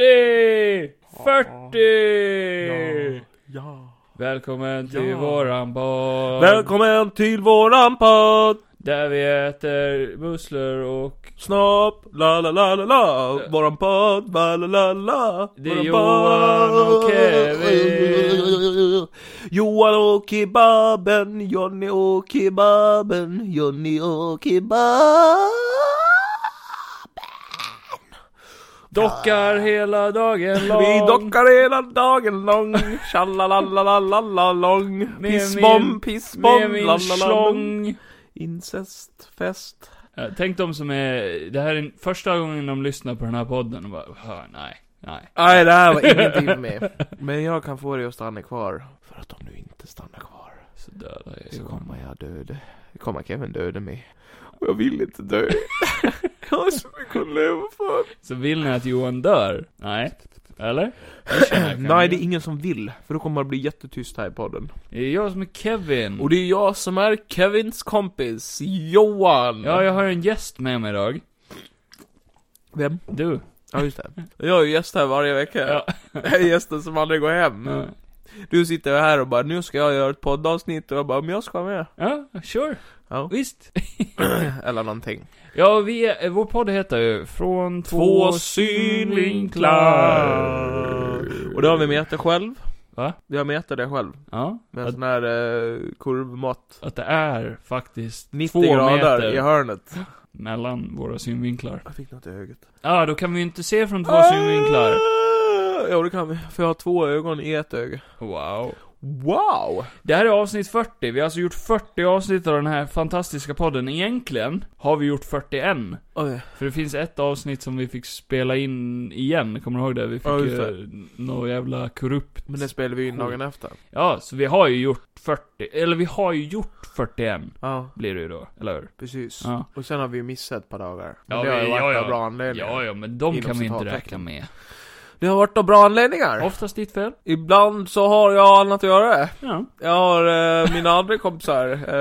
40! 40! Ja. Välkommen till Ja. våran bar. Välkommen till våran podd! Där vi äter musslor och Snopp, la la la la la. Våran podd, la la la la. Det är Våran Johan podd. och Kevin. Johan och Kebaben, Johnny och Kebaben, Johnny och Kebaben. dockar hela dagen lång. Vi dockar hela dagen lång, tjallalalalalala-lång. Med min- Pissbomb, med pissbomb, min lalalala. slång. Incestfest. Ja, Tänk de som är, det här är första gången de lyssnar på den här podden och bara, "Hö, nej, nej. Nej, det här var ingenting med. Men jag kan få dig att stanna kvar. För att om du inte stannar kvar Så dödar jag så Johan. kommer jag döda. Kommer Kevin döda mig. Och jag vill inte dö. jag har så mycket att leva för. Så vill ni att Johan dör? Nej. Eller? Det känner jag Nej, det kanske. är ingen som vill. För då kommer det bli jättetyst här i podden. Det är jag som är Kevin. Och det är jag som är Kevins kompis, Johan. Ja, jag har en gäst med mig idag. Vem? Du. Ja, just det. Jag är ju gäst här varje vecka. Ja. Jag är gästen som aldrig går hem. Du sitter här och bara, nu ska jag göra ett poddavsnitt. Och jag bara, men jag ska med. Ja, sure. Ja. Visst. Eller någonting. Ja, vi, är- eh, vår podd heter ju Från två synvinklar. Och det har vi mätt själv. Va? Vi har mätt det själv. Ja, Med en Att- sån här eh, kurvmått. att det är faktiskt 90 två grader meter i hörnet. mellan våra synvinklar. Jag fick något i ögat. Ja, då kan vi ju inte se från två synvinklar. Ah! Ja, det kan vi. För jag har två ögon i ett öga. Wow. Wow! Det här är avsnitt 40. Vi har alltså gjort 40 avsnitt av den här fantastiska podden. Egentligen har vi gjort 41. Oj. För det finns ett avsnitt som vi fick spela in igen, kommer du ihåg det? Vi fick Ja, just ja, det. något jävla korrupt... Men det spelar vi in dagen efter. Ja, så vi har ju gjort 40, eller vi har ju gjort 41, Ja, blir det ju då, eller hur? precis. Ja. Och sen har vi ju missat ett par dagar. Men Ja, det har ju vi- varit ja, av ja. bra anledningar. Ja, ja, men de Inom kan vi inte citattecken. räkna med. Det har varit av bra anledningar. Oftast ditt fel. Ibland så har jag annat att göra. Ja. Jag har eh, mina andra kompisar. Eh,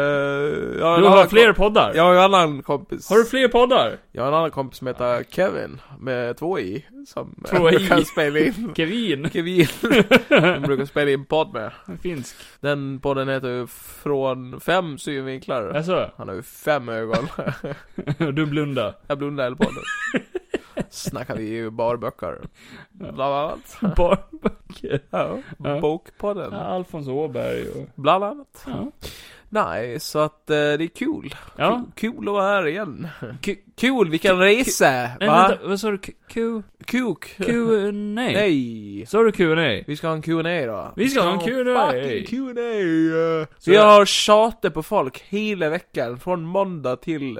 jag har en Du har annan fler kom- poddar. Jag har en annan kompis. Har du fler poddar? jag har en annan kompis som heter Kevin. Med två i. Som eh, Två i. brukar spela in. Kevin. Kevin. som brukar spela in podd med. Finsk. Den podden heter ju Från fem synvinklar. Alltså, Han har ju fem ögon. du blundar. jag blundar i podden. Snackar vi ju barböcker. Bland annat. Barnböcker. Ja. Ja. Ja, Bokpodden. Alfons Åberg och... Bland annat. Ja. Nej, så att eh, det är kul. ja. Kul att vara här igen. Ku- Kul, vilken resa! Nej, va? vänta, vad sa du? Q... Q... Kuk. Q... Nej. Nej. Sa du Q&A? Vi ska ha en Q&A då. Vi ska ha en Q&A. fucking Q&A. Så- Vi har tjatat på folk hela veckan. Från måndag till...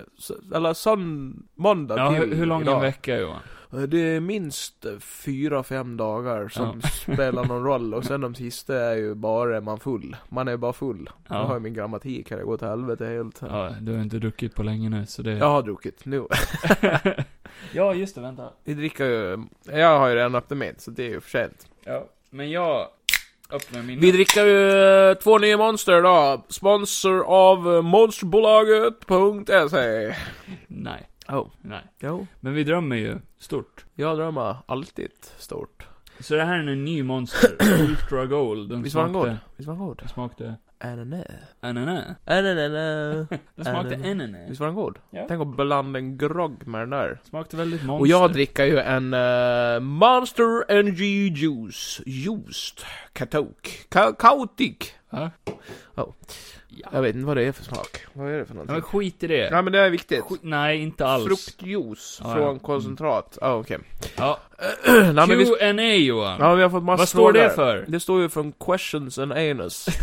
Eller sån... Måndag Ja, till hur, hur lång är idag. en vecka Johan? Det är minst fyra, fem dagar som spelar någon roll. Och sen de sista är ju bara man full. Man är bara full. Ja. Jag har ju min grammatik här, det går till helvete helt. Ja, du har inte druckit på länge nu, så det... Jag har druckit nu. ja, just det, vänta. Vi dricker ju... Jag har ju redan öppnat mitt, så det är ju för sent. Ja, men jag öppnar min... Vi dricker ju eh, två nya monster idag. Sponsor av eh, monsterbolaget.se. Nej, Oh. nej. Jo. Men vi drömmer ju stort. Jag drömmer alltid stort. Så det här är en ny monster, Ultra Gold. Den Visst var den god? smakte- Visst var den god? Den smakte... Ananä. Anana. Ananä. Den smakte Anana. enene. Visst var den god? Ja. Tänk att blanda en grogg med den där. Smakte väldigt monster. Och jag dricker ju en eh, Monster Energy Juice. Juiced. Katok. Ka- Kaotik. Ja. Oh. Jag vet inte vad det är för smak. Vad är det för Ja, men någonting? skit i det. Nej men det är viktigt. Skit- Nej, inte alls. Fruktjuice Ja, ja. från Mm. koncentrat. Ja, ah, okej. Ja. Nej, men vi, sk- Q&A Johan. ja, vi har fått massor Vad står det frågor. för? Det står ju från questions and anus.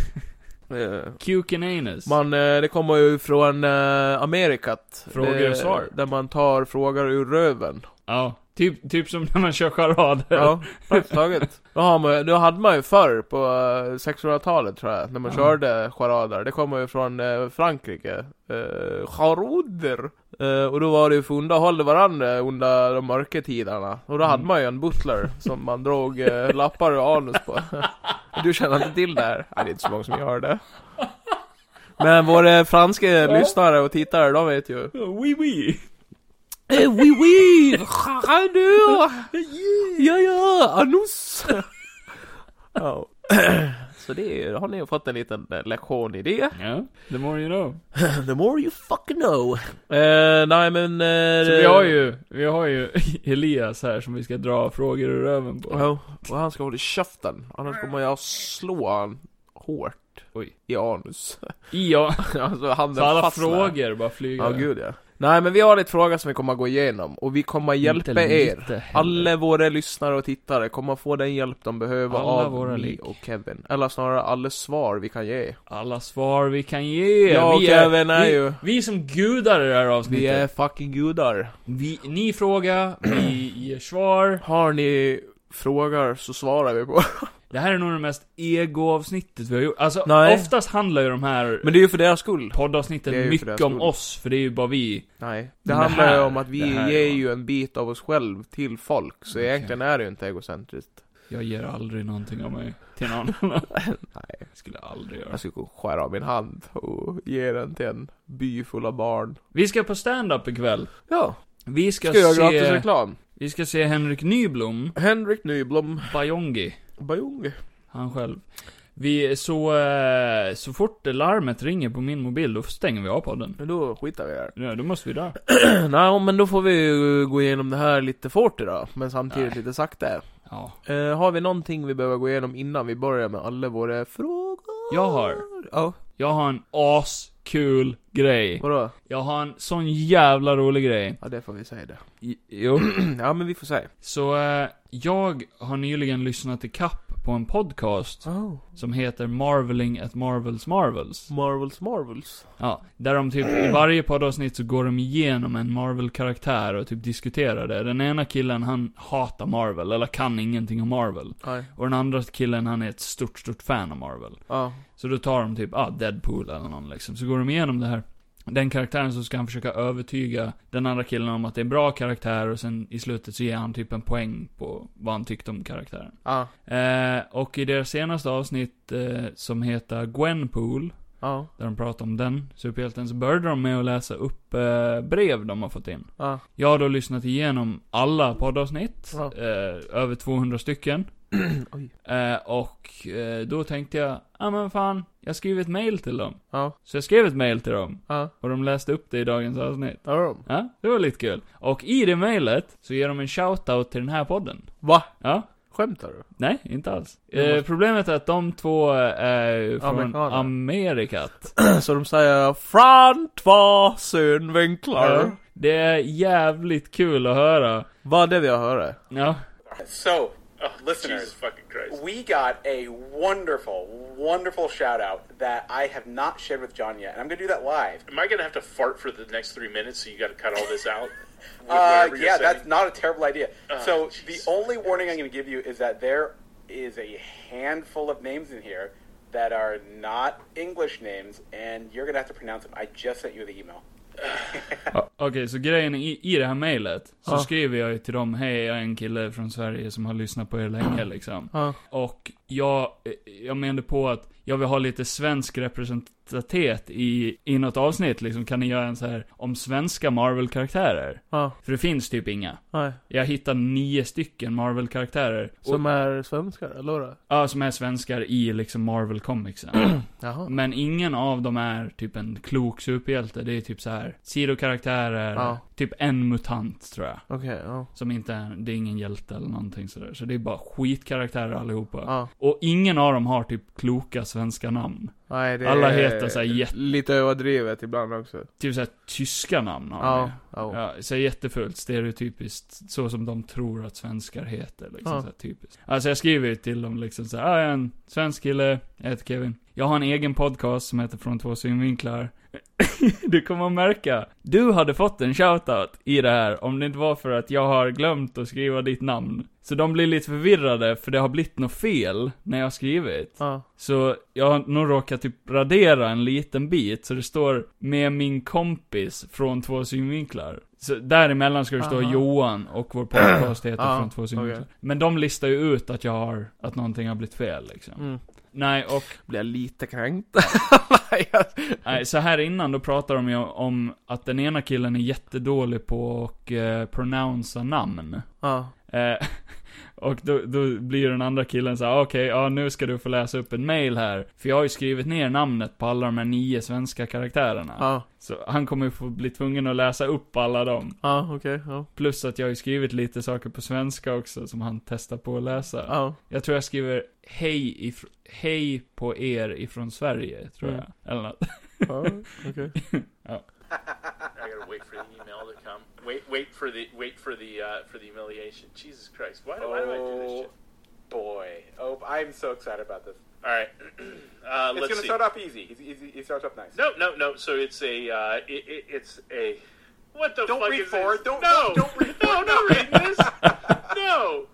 Eh, Cuke and anus. man, eh, det kommer ju från eh, Amerikat. Frågor och Det- svar. Där man tar frågor ur röven. Ja. Typ, typ som när man kör charader. Ja, praktiskt taget. Då, har man, då hade man ju förr på eh, 1600-talet tror jag, när man Ja. körde charader. Det kommer ju från eh, Frankrike. Eh, charader. Eh, och då var det ju för underhålla varandra under de mörka tiderna. Och då hade Mm. man ju en butler som man drog eh, lappar och anus på. du känner inte till det här? Nej, det är inte så många som gör det. Men våra franska lyssnare och tittare, de vet ju. Oui, oui. Eh, oui, oui! Radio! Ja, ja! Anus! ja. Så det är, har ni ju fått en liten eh, lektion i det. Ja, the more you know. The more you fucking know. Eh, nej men... eh, Så vi har ju, vi har ju Elias här som vi ska dra frågor ur röven på. Ja, och han ska hålla käften. Annars kommer jag slå han hårt. Oj. I anus. Ja, alltså handen så alla fastnar. frågor bara flyger. Ja, gud ja. Nej men vi har lite frågor som vi kommer att gå igenom. Och vi kommer att hjälpa er. Alla våra lyssnare och tittare kommer att få den hjälp de behöver Alla av våra mig lik. och Kevin. Eller snarare alla svar vi kan ge. Alla svar vi kan ge. Jag och vi Kevin är vi, ju- Vi är som gudar i det här avsnittet. Vi är fucking gudar. Vi, ni frågar, vi ger svar. Har ni frågor så svarar vi på. Det här är nog det mest ego-avsnittet vi har gjort. Alltså, Nej. oftast handlar ju de här Men det är ju för deras skull. Det är poddavsnitten ju för mycket deras om skull. oss, för det är ju bara vi. Nej. Det Det handlar ju här- om att vi det här ger då. ju en bit av oss själv till folk. Så Okej. egentligen är det ju inte egocentriskt. Jag ger aldrig någonting av mig till någon annan. Nej. Skulle aldrig göra. Jag skulle gå och skära av min hand och ge den till en by full av barn. Vi ska på stand-up ikväll. Ja. Vi ska, Ska jag göra gratis se... reklam? Vi ska se Henrik Nyblom, Henrik Nyblom Bajongi, Bajong. han själv. Vi, så, eh, så fort larmet ringer på min mobil, då stänger vi av podden. Men då skitar vi i det Ja, då måste vi dö. här. Nej, men då får vi ju gå igenom det här lite fort idag. Men samtidigt Nej. lite sakta. Ja. Eh, har vi någonting vi behöver gå igenom innan vi börjar med alla våra frågor? Jag har. Ja, Jag har en askul grej. vadå? Jag har en sån jävla rolig grej. Ja, det får vi säga det. I- Jo. ja, men vi får säga. Så, eh, jag har nyligen lyssnat i kapp på en podcast Oh. som heter Marveling at Marvels Marvels. Marvels Marvels. Ja, där de typ i varje poddavsnitt så går de igenom en Marvel-karaktär och typ diskuterar det. Den ena killen han hatar Marvel, eller kan ingenting om Marvel. Nej. Och den andra killen han är ett stort, stort fan av Marvel. Ja. Så då tar de typ, ah, Deadpool eller någon liksom. Så går de igenom det här. Den karaktären så ska han försöka övertyga den andra killen om att det är en bra karaktär och sen i slutet så ger han typ en poäng på vad han tyckte om karaktären. Ja. Eh, och i deras senaste avsnitt eh, som heter Gwenpool, Ja. där de pratar om den superhjälten, så började de med att läsa upp eh, brev de har fått in. Ja. Jag har då lyssnat igenom alla poddavsnitt, Ja. eh, över 200 stycken. Oj. Eh, och eh, då tänkte jag, ja men fan, jag skriver ett mail till dem. Ja. Så jag skrev ett mail till dem, Ja. och de läste upp det i dagens avsnitt. Är de? Ja, det var lite kul. Och i det mailet så ger de en shoutout till den här podden. Va? Ja. Skämtar du? Nej, inte alls. Jag måste- Eh, problemet är att de två är från Amerikaner. Amerikat. Så de säger från två synvinklar. Ja, Det är jävligt kul att höra. Vad det vi har hört? Ja. So, uh, listeners, Jesus fucking Christ. we got a wonderful, wonderful shout out that I have not shared with John yet, and I'm gonna do that live. Am I gonna have to fart for the next three minutes? So you got to cut all this out. Uh, With whatever you're yeah, saying? Uh, that's not a terrible idea. so jeez. the only warning I'm gonna give you is that there is a handful of names in here that are not English names, and you're gonna have to pronounce them. I just sent you the email. Ja, Okej, så grejen är, i, i det här mailet så skriver jag ju till dem, hej jag är en kille från Sverige som har lyssnat på er länge liksom. Ja. Och jag, eh, jag menade på att jag vill ha lite svensk representativitet i, i något avsnitt liksom. Kan ni göra en så här om svenska Marvel-karaktärer? Ja. För det finns typ inga. Nej. Jag hittade nio stycken Marvel-karaktärer. Som är svenskar, eller vadå? Ja, som är svenskar i liksom Marvel Comicsen. Jaha. Men ingen av dem är typ en klok superhjälte. Det är typ så här sidokaraktärer, Ja. typ en mutant tror jag. Okej, ja. Som inte är, det är ingen hjälte eller någonting sådär. Så det är bara skitkaraktärer allihopa. Ja. Och ingen av dem har typ kloka svenska namn. Nej, det Alla är heter så här jätte- Lite överdrivet ibland också. Typ såhär tyska namn har de Ja. ju. ja. Ja, så jättefult, stereotypiskt, så som de tror att svenskar heter. Liksom, Ja. så här, typiskt. Alltså jag skriver ju till dem liksom så här, "Ah, jag är en svensk kille, jag heter Kevin. Jag har en egen podcast som heter Från två synvinklar. du kommer att märka, du hade fått en shoutout i det här om det inte var för att jag har glömt att skriva ditt namn. Så de blir lite förvirrade för det har blivit något fel när jag har skrivit. Ja. Så jag har nog råkat typ radera en liten bit, så det står med min kompis från två synvinklar. Så däremellan ska det stå Aha. Johan och vår podcast heter Ja, Från två synvinklar. okej. Men de listar ju ut att jag har, att någonting har blivit fel liksom. Mm. Nej, och Blir jag lite kränkt? Nej, jag- nej, så här innan då pratar de ju om att den ena killen är jättedålig på att eh, pronouncea namn. ja. Eh, och då, då blir den andra killen så här: okej, ja nu ska du få läsa upp en mail här. För jag har ju skrivit ner namnet på alla de här nio svenska karaktärerna. Ja. Så han kommer ju få bli tvungen att läsa upp alla dem. Ja, okej. Ja. Plus att jag har ju skrivit lite saker på svenska också som han testar på att läsa. Ja. Jag tror jag skriver hej, ifr- hej på er ifrån Sverige, tror Mm. jag. Eller något. Ja, okej. I gotta wait for the email to come. Wait, wait for the wait for the uh, for the humiliation. Jesus Christ! Why, why do I do this Oh, shit? boy. Oh, I'm so excited about this. All right, uh, It's let's going to see. start off easy. He's, he's, he starts off nice. No, no, no. So it's a uh, it, it, it's a what the Don't fuck read is forward. This? Don't- no, don't- don't read no, forward. not reading this. No,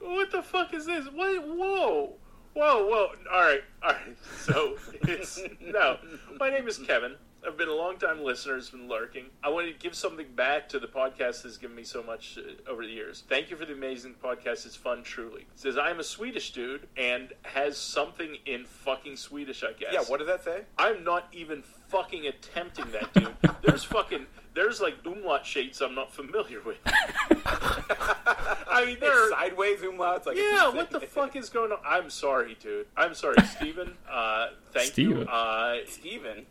what the fuck is this? What? Whoa, whoa, whoa! All right, all right. So it's no. My name is Kevin. I've been a long-time listener. It's been lurking. I wanted to give something back to the podcast that's given me so much uh, over the years. Thank you for the amazing podcast. It's fun, truly. It says I'm a Swedish dude and has something in fucking Swedish, I guess. Yeah, what does that say? I'm not even fucking attempting that, dude. There's fucking there's like umlaut shapes I'm not familiar with. I mean, It's there. sideways umlauts. Like Yeah, what the fuck is going on? I'm sorry, dude. I'm sorry, Steven. Uh, thank you. Steven. Uh, Steven.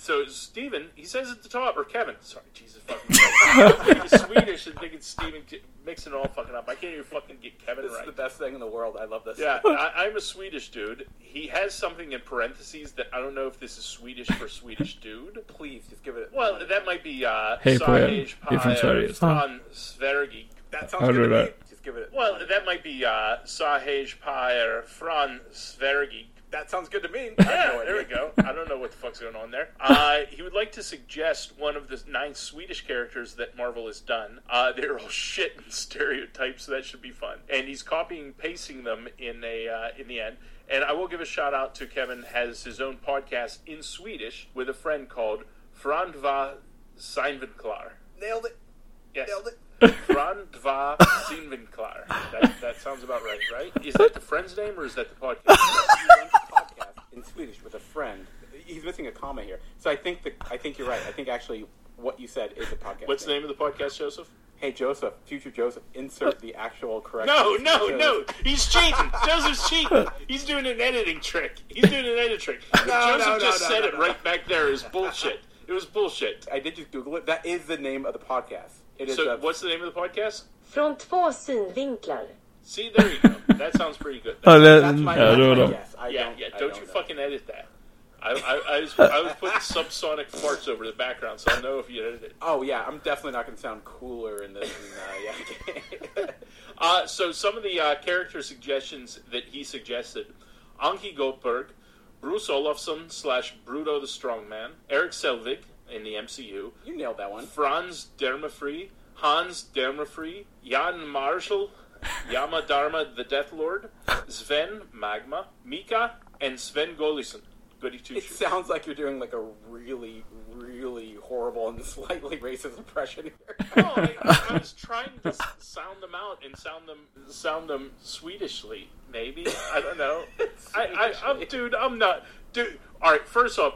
so Steven, he says at the top, or Kevin. Sorry, Jesus fucking. Christ. I'm thinking Swedish and thinking Steven mixing it all fucking up. I can't even fucking get Kevin This right. is the best thing in the world. I love this. Yeah, I, I'm a Swedish dude. He has something in parentheses that I don't know if this is Swedish for Swedish dude. Please, just give it. Well, that might be uh, Hey, Brian. Sahej You're from Paj- Sverige. Stan Sverige. that sounds I'll good do to me. that. Just give it. Well, that might be uh, Sahej Pyre Fran Sverige. that sounds good to me. Yeah, there we go. I don't know what the fuck's going on there. Uh, he would like to suggest one of the nine Swedish characters that Marvel has done. Uh, they're all shit and stereotypes, so that should be fun. And he's copying, and pasting them in a uh, in the end. And I will give a shout out to Kevin has his own podcast in Swedish with a friend called Frandva Seinvenklar. Nailed it. Yes. Nailed it. Frandva Seinvenklar. That, that sounds about right, right? Is that the friend's name or is that the podcast? He runs a podcast in Swedish with a friend. He's missing a comma here, so I think the, I think you're right. I think actually what you said is a podcast. What's the name of the podcast, Joseph? Hey Joseph, future Joseph, insert the actual correct. No, no, no. He's cheating. Joseph's cheating. He's doing an editing trick. He's doing an editing trick. If Joseph no, no, just no, said no, it no. right back there is bullshit. It was bullshit. I did just Google it. That is the name of the podcast. It is So, a, what's the name of the podcast? Från två synvinklar. See, there you go. That sounds pretty good. Ja, det- that's my, Yeah, I that's don't my know. guess. I Uh, yeah, don't, yeah. I Don't you know. fucking edit that. I, I, I, was, I was putting subsonic farts over the background, so I know if you edit it. Oh yeah, I'm definitely not going to sound cooler in this. than, uh, yeah. Uh, so some of the uh, character suggestions that he suggested: Anki Goldberg, Bruce Olofsson slash Bruto the Strongman, Eric Selvig in the MCU, you nailed that one. Franz Dermafree, Hans Dermafree, Jan Marshall, Yama Dharma the Death Lord, Sven Magma, Mika, and Sven Golison. Goody two It shoes. sounds like you're doing like a really, really horrible and slightly racist impression here. No, I, I was trying to s- sound them out and sound them sound them Swedishly, maybe. I don't know. I, I, I'm, dude, I'm not. Dude, all right. First off,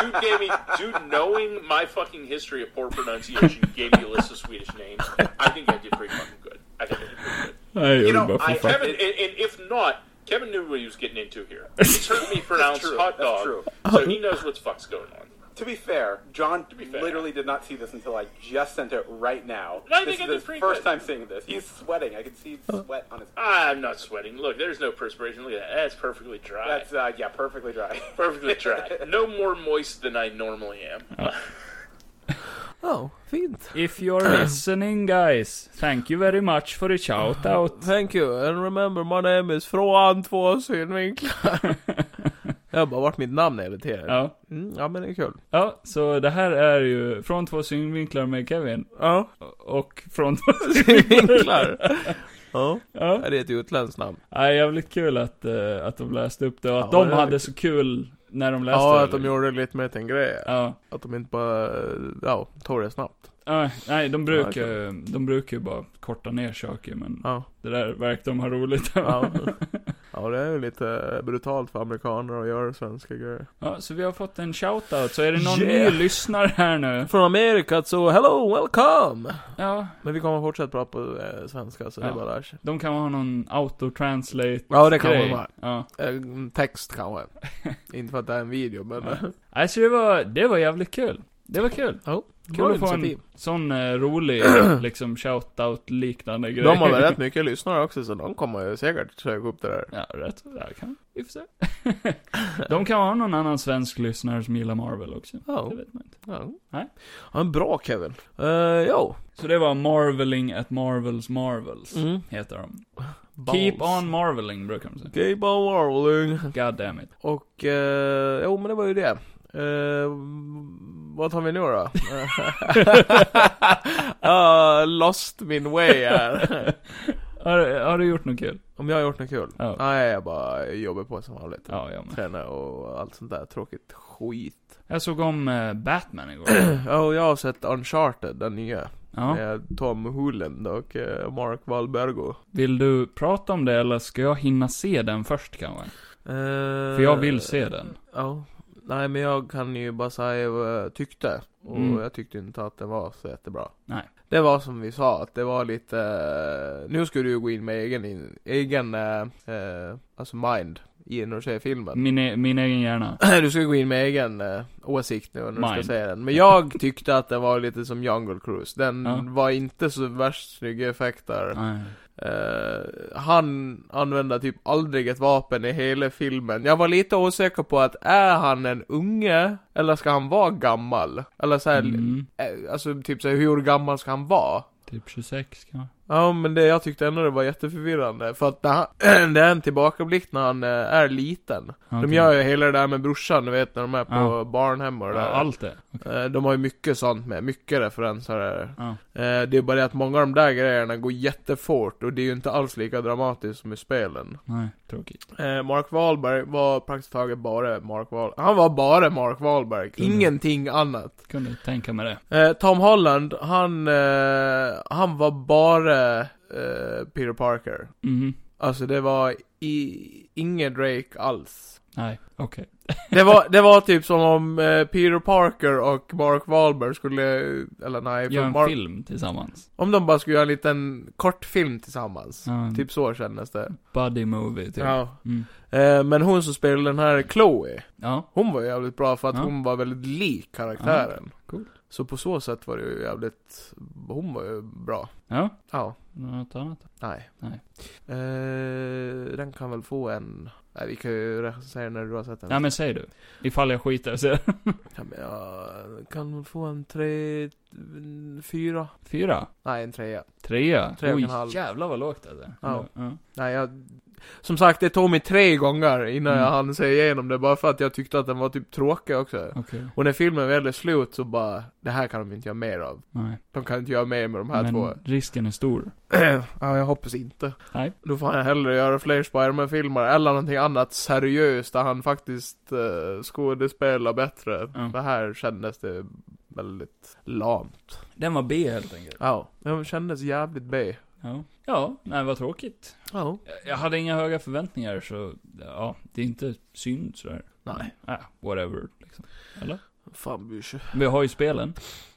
dude gave me dude knowing my fucking history of poor pronunciation gave me a list of Swedish names. I think I did pretty fucking good. I think I did pretty good. Nej, jag You gjorde bara know, för I fan. Kevin, and, and if not. Kevin knew what he was getting into here. He's heard me pronounce true, hot that's dog, true. so he knows what the fuck's going on. to be fair, John be fair. literally did not see this until I just sent it right now. No, I this think I is did his pretty first good. time seeing this. He's sweating. I can see sweat on his. I'm not sweating. Look, there's no perspiration. Look at that. That's perfectly dry. That's uh, yeah, perfectly dry. Perfectly dry. No more moist than I normally am. Ja, fint. If you're listening guys, thank you very much for the shout out. Thank you, and remember my name is Från två synvinklar. jag har bara varit mitt namn hela tiden. Ja. Mm, ja men det är kul. ja, så det här är ju från två synvinklar med Kevin. Ja. Och från två Synvinklar. ja. Ja. ja. Det är ett utländskt namn. Nej, jävligt kul att, eh, att de läste upp det och att Ja, de det är hade kul. så kul när de läste Ja, det. att de gjorde det lite mer till en grej. Ja, Att de inte bara, ja, tog det snabbt. Ja, nej, de brukar, Ja, ju- de brukar ju bara korta ner saker, men Ja. det där verkar de ha roligt Ja. ja, det är ju lite brutalt för amerikaner att göra svenska grejer. Ja, så vi har fått en shoutout, så är det någon Yeah. ny lyssnare här nu? Från Amerika, så hello, welcome! Ja, Men vi kommer fortsätta prata på eh, svenska, så det Ja. är bara att lära sig. de kan ha någon auto-translate Ja, det kan grej. man vara. Ja. Eh, Text kanske. Inte för att det är en video, men... eh, Ja. Alltså det var, det var jävligt kul. Det var kul. Jo, Kul bra att få en initiativ. sån eh, rolig, liksom shoutout-liknande grej. De har väl rätt mycket lyssnare också, så de kommer ju säkert söka upp det där. Ja, rätt. Ja, kan vi får se. De kan ha någon annan svensk lyssnare som gillar Marvel också. Ja. Det vet man inte. Ja. Nej. Ja, men bra Kevin. Eh, jo. Så det var Marveling at Marvels Marvels, Mm. heter de. Balls. Keep on Marveling, brukar de säga. Keep on rolling. God damn it. Och, eh, jo men det var ju det. Eh, vad tar vi nu då? uh, lost min way här. Har, har du gjort något kul? Om jag har gjort något kul? Ja. Nej, jag bara jobbar på som vanligt. Ja, jag med. Tränar och allt sånt där tråkigt skit. Jag såg om eh, Batman igår. Ja, och jag har sett Uncharted, den nya. Ja. Med Tom Holland och eh, Mark Wahlbergo. Vill du prata om det eller ska jag hinna se den först kanske? Eh, För jag vill se den. Ja. Nej men jag kan ju bara säga vad jag tyckte. Och Mm. jag tyckte inte att den var så jättebra. Nej. Det var som vi sa, att det var lite... eh, Nu skulle du ju gå in med egen, in- egen eh, eh, alltså mind, i när du ser filmen. Min, e- min egen hjärna. Du ska gå in med egen eh, åsikt nu när du ska Mind. säga den. Men jag tyckte att den var lite som Jungle Cruise. Den Ja. var inte så värst snygga effekter. Nej. Eh, han använder typ aldrig ett vapen i hela filmen. Jag var lite osäker på att är han en unge eller ska han vara gammal? Eller såhär, Mm. eh, alltså typ såhär, hur gammal ska han vara? Typ 26 kanske. Ja men det, jag tyckte ändå det var jätteförvirrande för att när han, det är en tillbakablick när han eh, är liten. De Okej. gör ju hela det där med brorsan, du vet när de är på Ja. barnhem och det ja, där. allt det. Eh, De har ju mycket sånt med, mycket referenser där. Ja. Eh, Det är bara det att många av de där grejerna går jättefort och det är ju inte alls lika dramatiskt som i spelen. Nej, tråkigt. Eh, Mark Wahlberg var praktiskt taget bara Mark Wahlberg. Han var bara Mark Wahlberg, Mm. ingenting annat. Kunde tänka mig det. Eh, Tom Holland, han, eh, han var bara eh, Peter Parker. Mhm. Alltså det var i, ingen Drake alls. Nej, okej. Det var, det var typ som om eh, Peter Parker och Mark Wahlberg skulle, eller nej, Gör en Mark, film tillsammans. om de bara skulle göra en liten kortfilm tillsammans. Ja, en Typ så kändes det. Buddy movie, Mm. typ. Ja. Ja. Mm. Eh, men hon som spelade den här Chloe, ja. hon var jävligt bra för att Ja. hon var väldigt lik karaktären. coolt. Så på så sätt var det ju jävligt, hon var ju bra. Ja. Ja, Något annat? nej. Nej. Eh, den kan väl få en, nej vi kan ju recensera när du har sett den. Nej men säg du. Ifall jag skiter så. Ja, men jag kan väl få en tre, en fyra? Fyra? Nej, en trea. Trea? Tre och en Oj, halv. jävlar vad lågt alltså. Ja. ja. Nej, jag... Som sagt, det tog mig tre gånger innan Mm. jag hann se igenom det, bara för att jag tyckte att den var typ tråkig också. Okej. Och när filmen väl är slut så bara, det här kan de inte göra mer av. Nej. De kan inte göra mer med de här Men två. risken är stor. ja, jag hoppas inte. Nej. Då får han hellre göra fler Spiderman-filmer, eller någonting annat seriöst där han faktiskt eh, skådespelar bättre. Ja. Det här kändes det väldigt lamt. Den var B helt enkelt. Ja, det kändes jävligt B. Ja. Ja, nej vad tråkigt. Ja. Jag- Jag hade inga höga förväntningar så, ja, det är inte synd sådär. Nej. Ah, whatever, liksom. Eller? Fan, Bysche. Vi har ju spelen.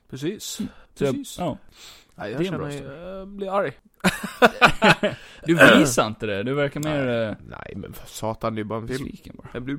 Precis. Så jag, Precis. ja. Nej, Mm. Det är jag en bra känner jag blir arg. Du visar inte det, du verkar mer eh, Nej men för satan, det är bara en film. besviken bara. Det blir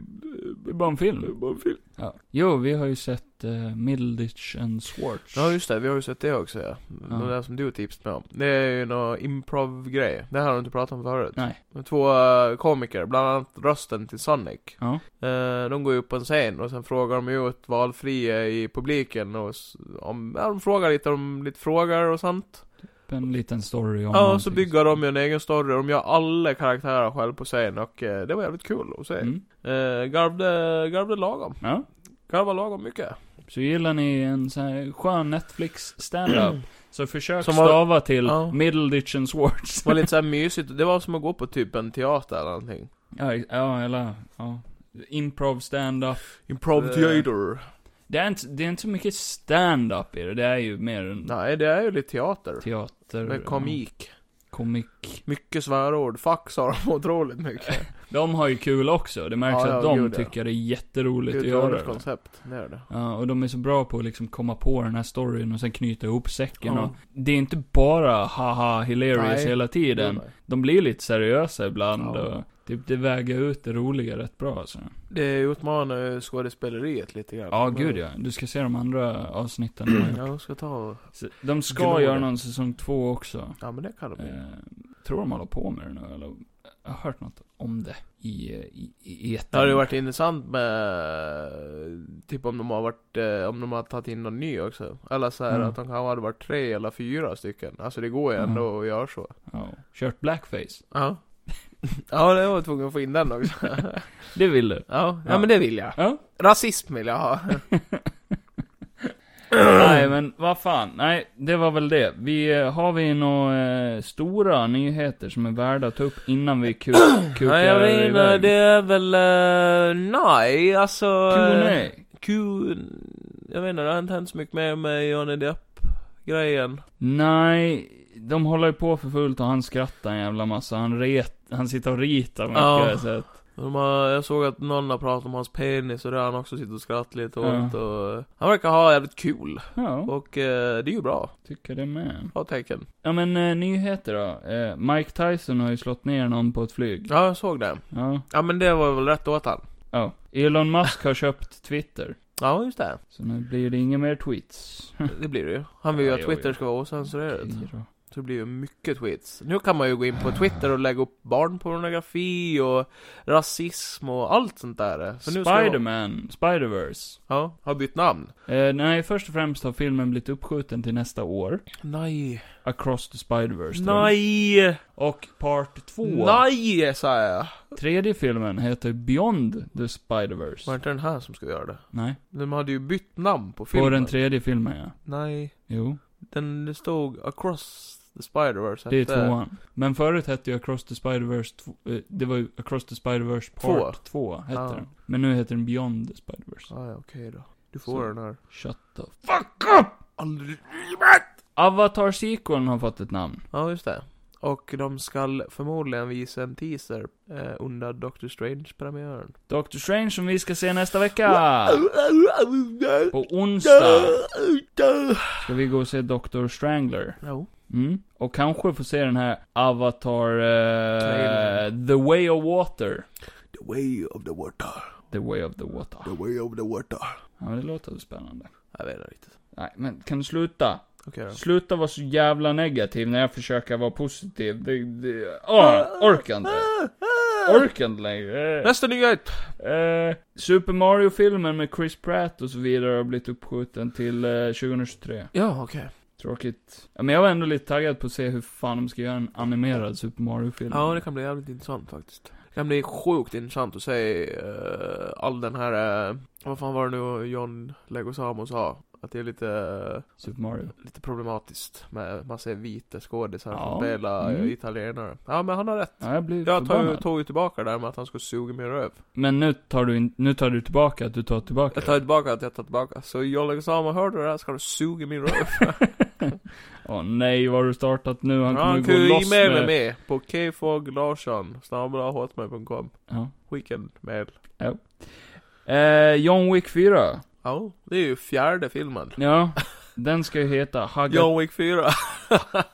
Det är bara en det är film. bara en film. Ja. Jo, vi har ju sett eh, Middleditch and Swartz. Ja just det, vi har ju sett det också ja. Ja. Det där som du tipsade mig om. Det är ju någon improv-grej. Det här har du inte pratat om förut. Nej. De Två eh, komiker, bland annat rösten till Sonic. Ja. Eh, De går ju upp på en scen och sen frågar de ju ut valfria i publiken och s- om, ja, de frågar lite om lite frågor och sånt. En liten story om Ja, och så någonting. bygger de ju en egen story. De gör alla karaktärer själv på scen och eh, det var jävligt kul att se. Mm. Eh, garvde, garvde lagom. Ja. Garvade lagom mycket. Så gillar ni en sån här skön Netflix stand-up så försök Som var- stava till Ja. Middleditch and Swartz. Det var lite såhär mysigt. Det var som att gå på typ en teater eller någonting. ja, ex- ja, eller, ja. Improv stand-up. Improv Eh. theater. Det är inte, det är inte så mycket stand-up i det, det är ju mer en Nej, det är ju lite teater. teater. eh, Med komik. Komik. Mycket svärord. Fuck sa de otroligt mycket. De har ju kul också, det märks Ja, ja, att de gud, ja. tycker det är jätteroligt Gud, att det är göra ett det. koncept. Det är det. Ja, och de är så bra på att liksom komma på den här storyn och sen knyta ihop säcken Ja. och Det är inte bara haha hilarious Nej. hela tiden. De blir lite seriösa ibland Ja. och typ det väger ut det roliga rätt bra alltså. Det utmanar ju skådespeleriet lite grann. Ja, gud ja. Du ska se de andra avsnitten. de har gjort. Ja, de ska ta och... Så De ska Gnål. göra någon säsong två också. Ja, men det kan de ju. Eh, tror de håller på med det nu, eller? Jag har hört något om det i, eh, i, i etern. Det hade ju varit intressant med... Typ om de har varit... eh, Om de har tagit in någon ny också. Eller så här Mm. att de kanske hade varit tre eller fyra stycken. Alltså det går ju ändå Mm. att göra så. Ja. Kört blackface. Ja. ja, det var jag tvungen att få in den också. ja, Det vill du? ja, Ja. men det vill jag. Ja. Rasism vill jag ha. Nej men vad fan, nej det var väl det. Vi, eh, har vi några eh, stora nyheter som är värda att ta upp innan vi ku- kukar Nej, jag menar, iväg? det är väl... eh, nej, alltså... eh, Q&A. Q... Jag menar, det har inte hänt så mycket mer med Johnny Depp-grejen. Nej, de håller ju på för fullt och han skrattar en jävla massa. Han, ret, han sitter och ritar mycket. Ja. Så att, De har, jag såg att någon har pratat om hans penis och det har han också suttit och skrattat lite Ja. åt och... eh, Han verkar ha jävligt kul. ja, Och eh, det är ju bra. tycker det med. Bra tecken. Ja men eh, nyheter då. Eh, Mike Tyson har ju slått ner någon på ett flyg. Ja, jag såg det. Ja. Ja, men det var väl rätt åt han. ja. Elon Musk har köpt Twitter. Ja, just det. Så nu blir det inga mer tweets. Det blir det ju. Han vill ju Ja, att jo, Twitter jo. ska vara ocensurerat. Okej då. Så det blir ju mycket tweets. Nu kan man ju gå in på Twitter och lägga upp barnpornografi och rasism och allt sånt där. För nu ska jag- Spiderman, Spiderverse. Ja, har bytt namn. Eh, nej, först och främst har filmen blivit uppskjuten till nästa år. Nej. Across the Spiderverse. tror jag. Nej! Och part två. Nej, sa jag. Tredje filmen heter Beyond the Spiderverse. Var det inte den här som skulle göra det? Nej. De hade ju bytt namn på filmen. På den tredje filmen ja. Nej. Jo, Den det stod 'Across the Spider-Verse' det är hette- tvåan. Men förut hette ju Across the Spiderverse 2, eh, det var ju Across the Spiderverse Part 2 hette Ah. den. Men nu heter den Beyond the Spiderverse. Ah, ja, okej då. Du får Så. den här. Shut the f- Aldrig. avatar sequeln har fått ett namn. Ja, just det. Och de skall förmodligen visa en teaser eh, under Doctor Strange-premiären. Doctor Strange som vi ska se nästa vecka! På onsdag Ja. ska vi gå och se Doctor Strangler. Mm. Och kanske få se den här Avatar... Eh, Trailern. the Way of Water. The way of the water. The Way of the Water. The way of the water. Ja, men det låter väl spännande. Jag vet inte riktigt. Nej, men kan du sluta? Okej då. Sluta vara så jävla negativ när jag försöker vara positiv. Det, det, åh, Ah, orkar inte. Orkar inte längre. Nästa nyhet! Eh, Super Mario-filmen med Chris Pratt och så vidare har blivit uppskjuten till eh, 2023. Ja, okej. Tråkigt. Ja, men jag var ändå lite taggad på att se hur fan de ska göra en animerad Super Mario-film. Ja, det kan bli jävligt intressant faktiskt. Det kan bli sjukt intressant att se eh, all den här, eh, vad fan var det nu John Legosamo sa? Att det är lite, eh, Super Mario. lite problematiskt med massa vita skådisar Ja, som spelar mm. mm. italienare. Ja, men han har rätt. Ja, jag blir Jag tar ju, förbannad. tog ju tillbaka det där med att han skulle suga min röv. Men nu tar du, in, nu tar du tillbaka att du tar tillbaka Jag tar ju tillbaka att jag tar tillbaka. Så John Legosamo, hörde du det här? Ska du suga min röv? Åh nej, vad har du startat nu? Han Ja, kommer han gå kunde ju loss med... e-maila mig på kfoglarsson, snabbla.hotmail.com. Ja. Weekendmail. Eh, John Wick 4. Ja, det är ju fjärde filmen. Ja. Den ska ju heta Haga, John Wick 4.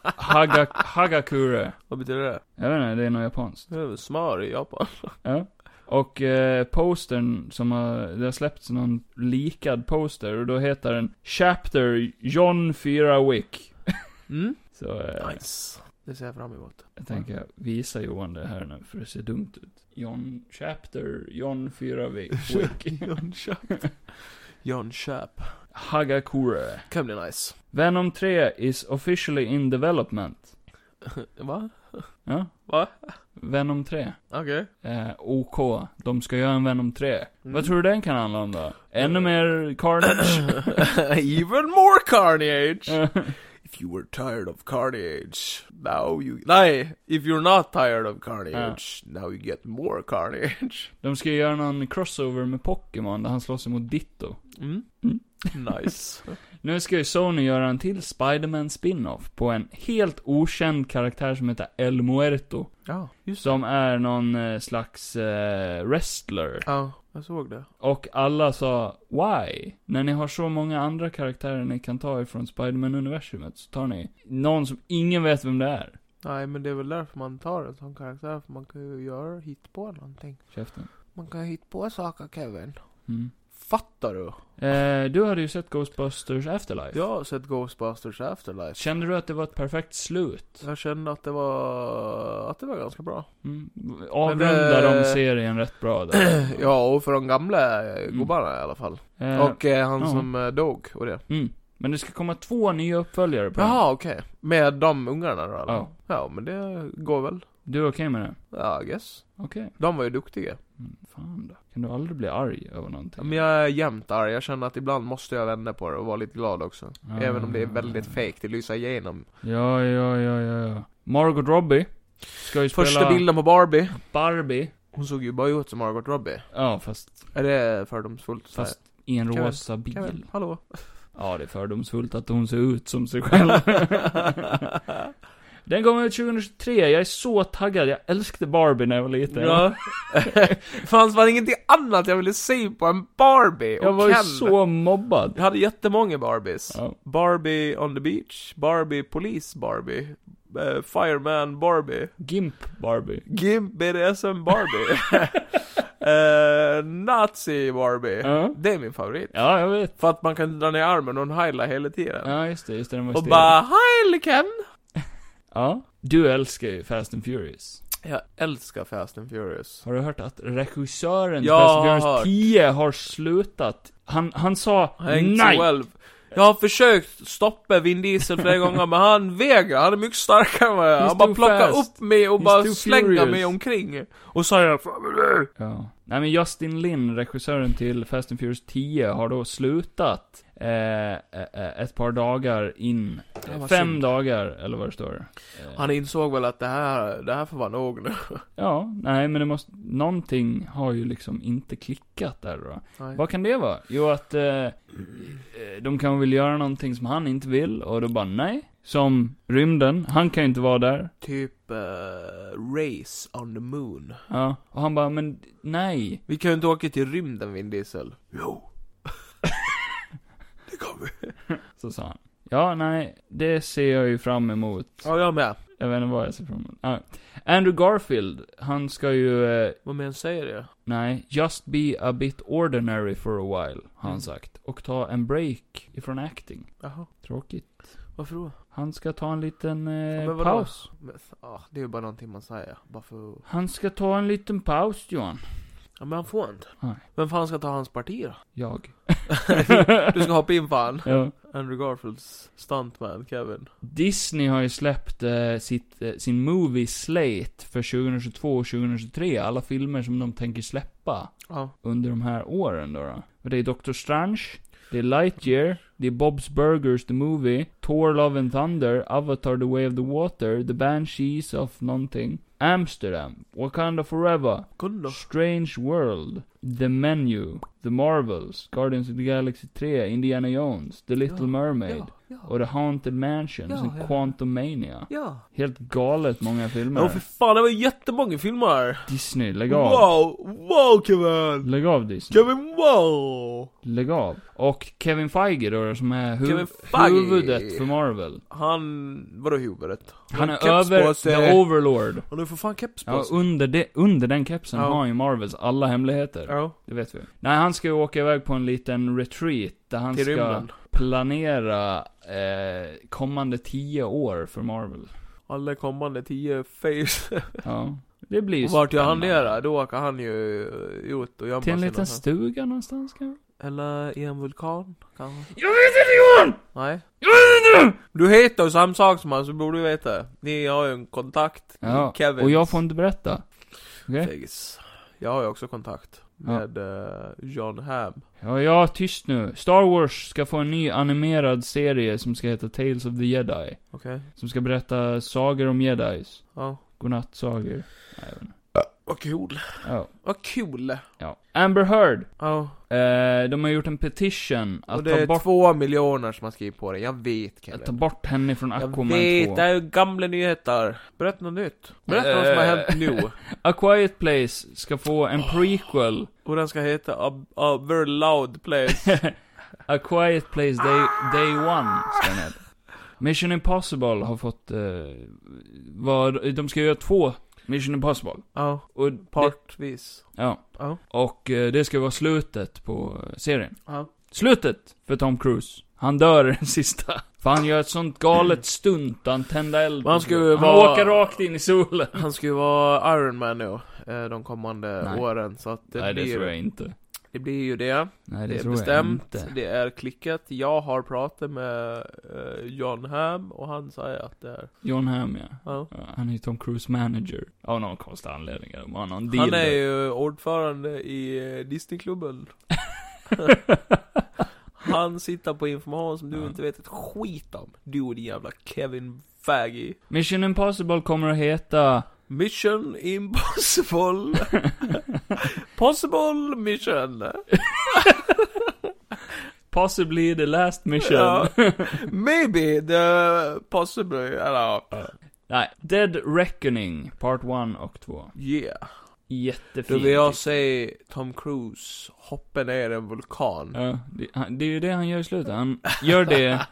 Haga, Hagakure. Vad betyder det? Jag vet inte, det är något japanskt. Det är väl smör i Japan? Ja. Och eh, postern som har, det har släppts någon likad poster och då heter den Chapter John 4 Wick. Mm. Så eh, Nice. Det ser jag fram emot. jag tänker visa Johan det här nu för det ser dumt ut. John Chapter John 4 Wick. Jönköp. Jönköp. Hagakure. Kan bli nice. Venom 3 is officially in development. Va? Ja? Va? Venom 3. Okej. Eh, OK, de ska göra en Venom 3. Vad tror du den kan handla om då? Ännu mer Carnage? Even more carnage! Eh, If you were tired of carnage, Now you... Nej! If you're not tired of carnage, now you get more carnage. De ska ju göra någon crossover med Pokémon där han slåss emot Ditto. Hmm? Nice. Nu ska ju Sony göra en till Spider-Man spin-off på en helt okänd karaktär som heter El Muerto. ja, just det. Som är någon eh, slags eh, wrestler. Ja, jag såg det. Och alla sa, why? När ni har så många andra karaktärer ni kan ta ifrån Spiderman-universumet så tar ni någon som ingen vet vem det är. Nej, men det är väl därför man tar en sån karaktär, för man kan ju göra hit på någonting. Käften. Man kan hitta på saker, Kevin. Mm. Fattar du? Eh, du hade ju sett Ghostbusters Afterlife. Jag har sett Ghostbusters Afterlife. Kände du att det var ett perfekt slut? Jag kände att det var, att det var ganska bra. Mm. Avrundar Men, eh, de serien rätt bra där. Ja, och för de gamla eh, Mm. gubbarna i alla fall. Eh, och eh, han ja. som eh, dog och det. mm. Men det ska komma två nya uppföljare på den. Jaha, okej. Med de ungarna då eller? Ja. Ja, men det går väl. Du är okej med det? Ja, I guess. Okej. De var ju duktiga. Mm, fan då. Kan du aldrig bli arg över någonting? Men jag är jämt arg. Jag känner att ibland måste jag vända på det och vara lite glad också. Ah. Även om det är väldigt fake, det lyser igenom. Ja, ja, ja, ja, ja. Margot Robbie. Ska ju spela... Första bilden på Barbie. Barbie. Hon såg ju bara ut som Margot Robbie. Ja, fast, Är det fördomsfullt? att säga? fast i en Kan vi- rosa bil. Kevin, hallå? Ja, det är fördomsfullt att hon ser ut som sig själv. Den kom ut 2023, jag är så taggad. Jag älskade Barbie när jag var liten. Ja. Fanns var ingenting annat jag ville se på än Barbie och jag var ju Ken. så mobbad. Jag hade jättemånga Barbies. Ja. Barbie on the beach, Barbie police Barbie, eh, fireman Barbie, Gimp Barbie. Gimp BDSM Barbie, eh, Nazi Barbie. Ja. Det är min favorit. Ja, jag vet. För att man kan dra ner armen och hon heilar hela tiden. Ja, just det, just det, den var och stel. bara heil Ken! Ja. Du älskar ju Fast and Furious. Jag älskar Fast and Furious. Har du hört att regissören till Jag Fast and har Furious hört. 10 har slutat? Han, han sa Hank nej! 12. Jag har försökt stoppa Vin Diesel flera gånger men han vägrar, han är mycket starkare än vad jag är. He's Han bara too plockar fast. upp mig och He's bara too slänger furious. mig omkring. Och säger Ja. Nej men Justin Lin, regissören till Fast and Furious 10, har då slutat eh, eh, eh, ett par dagar in. Ja, vad Fem synd. dagar, eller vad det står. Eh. Han insåg väl att det här, det här får vara nog nu. Ja, nej men det måste, någonting har ju liksom inte klickat där då. Nej. Vad kan det vara? Jo att, eh, eh, de kan väl göra någonting som han inte vill, och då bara nej. Som rymden, han kan ju inte vara där. Typ eh, Race on the Moon. Ja, och han bara, men nej. Vi kan ju inte åka till rymden Vin Diesel. Jo. det kan vi. Så sa han. Ja, nej, det ser jag ju fram emot. Ja, jag med. Jag vet inte vad jag ser fram emot. Ah. Andrew Garfield, han ska ju, eh, Vad men säger det? nej, just be a bit ordinary for a while, har han Mm. sagt. Och ta en break ifrån acting. Jaha, Tråkigt. varför då? Han ska ta en liten eh, Ja, men vadå? paus. Men, ah, det är ju bara någonting man säger. Bara för... Han ska ta en liten paus, Johan. Ja, men han får inte. Nej. Vem fan ska ta hans parti då? Jag. Du ska hoppa in fan. ja. Andrew Garfields stuntman Kevin. Disney har ju släppt eh, sitt, eh, sin movie slate för 2022 och 2023. Alla filmer som de tänker släppa. Ja. under de här åren då. då. Och det är Dr. Strange, det är Lightyear, det är Bob's Burgers The Movie, Thor Love and Thunder, Avatar The Way of the Water, The Banshees of någonting, Amsterdam, Wakanda Forever, Kolla. Strange World, The Menu, The Marvels, Guardians of the Galaxy 3, Indiana Jones, The Little Ja, Mermaid, Ja, ja. och The Haunted Mansion, Ja, och sen ja. Quantumania. Ja. Helt galet många filmer. Ja, för fan det var jättemånga filmer. Disney, lägg av. Wow, wow Kevin! Lägg av Disney. Kevin wow! Lägg av. Och Kevin Feige då, som är Kevin huv- Feige. huvudet för Marvel. Han, vadå huvudet? Han har är keps över på sig. the overlord. Han har för fan keps på Ja, sig. under, de, under den kepsen Ja. har han ju Marvels alla hemligheter. Ja. Det vet vi. Nej, han ska ju åka iväg på en liten retreat där han Till ska rymden. planera eh, kommande tio år för Marvel. Alla kommande tio face. Ja. Det blir ju Och vart gör han det spännande. då? Då åker han ju eh, ut och gömmer Till sig en liten någonstans. stuga någonstans kanske? Eller i en vulkan, kanske? Jag vet inte Johan! Nej. Jag vet inte! Du heter ju samma sak som han, så borde du veta. Ni har ju en kontakt. Ja, Mm, Kevin. och jag får inte berätta. Okej? Fegis. Jag har ju också kontakt. med eh, John Hamm. Ja, ja, tyst nu. Star Wars ska få en ny animerad serie som ska heta Tales of the Jedi. Okej. Som ska berätta sagor om jedis. Ja. Godnattsagor. Nej, jag vet inte. Vad kul. Ja. Vad kul. ja. Amber Heard. Ja. Eh, de har gjort en petition Och att det ta är bort, två miljoner som har skrivit på det. Jag vet att ta Kevin. bort henne från Jag Aquaman 2. vet, det är ju gamla nyheter. Berätta något nytt. Berätta vad som har hänt nu. A Quiet Place ska få en prequel. Och den ska heta A, A Very Loud Place. A Quiet Place Day, day One, ska den heta. Mission Impossible har fått, eh, vad, de ska göra två Mission Impossible. Ja, Och partvis. Ja. Ja. Och eh, det ska vara slutet på eh, serien. Ja. Slutet för Tom Cruise. Han dör den sista. För han gör ett sånt galet stunt, han tända eld. Men han ska ju han vara- åker rakt in i solen. Han ska ju vara Iron Man nu, eh, de kommande Nej. åren. Så att det, Nej, det blir, tror jag inte. det blir ju det. Nej, det, Det, är tror bestämt, jag inte. det är klickat. Jag har pratat med eh, John Hamm och han säger att det är... John Hamm, ja. Ja. Ja, Eh, Han är ju Tom Cruise manager. Av någon konstig anledning. De har någon deal Han är där. ju ordförande i eh, Disneyklubben. Han sitter på information som du Ja. inte vet ett skit om. Du och din jävla Kevin Faggy. Mission Impossible kommer att heta... Mission impossible. Possible mission. Possibly the last mission. Ja. Maybe the possible, eller Nej, Dead Reckoning, Part 1 och 2. yeah. Jättefint. Då vill jag se Tom Cruise hoppa ner i en vulkan. Ja, det, han, det är ju det han gör i slutet. Han gör det,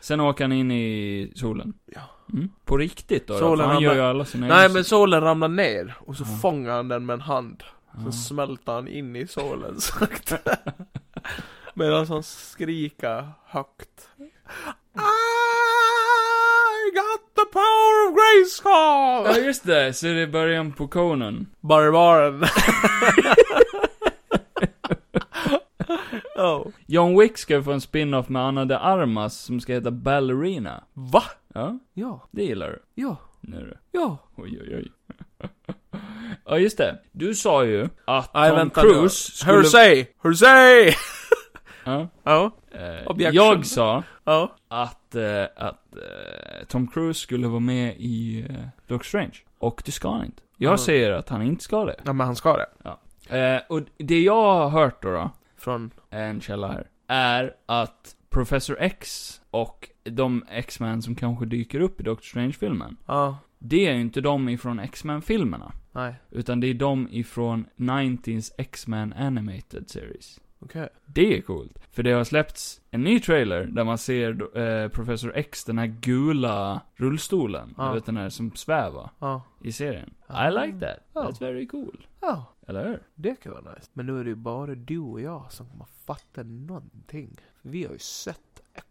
sen åker han in i solen. Ja. Mm. På riktigt då? då Solen för han ramlar- gör ju alla sina Nej egna- men solen ramlar ner och så Ja. fångar han den med en hand. Ja. Så smälter han in i solen sakta. Medan han skriker högt. I got the power of Ja Grayskull! just det, så det är början på Conan. Barbaren. oh. John Wick ska få en spin-off med Anna de Armas som ska heta Ballerina. Va? Ja, Ja, det gillar du. ja, Nu du. ja. Oj, oj, oj. ja just det, du sa ju att Nej, Tom vänta Cruise nu. skulle... Hersey! Hersey! Ja, Ja, eh, Objection. jag sa ja. att, eh, att eh, Tom Cruise skulle vara med i eh, Doctor Strange. Och det ska han inte. Jag Mm. säger att han inte ska det. Nej men han ska det. Eh, och det jag har hört då, då Från... en källa här, är att Professor X och de X-Men som kanske dyker upp i Doctor Strange-filmen, Ja. det är ju inte de ifrån X-Men-filmerna. Nej. Utan det är de ifrån 90s X-Men Animated Series. Okej. Det är coolt. För det har släppts en ny trailer där man ser eh, Professor X, den här gula rullstolen. Ja. Du vet den här som svävar Ja. i serien. I like that. That's very cool. Ja. Eller hur? Det kan vara nice. Men nu är det ju bara du och jag som kommer fatta någonting. Vi har ju sett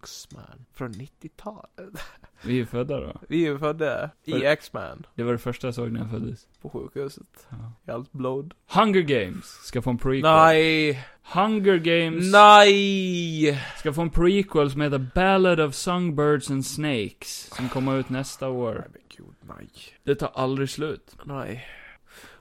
X-Man från 90-talet. Vi är ju födda då. Vi är ju födda i För- X-Man. Det var det första jag såg när jag föddes. På sjukhuset. Ja. I allt blod. Hunger Games ska få en prequel. Nej! Hunger Games Nej! ska få en prequel som heter Ballad of Songbirds and Snakes. Som kommer ut nästa år. men gud, nej. Det tar aldrig slut. Nej.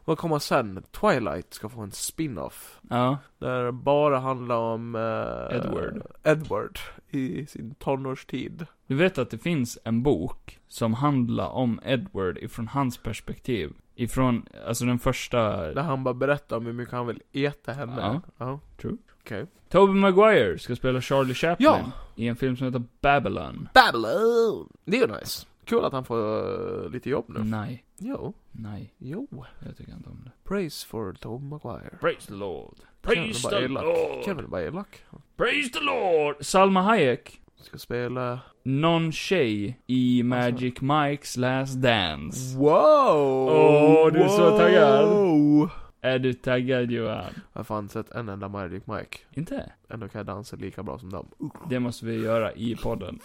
Vad kommer sen? Twilight ska få en spin-off. Ja. Där det bara handlar om... eh, Edward. Edward. I sin tonårstid. Du vet att det finns en bok som handlar om Edward ifrån hans perspektiv. Ifrån, alltså den första... Där han bara berättar om hur mycket han vill äta henne. Ja. ja. True. Okej. Tobey Maguire ska spela Charlie Chaplin Ja. i en film som heter Babylon. Babylon! Det är ju nice. Kul att han får eh, lite jobb nu. Nej, Jo, nej, jo. jag tycker inte om det. Praise for Tom Maguire. Praise the Lord. Kevin Praise är the bara elak. Lord. Kevin är bara elak. Praise the Lord. Salma Hayek, Ska spela... någon tjej i Magic Mikes Last Dance. Wow! Åh, du är så taggad. Wow! Är du taggad Johan? Jag har fan sett en enda Magic Mike. Inte? Ändå kan jag dansa lika bra som dem. Det måste vi göra i podden.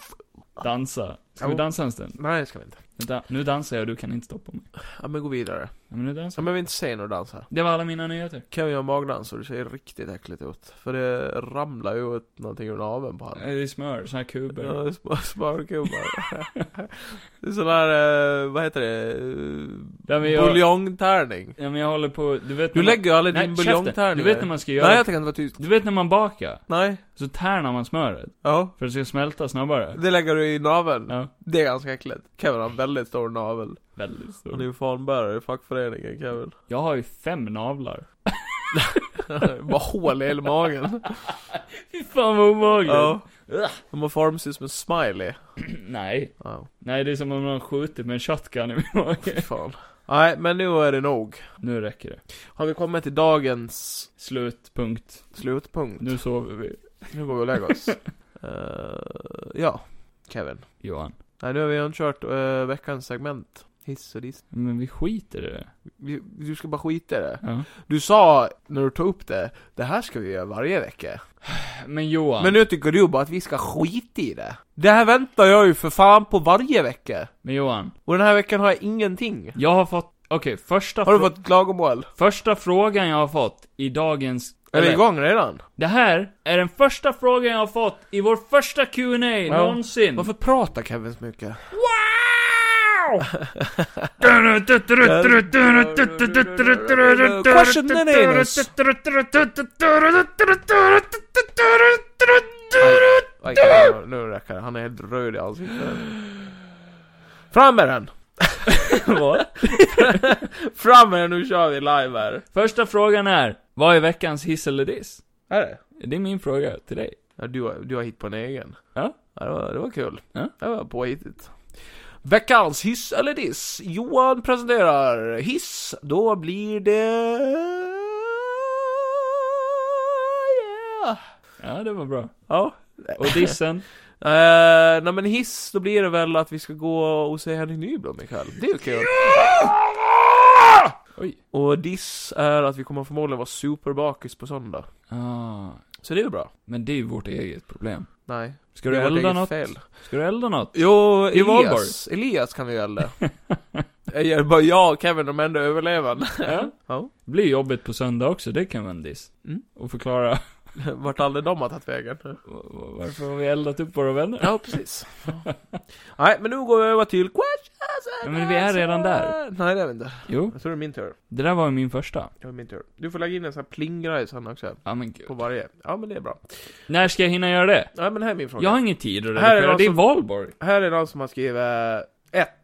Dansa. Ska vi Ja. dansa en stund? Nej, det ska vi inte. Vänta, nu dansar jag och du kan inte stoppa mig. Ja, men gå vidare. Ja, men nu Ja, dansar men vi inte se några dansa. Det var alla mina nyheter. Kevin gör magdans och det ser riktigt äckligt ut. För det ramlar ju ut någonting ur naveln på honom. Eh, Det är smör, såna här kuber. Ja, sm- Smörgubbar. det är sån här, eh, vad heter det? Ja, men jag- Buljongtärning. Ja men jag håller på, du vet Du när man- lägger ju aldrig Nej, din käften. buljongtärning. Du vet när man ska göra- Nej, jag tänker inte vara tyst. Du vet när man bakar? Nej. Så tärnar man smöret. Ja. För att det ska smälta snabbare. Det lägger du i naveln. Ja. Det är ganska äckligt. Kevin har en väldigt stor navel. Väldigt Han är stor. ju fanbärare i fackföreningen, Kevin. Jag har ju fem navlar. Bara hål i hela magen. Fy fan vad obehagligt. Ja. Ugh. De har form som en smiley. Nej. Ja, Nej det är som om någon skjutit med en shotgun i min mage. fan. Nej, men nu är det nog. Nu räcker det. Har vi kommit till dagens Slutpunkt. slutpunkt? Nu sover vi. Nu går vi och lägger oss. Eh, ja, Kevin. Johan. Nej, nu har vi redan kört eh, veckans segment. Hiss och diss. Men vi skiter i det. Vi- Du ska bara skita i det. Ja. Du sa, när du tog upp det, det här ska vi göra varje vecka. Men Johan. Men nu tycker du bara att vi ska skita i det. Det här väntar jag ju för fan på varje vecka. Men Johan. Och den här veckan har jag ingenting. Jag har fått, okej första Har du frå- fått klagomål? Första frågan jag har fått i dagens... Är vi igång redan? Det här är den första frågan jag har fått i vår första Q&A någonsin. Varför pratar Kevin så mycket? Wow! Question and anus. Aj, nu- nu räcker det. Han är helt röd i ansiktet. Fram med den! Vad? Fram med den, nu kör vi live här. Första frågan är, vad är veckans hiss eller diss? Är det? Det är min fråga till dig. Ja, du, har- du har hittat på en egen. Ja. ja det, var, det var kul. Ja. Det var påhittigt. Veckans hiss eller diss. Johan presenterar hiss. Då blir det... Yeah. Ja, det var bra. Ja. Och dissen? Eh, nej men hiss, då blir det väl att vi ska gå och se Henrik Nyblom ikväll. Det är ju kul. Oj. Och diss är att vi kommer förmodligen vara superbakis på söndag. Ah, Så det är ju bra. men det är ju vårt eget problem. Nej. Ska du det är vårt elda eget något? Fel. Ska du elda något? Jo, I Valborg. Elias. Elias kan vi ju elda. Jag är bara jag och Kevin, de enda överlevande. Ja. Ja. Det blir jobbigt på söndag också, det kan vara en diss. Mm. Och förklara Vart aldrig de har tagit vägen. v- v- varför har vi eldat upp våra vänner? Ja, precis. Nej, men nu går vi över till questions Ja, men vi är redan där. Nej, det är vi inte. Jo, Jag tror det är min tur. det där var ju min första. Det är min tur. Du får lägga in en sån här plinggrej sen också. Ja men gud. På varje. Ja, men det är bra. När ska jag hinna göra det? Nej, men här är min fråga. Jag har ingen tid att Här är redigera, någon det är som- valborg. Här är någon som har skrivit ett.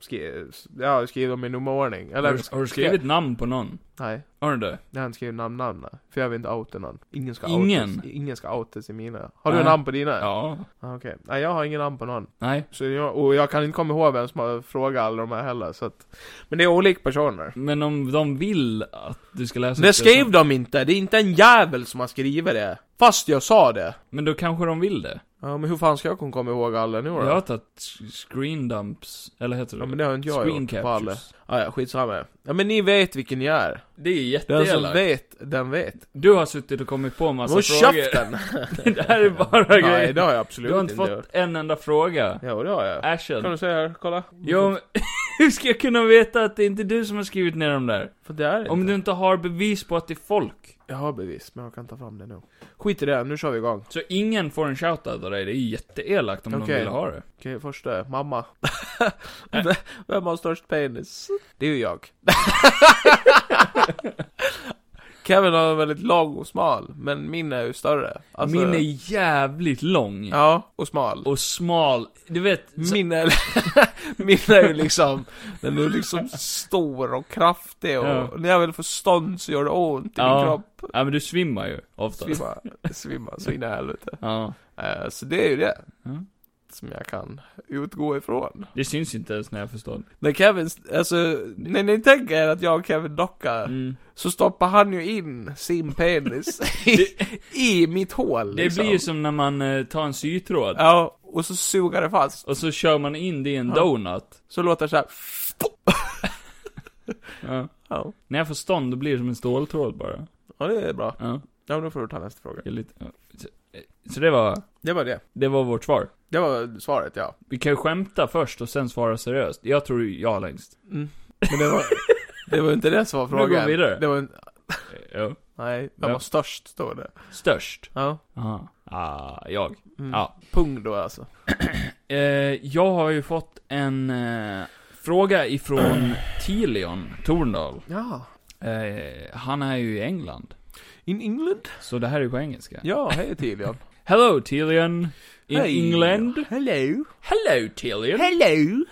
Skri... Ja, skriv dem i nummerordning. Eller, Har, du- har du skrivit namn på någon? Nej, Har du det? jag har inte skrivit namn, namn. nej. För jag vill inte outa någon. Ingen ska Ingen? outas. Ingen ska outas i mina. Har du Nej. namn på dina? Ja. Ah, Okej. Nej, jag har ingen namn på någon. Nej. Så jag, och jag kan inte komma ihåg vem som har frågat alla de här heller, så att... Men det är olika personer. Men om de vill att du ska läsa upp Det skrev så- de inte! Det är inte en jävel som har skrivit det! Fast jag sa det! Men då kanske de vill det. Ja, men hur fan ska jag kunna komma ihåg alla nu då? Jag har tagit s- screen dumps, eller heter det? Ja men det har inte jag Screen gjort på alla. captures. Ah, ja, skitsamma. Ja men ni vet vilken jag är. Det är Den som jätteelakt. vet, den vet. Du har suttit och kommit på massa Håll frågor. käften! det här är bara Nej grejer. det har jag Du har absolut inte inte fått gjort. en enda fråga. Jo det har jag. Kan Ashen. du säga här, kolla. Jo, men hur ska jag kunna veta att det inte är du som har skrivit ner dem där? För det är det Om inte. du inte har bevis på att det är folk. Jag har bevis, men jag kan ta fram det nu. Skit i det, nu kör vi igång. Så ingen får en shoutout av dig, det är jätteelakt om de Okej. vill ha det. Okej, först det. Mamma. Vem- Vem har störst penis? Det är ju jag. Kevin har en väldigt lång och smal, men min är ju större. Alltså- Min är jävligt lång. Ja, och smal. Och smal. Du vet, så, Min är, min är ju liksom, den är liksom stor och kraftig och Ja. när jag väl får stånd så gör det ont i Ja. min kropp. ja men du svimmar ju ofta. Svimma, svimma så in i helvete. Ja. Eh, Så det är ju det. Mm. Som jag kan utgå ifrån. Det syns inte ens när jag förstår. När Kevin, alltså, när ni tänker er att jag och Kevin dockar, Mm. så stoppar han ju in sin penis i, Det, i mitt hål det liksom. blir ju som när man eh, tar en sytråd. Ja, och så suger det fast. Och så kör man in det i en donut. Så låter det så här. Ja. Ja. När jag får stånd, då blir det som en ståltråd bara. ja, det är bra. Ja, Ja, men då får du ta nästa fråga. det är lite... ja. Så det var, Det var det. det var vårt svar. Det var svaret, ja. Vi kan ju skämta först och sen svara seriöst. Jag tror ju ja längst. Men det var, det var inte det som var Nu går vi frågan. vidare. Det var en, Ja. nej, vem Ja. var störst, står det. Störst. Ja. Aha. Ah, jag. Mm. Ja. Pung då alltså. Eh, jag har ju fått en eh, fråga ifrån Tilion Torndal. Ja. Eh, han är ju i England. In England? Så det här är på engelska. Ja, hej Tilion. Hello Tilion. In Hej. England. Hello. Hello Tilion. Hello.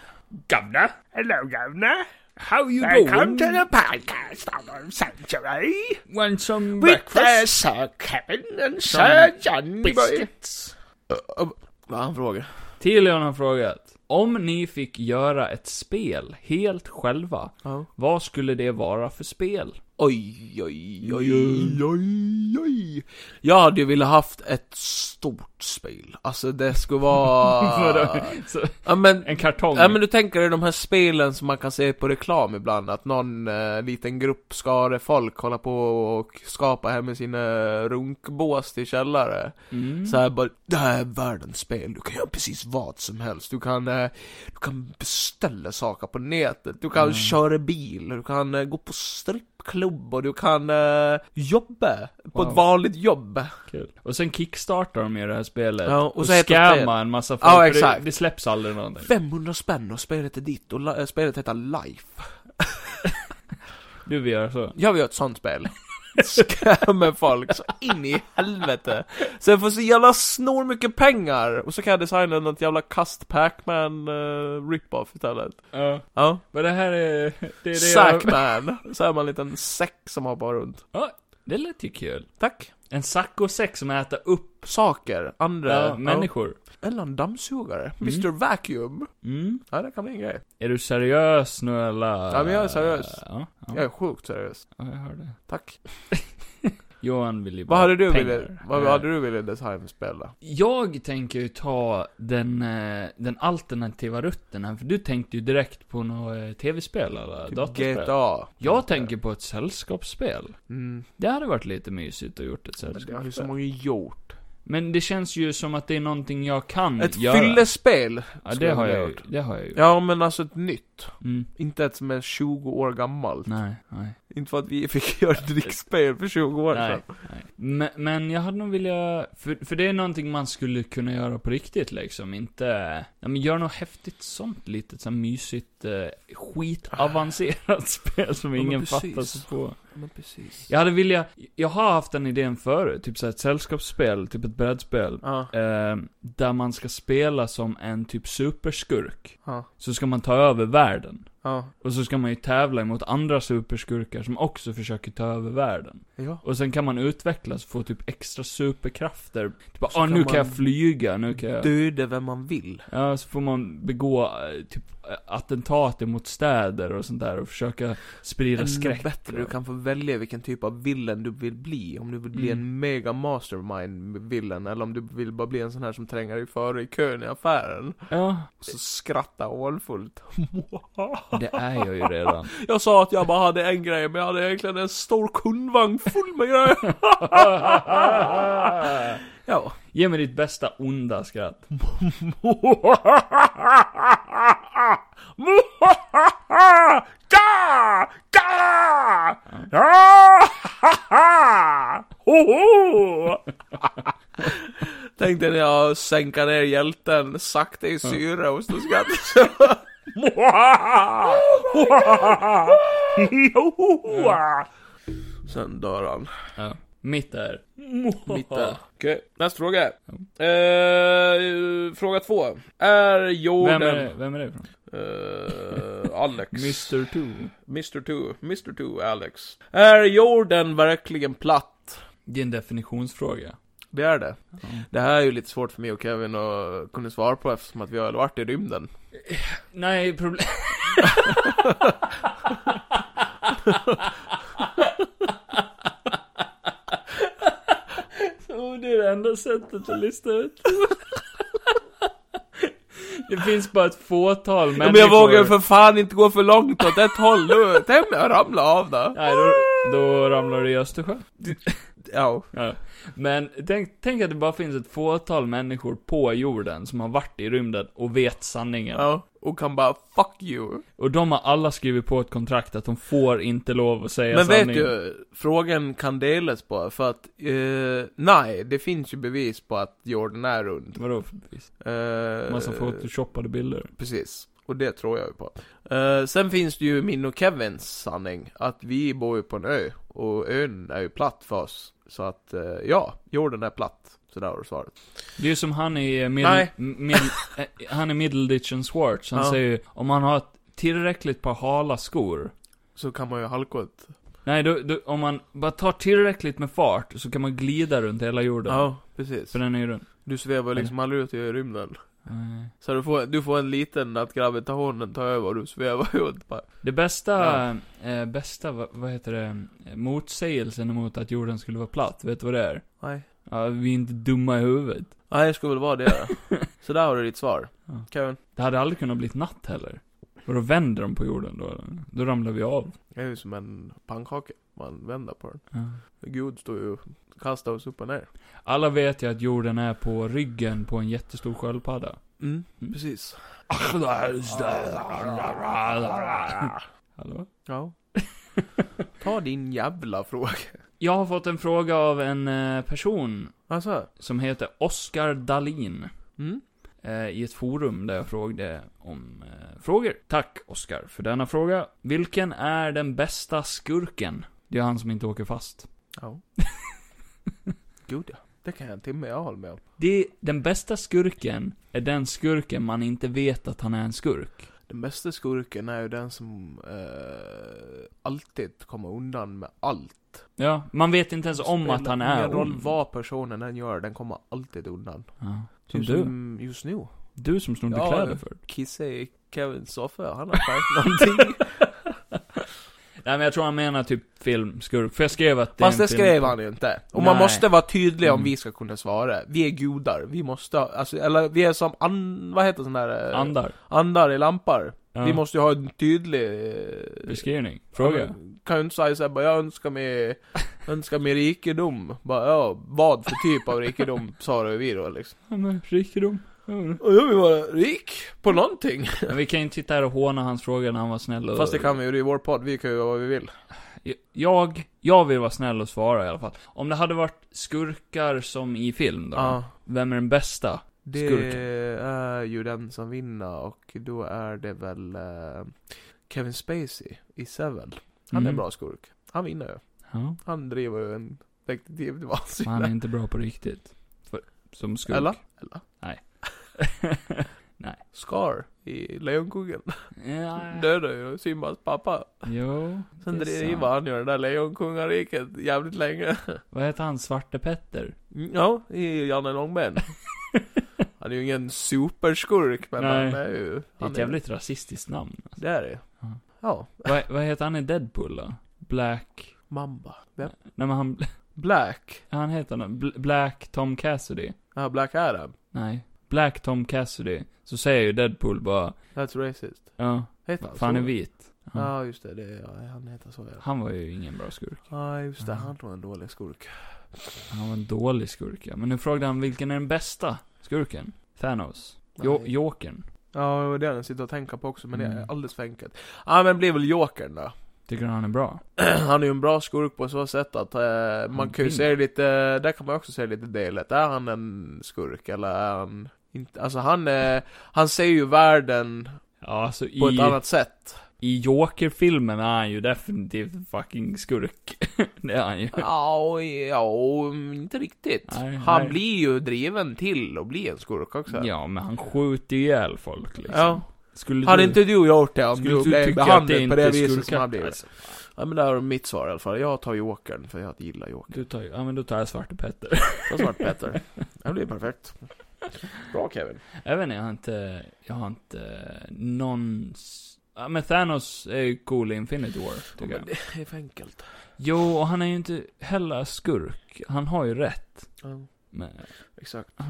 Governor. Hello, governor. How you Welcome doing? to the podcast of the Sanctuary. Want some With uh, breakfast? Sir Kevin and Sir John. Biscuits. Vad han frågar? Tilion har frågat. Om ni fick göra ett spel helt själva, Ja. vad skulle det vara för spel? Oj, oj, oj, oj, oj. Jag hade ju velat haft ett stort spel. Alltså det skulle vara... Så, ja men... en kartong. Ja men du tänker dig de här spelen som man kan se på reklam ibland, att någon eh, liten grupp skare folk håller på och skapar här med sina runkbås till källare. Mm. Så här bara, det här är världens spel, du kan göra precis vad som helst. Du kan, eh, du kan beställa saker på nätet, du Mm. kan köra bil, du kan eh, gå på strippklubb och du kan eh, jobba på Wow. ett vanligt jobb. Kul. Och sen kickstartar de ju det här spelet. Ja, och och så heter det- scammar en massa folk. Ja, för exakt. Det, det släpps aldrig någonting. 500 spänn och spelet är ditt och la- eh, spelet heter Life. Du vill göra så. Jag vill göra ett sånt spel. Skämmer folk så in i helvete. Så jag får så jävla snor mycket pengar och så kan jag designa något jävla kast Pac-Man eh, rip-off istället. Ja. Ja. Men det här är... Det är det jag... Sackman! Så är man en liten säck som hoppar runt. Ja, det lät ju kul. Tack. En saccosäck som äter upp Saker, andra, ja, Mm. ja. människor. Eller en dammsugare. Mr Vacuum. Mm. Ja, det kan bli en grej. Är du seriös nu eller? Ja, men jag är seriös. Ja, ja, Jag är sjukt seriös. ja, jag hör det. Tack. Johan vill ju bara Vad hade du pengar. velat, vad Eh, hade du velat designspela? Jag tänker ju ta den, eh, den alternativa rutten här, för du tänkte ju direkt på något eh, tv-spel eller Typ datorspel. GTA. Jag tänker på ett sällskapsspel. Mm. Det hade varit lite mysigt att gjort ett Jag har ju så sällskapsspel. många gjort. Men det känns ju som att det är någonting jag kan Ett göra. fyllespel. Ja, det skulle har jag jag ju. gjort. Det har jag ju. Ja, men alltså ett nytt. Mm. Inte ett som är 20 år gammalt. Nej, nej. Inte för att vi fick göra ett drickspel för 20 år nej, sedan. nej. Men, men jag hade nog vilja, för, för det är någonting man skulle kunna göra på riktigt liksom, inte, ja men gör något häftigt sånt litet så här mysigt, eh, skitavancerat spel som men ingen precis. fattar sig på. Men precis. Jag hade vilja, jag har haft den idén förut, typ såhär ett sällskapsspel, typ ett brädspel. Ja. Eh, där man ska spela som en typ superskurk. Ja. Så ska man ta över världen. Ja. Och så ska man ju tävla mot andra superskurkar som också försöker ta över världen. Ja. Och sen kan man utvecklas och få typ extra superkrafter. Typ Så ah, kan nu kan man jag flyga, nu kan jag... döda vem man vill. Ja, så får man begå eh, typ eh, attentat mot städer och sånt där och försöka sprida skräck. Mm. bättre, du kan få välja vilken typ av villen du vill bli. Om du vill bli Mm. en mega mastermind villen eller om du vill bara bli en sån här som tränger dig före i kön i affären. Ja, Och så skratta hånfullt. det är jag ju redan. Jag sa att jag bara hade en grej, men jag hade egentligen en stor kundvagn full med grejer. ja. Ge mig ditt bästa onda skratt. Ga! Ga! Ja! Hoho! Tänkte när jag sänkte ner hjälten sakta i syre och stod skratt. Sen dör han. Ja. Mitt är. Mitt där. Okej, nästa fråga. Eh, fråga två. Är jorden... Vem är det, vem är det ifrån? Eh, Alex. Mr. Two. Mr. Two. Mr. Two, Alex. Är jorden verkligen platt? Det är en definitionsfråga. Det är det. Det här är ju lite svårt för mig och Kevin att kunna svara på eftersom att vi har varit i rymden. Nej, problem... Så Oh, det är det enda sättet att lista ut. Det finns bara ett fåtal människor. Men jag vågar ju för fan inte gå för långt åt ett håll nu. Tänk om jag ramlar av då. Nej, då, då ramlar du i Östersjön. Ja. Ja. Men tänk, tänk att det bara finns ett fåtal människor på jorden som har varit i rymden och vet sanningen. ja. Och kan bara 'fuck you' Och de har alla skrivit på ett kontrakt att de får inte lov att säga Men sanningen. vet du, frågan kan delas bara för att, eh, nej, det finns ju bevis på att jorden är rund. Vadå för bevis? Eh, Massa photoshoppade bilder. Precis. Och det tror jag ju på. Eh, sen finns det ju min och Kevins sanning, att vi bor ju på en ö, och ön är ju platt för oss. Så att, eh, ja, jorden är platt. Så där har du svaret. Det är ju som han i eh, Nej. mid, mid, eh, han i Middleditch and Schwartz, han Ja. säger ju, om man har ett tillräckligt par hala skor, Så kan man ju halka ut. nej då, då, om man bara tar tillräckligt med fart så kan man glida runt hela jorden. Ja, precis. För den är ju rund. Eh, Du svävar liksom aldrig ut i rymden. Nej. Så du får, du får en liten, att gravitationen tar över och du svävar ut bara. Det bästa, eh, bästa, vad, vad heter det, eh, motsägelsen emot att jorden skulle vara platt, vet du vad det är? Nej. Ja, vi är inte dumma i huvudet. Nej, det skulle väl vara det. så där har du ditt svar. Ja. Kevin? Det hade aldrig kunnat bli natt heller. Och då vänder de på jorden då, eller? då ramlar vi av. Det är ju som en pannkaka. Man vänder på den. Ja. Gud står ju och kastar oss upp och ner. Alla vet ju att jorden är på ryggen på en jättestor sköldpadda. Mm, precis. Hallå? Ja. Ta din jävla fråga. Jag har fått en fråga av en eh, person Alltså? som heter Oskar Dalin. Mm. eh, i ett forum där jag frågade om eh, frågor. Tack Oskar för denna fråga. Vilken är den bästa skurken? Det är han som inte åker fast. Ja. Gud ja. Det kan jag inte med jag håller med om. Det, den bästa skurken är den skurken man inte vet att han är en skurk. Den bästa skurken är ju den som eh, alltid kommer undan med allt. Ja, man vet inte ens Alltså, om Spelar att han är ingen roll ond. vad personen än gör, den kommer alltid undan. Ja. Som Typ du. som Just nu. Du som snodde Ja, kläder det- för. Kissa i Kevins soffa, han har skärpt någonting. Nej men jag tror han menar typ filmskurk, för jag skrev att det Fast är en det skrev film. han ju inte. Och Nej. man måste vara tydlig om Mm. vi ska kunna svara. Vi är gudar, vi måste, alltså, eller vi är som an, vad heter sån där? eh, Andar. Andar i lampor. Ja. Vi måste ju ha en tydlig... eh, Beskrivning. Fråga. Kan ju inte säga såhär bara, jag önskar mig, önskar mig rikedom. Bara, ja, vad för typ av rikedom svarar vi då liksom. Ja, men rikedom. Ja, men- Och jag vill vara rik på någonting. Men vi kan ju inte sitta här och håna hans fråga när han var snäll och... Fast det kan vi ju, det är vår podd, vi kan ju göra vad vi vill. Jag, jag vill vara snäll och svara i alla fall. Om det hade varit skurkar som i film då, Ja. vem är den bästa? Det Skurken. är ju den som vinner och då är det väl eh, Kevin Spacey i Seven. Han är en Mm. bra skurk. Han vinner ju. Ja, Han driver ju en detektiv till men han är vansinne. inte bra på riktigt. För, som skurk. Eller? Eller? Nej. Scar i Lejonkungen. Ja, Dödar ju Simbas pappa. jo, Sen det är driver sant. han ju det där lejonkungariket jävligt länge. Vad heter han? Svarte Petter? Mm, Ja, i Janne Långben. Han är ju ingen superskurk men Nej. han är ju... Det är Han ett jävligt rasistiskt namn. Det är det. Ja. Ja. vad, vad heter han i Deadpool då? Black... Mamba. Vem? Nej men han, Black. han heter något. Bl- Black Tom Cassidy. Ja, Black Adam. Nej. Black Tom Cassidy. Så säger ju Deadpool bara, That's racist. ja, Heter för han så? är vit. Ja, Ja. just det. det är, ja, han heter så ja. Han var ju ingen bra skurk. Ja, just det. Han var en dålig skurk. Han var en dålig skurk ja. Men nu frågade han vilken är den bästa skurken? Thanos? Jo- Nej. Jokern? Ja, det var det jag sitter och tänker på också, men det är Mm. alldeles för enkelt. Ja, men blir väl Jokern då. Tycker han är bra? Han är ju en bra skurk på så sätt att eh, man kan ju vinner. se lite, där kan man också se lite delet. Är han en skurk eller är han inte? Alltså han, eh, han ser ju världen Ja, alltså i, på ett annat sätt. i Joker-filmen är han ju definitivt fucking skurk. det är han ju. Ja, och- ja, och inte riktigt. Nej, han nej. blir ju driven till att bli en skurk också. Ja, men han skjuter ihjäl folk liksom. Ja. Skulle Hade du, inte du gjort det om skulle du blev tycka att behandlad på är det viset som skurkat, han blev? alltså? Ja men det är mitt svar i alla fall. Jag tar Jokern för jag gillar Jokern. Du tar ju, ja men då tar jag Svarte Petter. Ta svart Petter. Det blir perfekt. Bra Kevin. jag vet inte, jag har inte, jag har inte eh, någon... s- Ja, men Thanos är ju cool i Infinity War, tycker jag. Men det är för enkelt. Jo, och han är ju inte heller skurk. Han har ju rätt. Ja, Men, exakt. ja.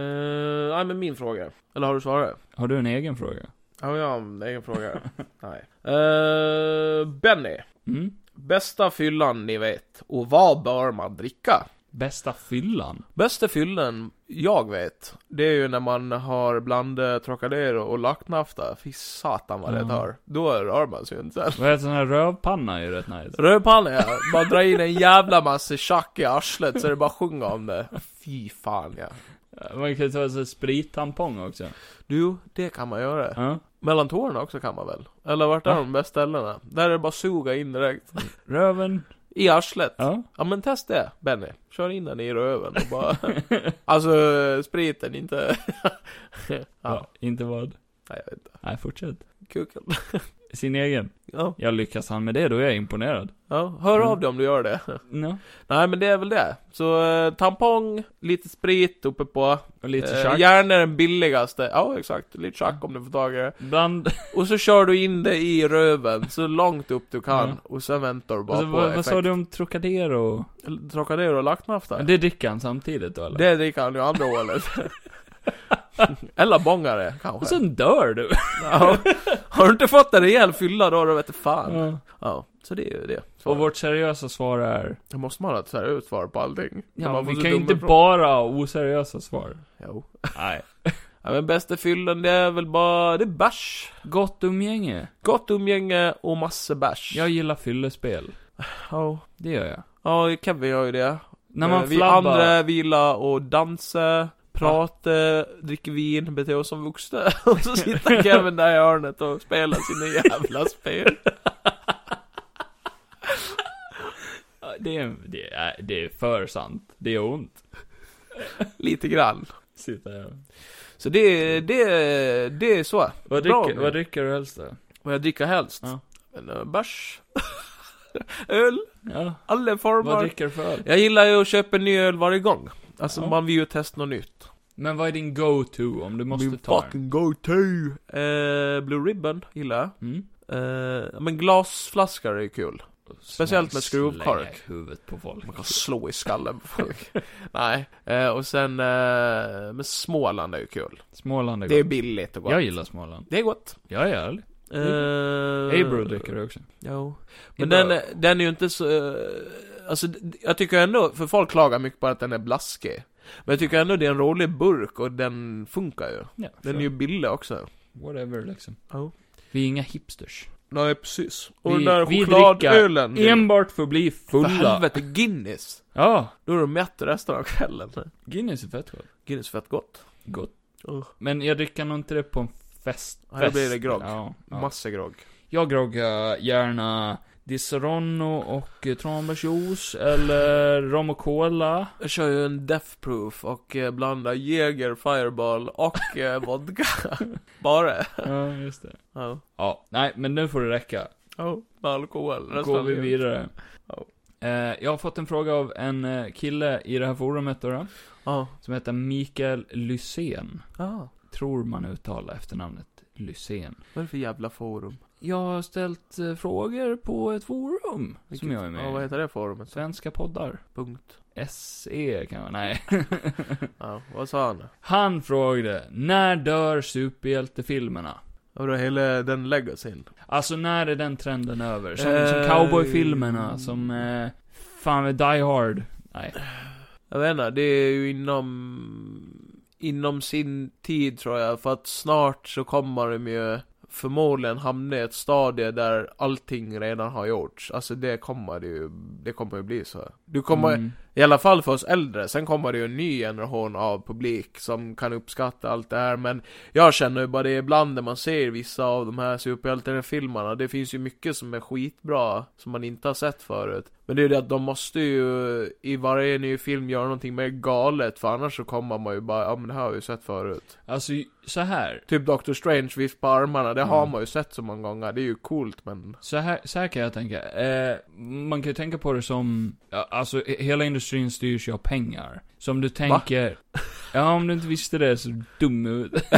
Uh, nej men min fråga. Eller har du svarat? Har du en egen fråga? Ja, jag har en egen fråga. nej. Eh, Benny. Mm? Bästa fyllan ni vet, och vad bör man dricka? Bästa fyllan? Bästa fyllen jag vet, det är ju när man har bland eh, Trocadero och Lacknafta. Fy satan vad det tar. Då rör man sig inte sen. Vad heter sån här rövpanna är ju rätt nice. Rödpanna ja, man drar in en jävla massa tjack i arslet så det bara sjunger om det. Fy fan ja. Man kan ju ta sig sprittampong också. Du, det kan man göra. Ja. Mellan tårna också kan man väl? Eller vart är de bästa ställena? Där är det bara suga in direkt. Röven. I arslet. Ja. Ja men testa det, Benny. Kör in den i röven och bara... alltså, spriten inte... ja. Inte vad? Nej, jag vet inte. Nej, fortsätt. Kuken. Sin egen. Ja. Ja, lyckas han med det då är jag imponerad. ja. Hör Mm. av dig om du gör det. Ja. Nej men det är väl det. Så eh, tampong, lite sprit uppe på. Och Eh, lite tjack. gärna den billigaste. Ja exakt, lite tjack om du får tag i det. Bland... Och så kör du in det i röven så långt upp du kan. Ja. Och sen väntar du bara Alltså, på vad, vad sa effekt. du om Trocadero? Trocadero och lacknafta? Det dricker han samtidigt då eller? Det dricker han ju andra hålet. Eller bångare, kanske. Och sen dör du! Ja. Har du inte fått en rejäl fylla då, då vete fan. Ja. så det är ju det. Så Och vårt seriösa svar är... Då måste man ha ett seriöst svar på allting. Ja, man vi får så kan ju dumma inte frågor. bara ha oseriösa svar. Jo. Nej. Ja, men bästa fyllen det är väl bara, det är bärs. Gott umgänge. Gott umgänge och massa bärs. Jag gillar fyllespel. Ja, Det gör jag. ja Kevin gör ju det. När man Eh, vi flabbar. andra vi gillar och dansa, prata, dricka vin, bete oss som vuxna. och så sitter Kevin där i hörnet och spelar sina jävla spel. Ja, Det är, det, är, det är för sant. Det är ont. Lite grann. Sitta här. Så det, det, det är så. Vad Bra, dricker, Emil. vad dricker du helst då? Vad jag dricker helst? Ja. En eh, bärs. öl. Ja. Alla Vad former. dricker du för öl? Jag gillar ju att köpa en ny öl varje gång. Alltså Ja. man vill ju testa något nytt. Men vad är din go-to om du måste Min ta en? fucking go-to! Eh, Blue Ribbon gillar jag. Mm? Eh, ja, men glasflaskor är ju kul. Speciellt med skruvkork. Slänga i huvudet på folk. Man kan slå i skallen på folk. Nej. Eh, och sen, eh, men Småland är ju kul. Småland är Det är gott. billigt och gott. Jag gillar Småland. Det är gott. Jag är ärlig. Eh, Abro dricker du också. Jo. Men Ibra. den, är- den är ju inte så... eh, Alltså, d- jag tycker ändå, för folk klagar mycket på att den är blaskig. Men jag tycker ändå det är en rolig burk och den funkar ju. Ja, Den är ju billig också. Whatever liksom. Ja. Vi är inga hipsters. Nej, precis. Och Vi- den där vi chokladölen. Enbart för att bli För fulla. helvete, Guinness! Ja. Då är du mätt resten av kvällen. Guinness är fett gott. Guinness är fett gott. Gott. Ugh. Men jag dricker nog inte det på en fest. Ja, då blir det fest. grogg. Ja, ja. Massa grogg. Jag groggar gärna Disaronno och eh, tranbärsjuice eller rom och cola. Jag kör ju en death proof och eh, blandar Jäger, Fireball och eh, vodka. Bara. Ja, just det. Ja. Ja, nej men nu får det räcka. Ja, med alkohol. Då resten går av vi livet. vidare. Ja. Eh, jag har fått en fråga av en eh, kille i det här forumet då, då Ja. som heter Mikael Lysén. Ja. Tror man uttalar efternamnet Lysén. Vad är det för jävla forum? Jag har ställt eh, frågor på ett forum som jag är Ja, vad med i. heter det forumet? Svenska poddar. Punkt. SE kan jag, nej. Ja, vad sa han? Han frågade, när dör superhjältefilmerna? Vadå, hela den legacyn? Alltså när är den trenden över? Som, Eh, som cowboyfilmerna, som, eh, fan, Die Hard. Nej. Jag vet inte, det är ju inom... Inom sin tid tror jag, för att snart så kommer de ju förmodligen hamna i ett stadie där allting redan har gjorts. Alltså det kommer det ju, det kommer ju bli så. Du kommer, Mm. I alla fall för oss äldre, sen kommer det ju en ny generation av publik som kan uppskatta allt det här men Jag känner ju bara det ibland när man ser vissa av de här superhjältefilmerna, det finns ju mycket som är skitbra som man inte har sett förut Men det är ju det att de måste ju i varje ny film göra någonting mer galet för annars så kommer man ju bara, ja men det här har jag ju sett förut Alltså, så här. Typ Doctor Strange vift på armarna, det har man ju sett så många gånger, det är ju coolt men Så här, så här kan jag tänka. Eh, man kan ju tänka på det som, ja, alltså he- hela industrin styrs ju av pengar. Så om du tänker, Ja, om du inte visste det så är du dum ut.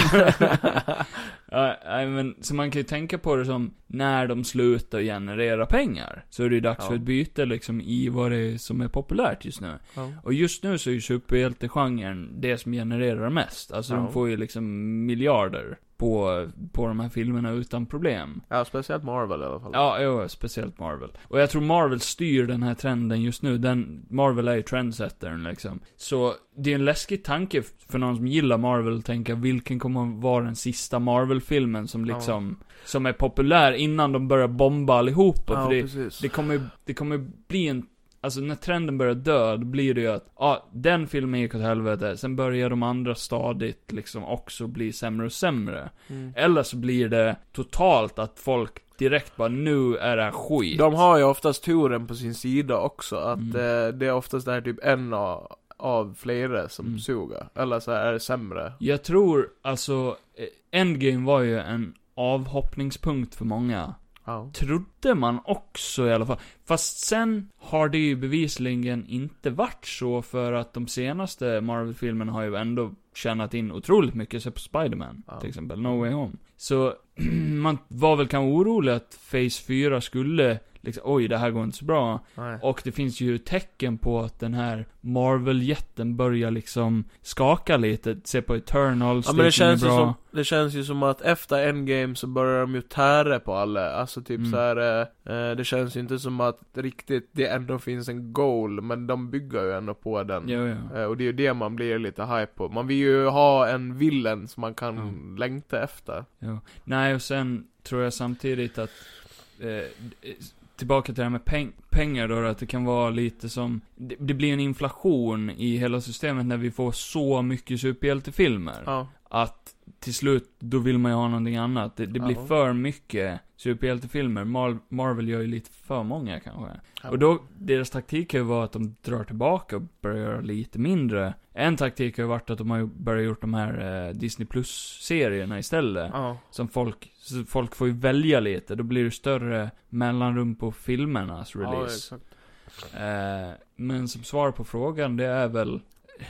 ja, nej, men, så man kan ju tänka på det som, när de slutar generera pengar, så är det ju dags Ja. för ett byte liksom i vad det är som är populärt just nu. Ja. Och just nu så är ju superhjältegenren det som genererar mest. Alltså Ja. de får ju liksom miljarder på, på de här filmerna utan problem. Ja, speciellt Marvel i alla fall. Ja, jo, speciellt Marvel. Och jag tror Marvel styr den här trenden just nu. Den, Marvel är ju trendsettern liksom. Så det är en läskig tanke f- för någon som gillar Marvel att tänka vilken kommer att vara den sista Marvel-filmen som Ja. liksom, som är populär innan de börjar bomba allihopa. Ja, för det, precis. det kommer ju, det kommer ju bli en Alltså när trenden börjar dö, då blir det ju att, ja, ah, den filmen gick åt helvete, sen börjar de andra stadigt liksom också bli sämre och sämre. Mm. Eller så blir det totalt att folk direkt bara, nu är det här skit. De har ju oftast turen på sin sida också, att Mm. eh, det är oftast det här typ en av, av flera som Mm. suger. Eller så är det sämre. Jag tror, alltså, eh, Endgame var ju en avhoppningspunkt för många. Ja. Trodde man också i alla fall. Fast sen har det ju bevisligen inte varit så för att de senaste Marvel-filmerna har ju ändå tjänat in otroligt mycket, se på Spider-Man Ja. till exempel, No Way Home. Så man var väl kanske orolig att Phase 4 skulle, liksom, oj det här går inte så bra. Nej. Och det finns ju tecken på att den här Marvel-jätten börjar liksom skaka lite. Se på Eternals, Ja men gick det inget känns, ju bra. som, det känns ju som att efter Endgame så börjar de ju tära på alla, alltså typ Mm. så här. eh, eh, Det känns ju inte som att riktigt det ändå finns en goal, men de bygger ju ändå på den Jo, jo. Eh, Och det är ju det man blir lite hype på, man vill ju ha en villain som man kan Mm. längta efter Nej, och sen tror jag samtidigt att... Eh, tillbaka till det här med peng pengar då, att det kan vara lite som... Det, det blir en inflation i hela systemet när vi får så mycket superhjältefilmer. Ja, Att till slut, då vill man ju ha någonting annat. Det, det blir Ja. för mycket superhjältefilmer. Mar Marvel gör ju lite för många kanske. Ja. Och då, deras taktik har ju varit att de drar tillbaka och börjar göra lite mindre. En taktik har ju varit att de har ju börjat gjort de här eh, Disney Plus-serierna istället. ja, Som folk, så folk får ju välja lite, då blir det större mellanrum på filmernas ja release. exakt Eh, men som svar på frågan, det är väl...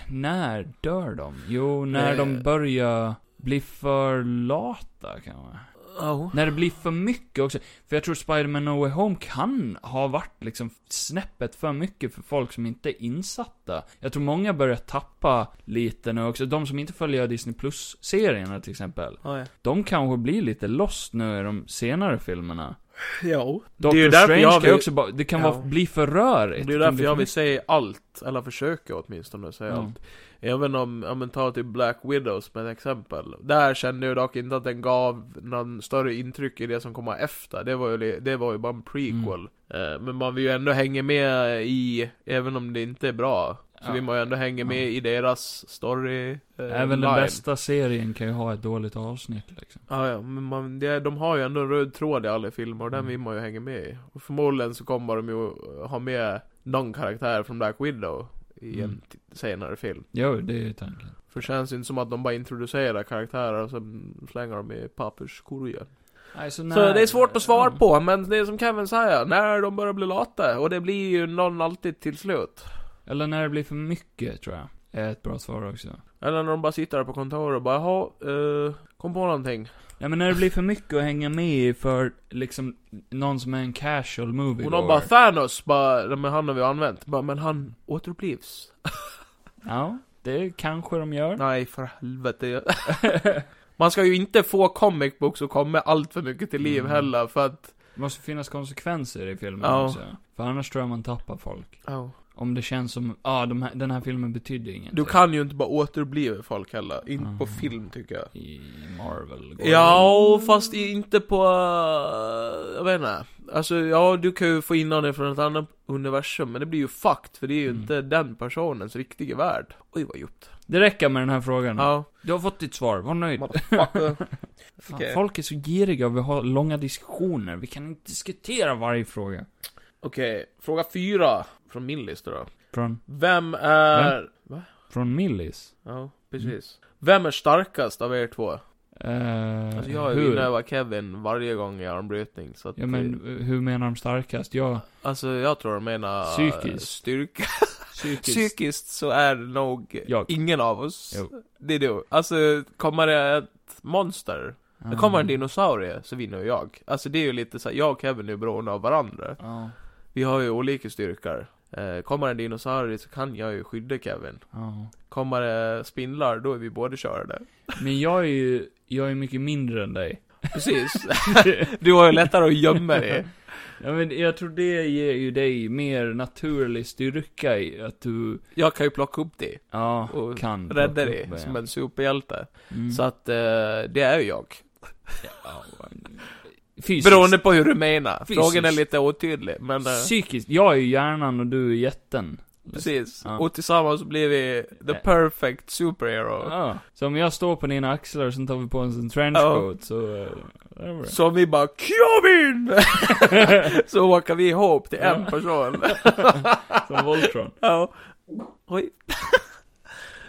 När dör de? Jo, när de Eh. börjar bli för lata kanske. Ja, När det blir för mycket också. För jag tror Spider-Man No Way Home kan ha varit liksom snäppet för mycket för folk som inte är insatta. Jag tror många börjar tappa lite nu också. De som inte följer Disney Plus-serierna till exempel. ja De kanske blir lite lost nu i de senare filmerna. Jo Doctor ju därför Strange jag kan ju vill- också bara, det kan Ja. vara, bli för rörigt. Det är ju kan därför bli jag för vill mycket. säga allt, eller försöker åtminstone säga Ja. allt. Även om, ja men ta typ Black Widow som ett exempel. Där kände jag dock inte att den gav någon större intryck i det som komma efter. Det var ju, li- det var ju bara en prequel. Mm. Eh, Men man vill ju ändå hänga med i, även om det inte är bra. Så Ja. vill man ju ändå hänga med i deras story eh, Även den line. bästa serien kan ju ha ett dåligt avsnitt liksom. Ja, ja, men man, det, de har ju ändå en röd tråd i alla filmer och den Mm. vill man ju hänga med i. Och förmodligen så kommer de ju ha med någon karaktär från Black Widow i en Mm. t- senare film. Jo, det är ju tanken. För det känns ju inte som att de bara introducerar karaktärer och sen slänger dem i papperskorgen. Nej, Mm. Så det är svårt att svara på, men det är som Kevin säger, när de börjar bli lata. Och det blir ju någon alltid till slut. Eller när det blir för mycket, tror jag. Är ett bra svar också. Eller när de bara sitter där på kontoret och bara, jaha, eh, kom på någonting. Nej men när det blir för mycket att hänga med i för, liksom, någon som är en casual movie Och de bara, Thanos, bara, "Nej, men han har vi använt. Bara, men han återupplivs. Ja, det kanske de gör. Nej, för helvete. Man ska ju inte få comic books att komma allt för mycket till liv Mm. heller, för att... Det måste finnas konsekvenser i filmen Ja. också. För annars tror jag man tappar folk. Oh. Om det känns som, ah, de här, den här filmen betyder ingenting. Du kan ju inte bara återbliva folk heller. Inte på Mm. film, tycker jag. I Marvel. går det. Ja, fast i- inte på... eh, Jag vet inte. Alltså, ja, du kan ju få in någon från ett annat universum, men det blir ju fucked, för det är ju Mm. inte den personens riktiga värld. Oj, vad djupt. Det räcker med den här frågan. Ja. Du har fått ditt svar, var nöjd. Motherfucker. Fan, Okej. Folk är så giriga och vi har långa diskussioner. Vi kan inte diskutera varje fråga. Okej, fråga fyra från min lista då. Från, Vem är... Va? från Millis. Ja, precis. Vem är starkast av er två? Eh, Alltså jag hur? vinner Kevin varje gång i armbrytning, så att Ja men eh, hur menar de starkast? Jag, Alltså jag tror de menar... Psykiskt. Styrka. Psykiskt. Psykiskt så är det nog Jag. ingen av oss. Jo. Det är du. Alltså, kommer det ett monster, det Mm. kommer en dinosaurie, så vinner ju jag. Alltså det är ju lite så här, jag och Kevin är ju beroende av varandra. Ja, Vi har ju olika styrkor. Eh, kommer en dinosaurie så kan jag ju skydda Kevin. ja. Kommer det spindlar, då är vi båda körda. Men jag är ju, jag är mycket mindre än dig. Precis. du har ju lättare att gömma dig. Ja, men jag tror det ger ju dig mer naturlig styrka i att du, Jag kan ju plocka upp dig ja, Och kan rädda plocka upp dig det, som ja. en superhjälte. Mm. Så att eh, det är ju jag. Ja, men- Fysiskt. Beroende på hur du menar. Fysiskt. Frågan är lite otydlig, men eh, Psykiskt. Jag är ju hjärnan och du är jätten. precis. Ja. Och tillsammans blir vi the Ja. perfect superhero. Ja. Så om jag står på dina axlar och sen tar vi på oss en trenchcoat så, eh, det är bra. Som vi bara Kevin! så åker vi ihop till en Ja. person. Som Voltron. ja. Oj.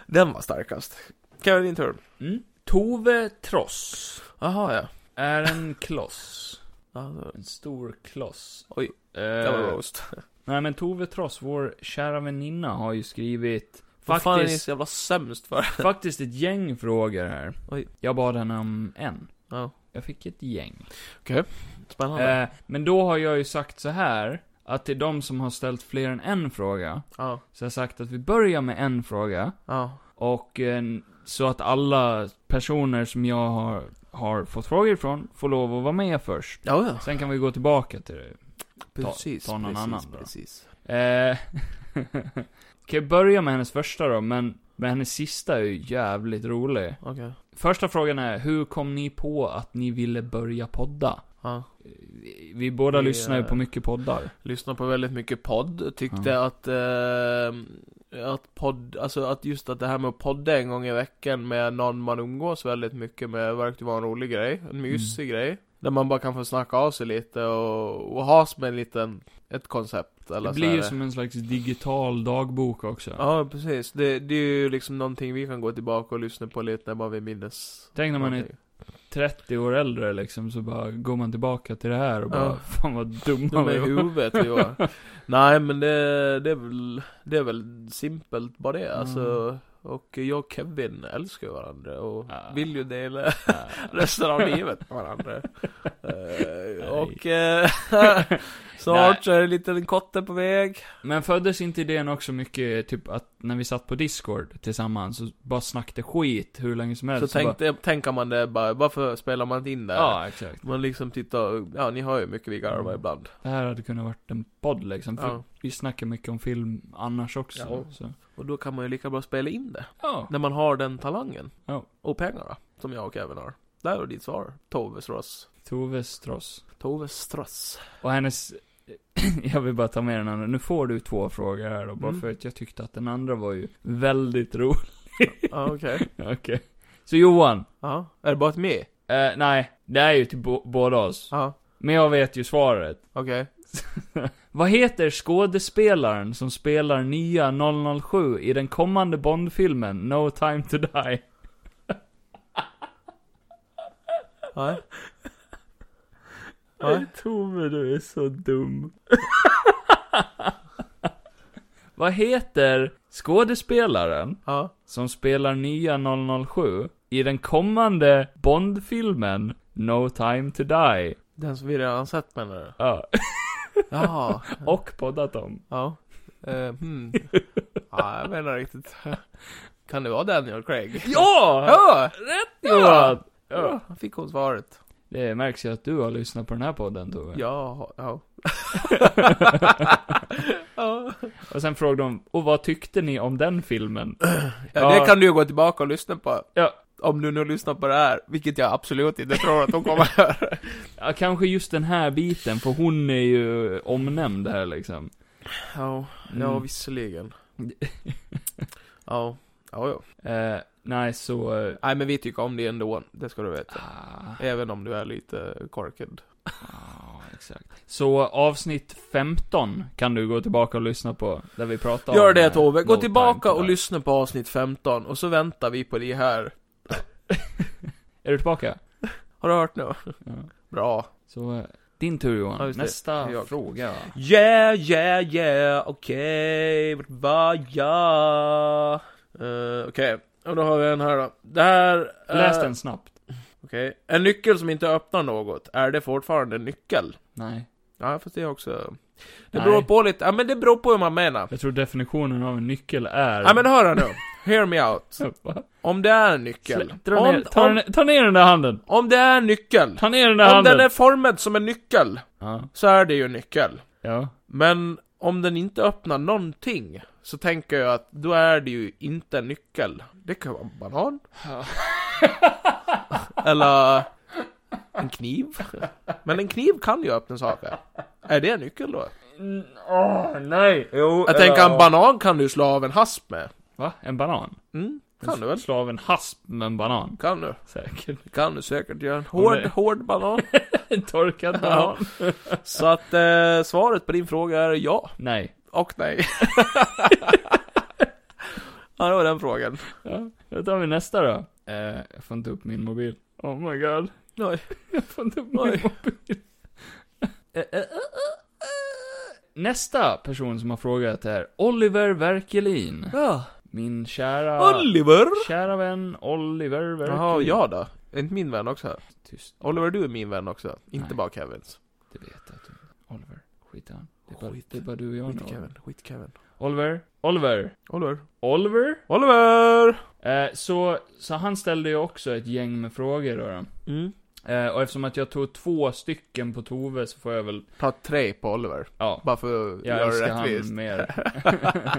Den var starkast. Kevin, din tur. Mm. Tove Tross Jaha ja. är en kloss. Alltså, En stor kloss. Oj, Eh, det var roast. nej men Tove Tross, vår kära väninna, har ju skrivit Vad fan är ni faktiskt, så jävla sämst för? faktiskt ett gäng frågor här. Oj. Jag bad henne om en. Ja. Jag fick ett gäng. Spännande. Eh, men då har jag ju sagt så här att till de som har ställt fler än en fråga, Ja. så jag har sagt att vi börjar med en fråga, Ja. och eh, så att alla personer som jag har, har fått frågor ifrån får lov att vara med först. Ja, ja. Sen kan vi gå tillbaka till det. Precis. ta någon precis, annan då. precis. Eh, kan jag börja med hennes första då, men, men hennes sista är ju jävligt rolig. Okej. Första frågan är, hur kom ni på att ni ville börja podda? Ja. Vi, vi båda Vi, lyssnar ju eh, på mycket poddar. Lyssnade på väldigt mycket podd, tyckte att eh, Att podd, alltså att just att det här med att podda en gång i veckan med någon man umgås väldigt mycket med verkar vara en rolig grej, Mm. en mysig grej Där man bara kan få snacka av sig lite och, och ha som en liten, ett koncept eller Det så blir här. ju som en slags digital dagbok också. Ja precis, det, det är ju liksom någonting vi kan gå tillbaka och lyssna på lite när man vill minnas Tänk när man är någonting. 30 år äldre liksom, så bara går man tillbaka till det här och bara, Ja. fan vad dumma Dum vi i var. huvudet vi var. Nej men det, det är väl, det är väl simpelt bara det alltså. Och jag och Kevin älskar ju varandra och Mm. Ja. vill ju dela resten av livet med varandra. Eh, och eh, snart så är det en liten kotte på väg. Men föddes inte idén också mycket, typ att när vi satt på discord tillsammans, så bara snackade skit hur länge som helst. Så tänkte, tänker man det bara, varför spelar man inte in det? bara, Ja, Mm. exakt. Man liksom tittar, ja ni hör ju mycket vi garvar ibland. Det här hade kunnat varit en podd liksom, för Ja. vi snackar mycket om film annars också. Ja. Så. Och då kan man ju lika bra spela in det. Ja. När man har den talangen. Ja. Och pengarna. Som jag och Kevin har. Där var ditt svar. Tove Strass. Tove Stross. Tove Strass. Och hennes, jag vill bara ta med den andra, nu får du två frågor här då, bara Mm. för att jag tyckte att den andra var ju väldigt rolig. Ja, okej. Okej. Så Johan, Ja. Är det bara ett me? eh, nej, det är ju till bo- båda oss. Ja. Men jag vet ju svaret. Okej. Vad heter skådespelaren som spelar nya 007 i den kommande Bond-filmen No Time To Die? Nej. Nej, Nej. Tove, du är så dum. Vad heter skådespelaren Ja. som spelar nya 007 i den kommande Bond-filmen No Time To Die. Den som vi redan sett menar du? Ja, Jaha. och poddat om. Ja. Uh, hmm. Ja, jag menar riktigt. Kan det vara Daniel Craig? Ja! Ja! Rätt Johan! Ja. Då Fick hon svaret. Det märks ju att du har lyssnat på den här podden Tove. Ja. Ja. Och sen frågade de, och vad tyckte ni om den filmen? ja. Ja. Det kan du ju gå tillbaka och lyssna på. Ja, Om du nu lyssnar på det här, vilket jag absolut inte tror att hon kommer att göra. ja kanske just den här biten, för hon är ju omnämnd här liksom. Ja, ja Mm. visserligen. ja, ja, ja. Eh, nej, så... eh, Nej men vi tycker om det ändå, det ska du veta. Ah, Även om du är lite korkad. ah, exakt. Så avsnitt 15 kan du gå tillbaka och lyssna på, där vi pratar Gör om... det eh, Tove, gå No tillbaka Time To och Die. lyssna på avsnitt 15 och så väntar vi på det här. Är du tillbaka? Har du hört nu? Ja. Bra. Så, eh, Din tur Johan. Ja, just det. Nästa Jag. Eh. fråga. Yeah, yeah, yeah, okej, vart var jag? Eh, okej, och då har vi en här då. Det här... eh, Läs den snabbt. Okej. En nyckel som inte öppnar något, är det fortfarande en nyckel? Nej. Ja, fast det är också... Det Nej. beror på lite, ja men det beror på hur man menar. Jag tror definitionen av en nyckel är... Ja men hör här nu, hear me out. Va? Om det är en nyckel. Slä- Dra ner, Om, ta, om, ner- ta ner den där handen. om det är en nyckel. Ta ner den där Om handen. den är formad som en nyckel, Ja. så är det ju en nyckel. Ja. Men om den inte öppnar någonting, så tänker jag att då är det ju inte en nyckel. Det kan vara en banan. Eller en kniv. Men en kniv kan ju öppna saker. Är det en nyckel då? nej. Jo. Jag tänker en banan kan du slå av en hasp med. Va? En banan? Mm, kan du väl? Slå av en hasp med en banan. Kan du? Säkert. Kan du säkert göra en hård, det- hård banan. En torkad banan. Så att eh, svaret på din fråga är ja Nej. och nej. ja, det var den frågan. Ja. Då tar vi nästa då. Eh, jag får inte upp min mobil. Oh my god. Oj. Jag får inte upp min Oj. mobil. Eh, eh, eh, eh, eh. Nästa person som har frågat är Oliver Verkelin. Ja. Min kära... Oliver! Kära vän Oliver Verkelin. Jaha, jag då? Är inte min vän också? Tyst. Oliver, du är min vän också. Inte Nej. bara Kevins. Det vet jag att du Oliver. Skit i han. Det är, bara, Skit. det är bara du och jag Skit nu. i Kevin, skit i Kevin. Oliver. Oliver. Oliver. Oliver? Oliver! Eh, så, så han ställde ju också ett gäng med frågor då. då. Mm. Eh, och eftersom att jag tog två stycken på Tove så får jag väl, Ta tre på Oliver. ja. Bara för att Jag göra älskar det rättvist. han mer.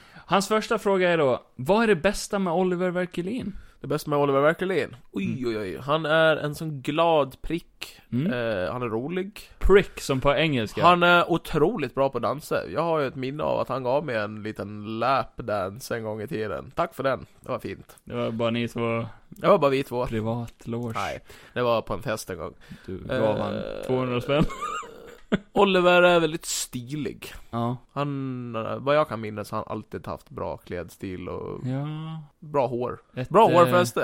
Hans första fråga är då, vad är det bästa med Oliver Verkelin? Det bästa med Oliver Mm. Verkelin? Oj, oj, oj. Han är en sån glad prick. Mm. Eh, han är rolig. Prick, som på engelska. Han är otroligt bra på att dansa. Jag har ju ett minne av att han gav mig en liten lapdance en gång i tiden. Tack för den. Det var fint. Det var bara ni två Det var bara vi två. privatloge. Nej, det var på en fest en gång. Du gav Eh, han 200 spänn. Oliver är väldigt stilig. Ja. Han, vad jag kan minnas, har han alltid haft bra klädstil och Ja. bra hår. Ett, Bra eh, hår förresten.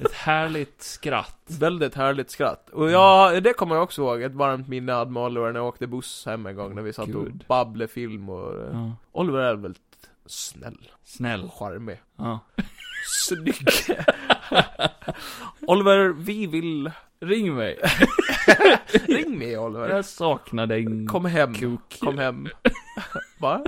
Ett härligt skratt. Väldigt härligt skratt. Och ja, det kommer jag också ihåg. Ett varmt minne jag hade med Oliver när jag åkte buss hem en gång när vi satt och Gud. babblade film och... eh, Ja. Oliver är väldigt snäll Snäll. och charmig. Ja. Snygg! Oliver, vi vill... Ring mig. Ring mig Oliver! Jag saknar dig. Kom hem, Kuk. kom hem. Va?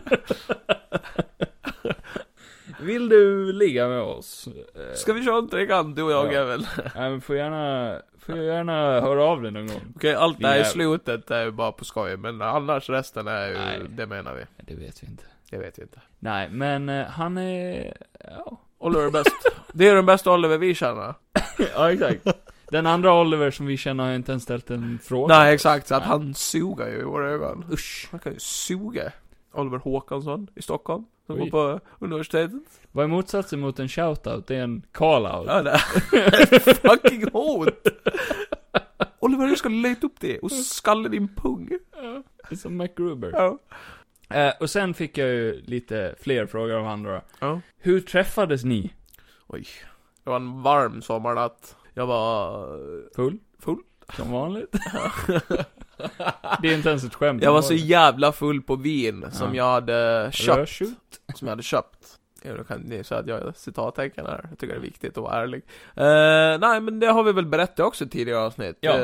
Vill du ligga med oss? Eh, Ska vi köra en trekant du och jag Ja. även? Okej, Nej men får gärna, får jag gärna höra av dig någon gång. allt det här i Jävlar. slutet är ju bara på skoj, men annars resten är ju, Nej. det menar vi. Det vet vi inte. Det vet vi inte. Nej men eh, han är, ja. Oliver är bäst. Det är den bästa Oliver vi känner. ja exakt. Den andra Oliver som vi känner har jag inte ens ställt en fråga. Nej, exakt. Så att han suger ju i våra ögon. Usch. Han kan ju suga. Oliver Håkansson i Stockholm, som Oj. går på universitetet. Vad är motsatsen mot en shoutout? Det är en call-out. Ja, det är fucking hot! Oliver, du ska leta upp det och skalla din pung. Det är som MacGruber. Ja. Eh, och sen fick jag ju lite fler frågor av han då. Ja. Hur träffades ni? Oj. Det var en varm sommarnatt. Jag var... Full? Full. Som vanligt. det är inte ens ett skämt. Jag var så jävla full på vin som Ja. jag hade köpt. Rörsut? Som jag hade köpt. Ja, då kan ni säga att jag är citattecken här. Jag tycker det är viktigt att vara ärlig. Eh, nej, men det har vi väl berättat också i tidigare avsnitt. Ja. Eh,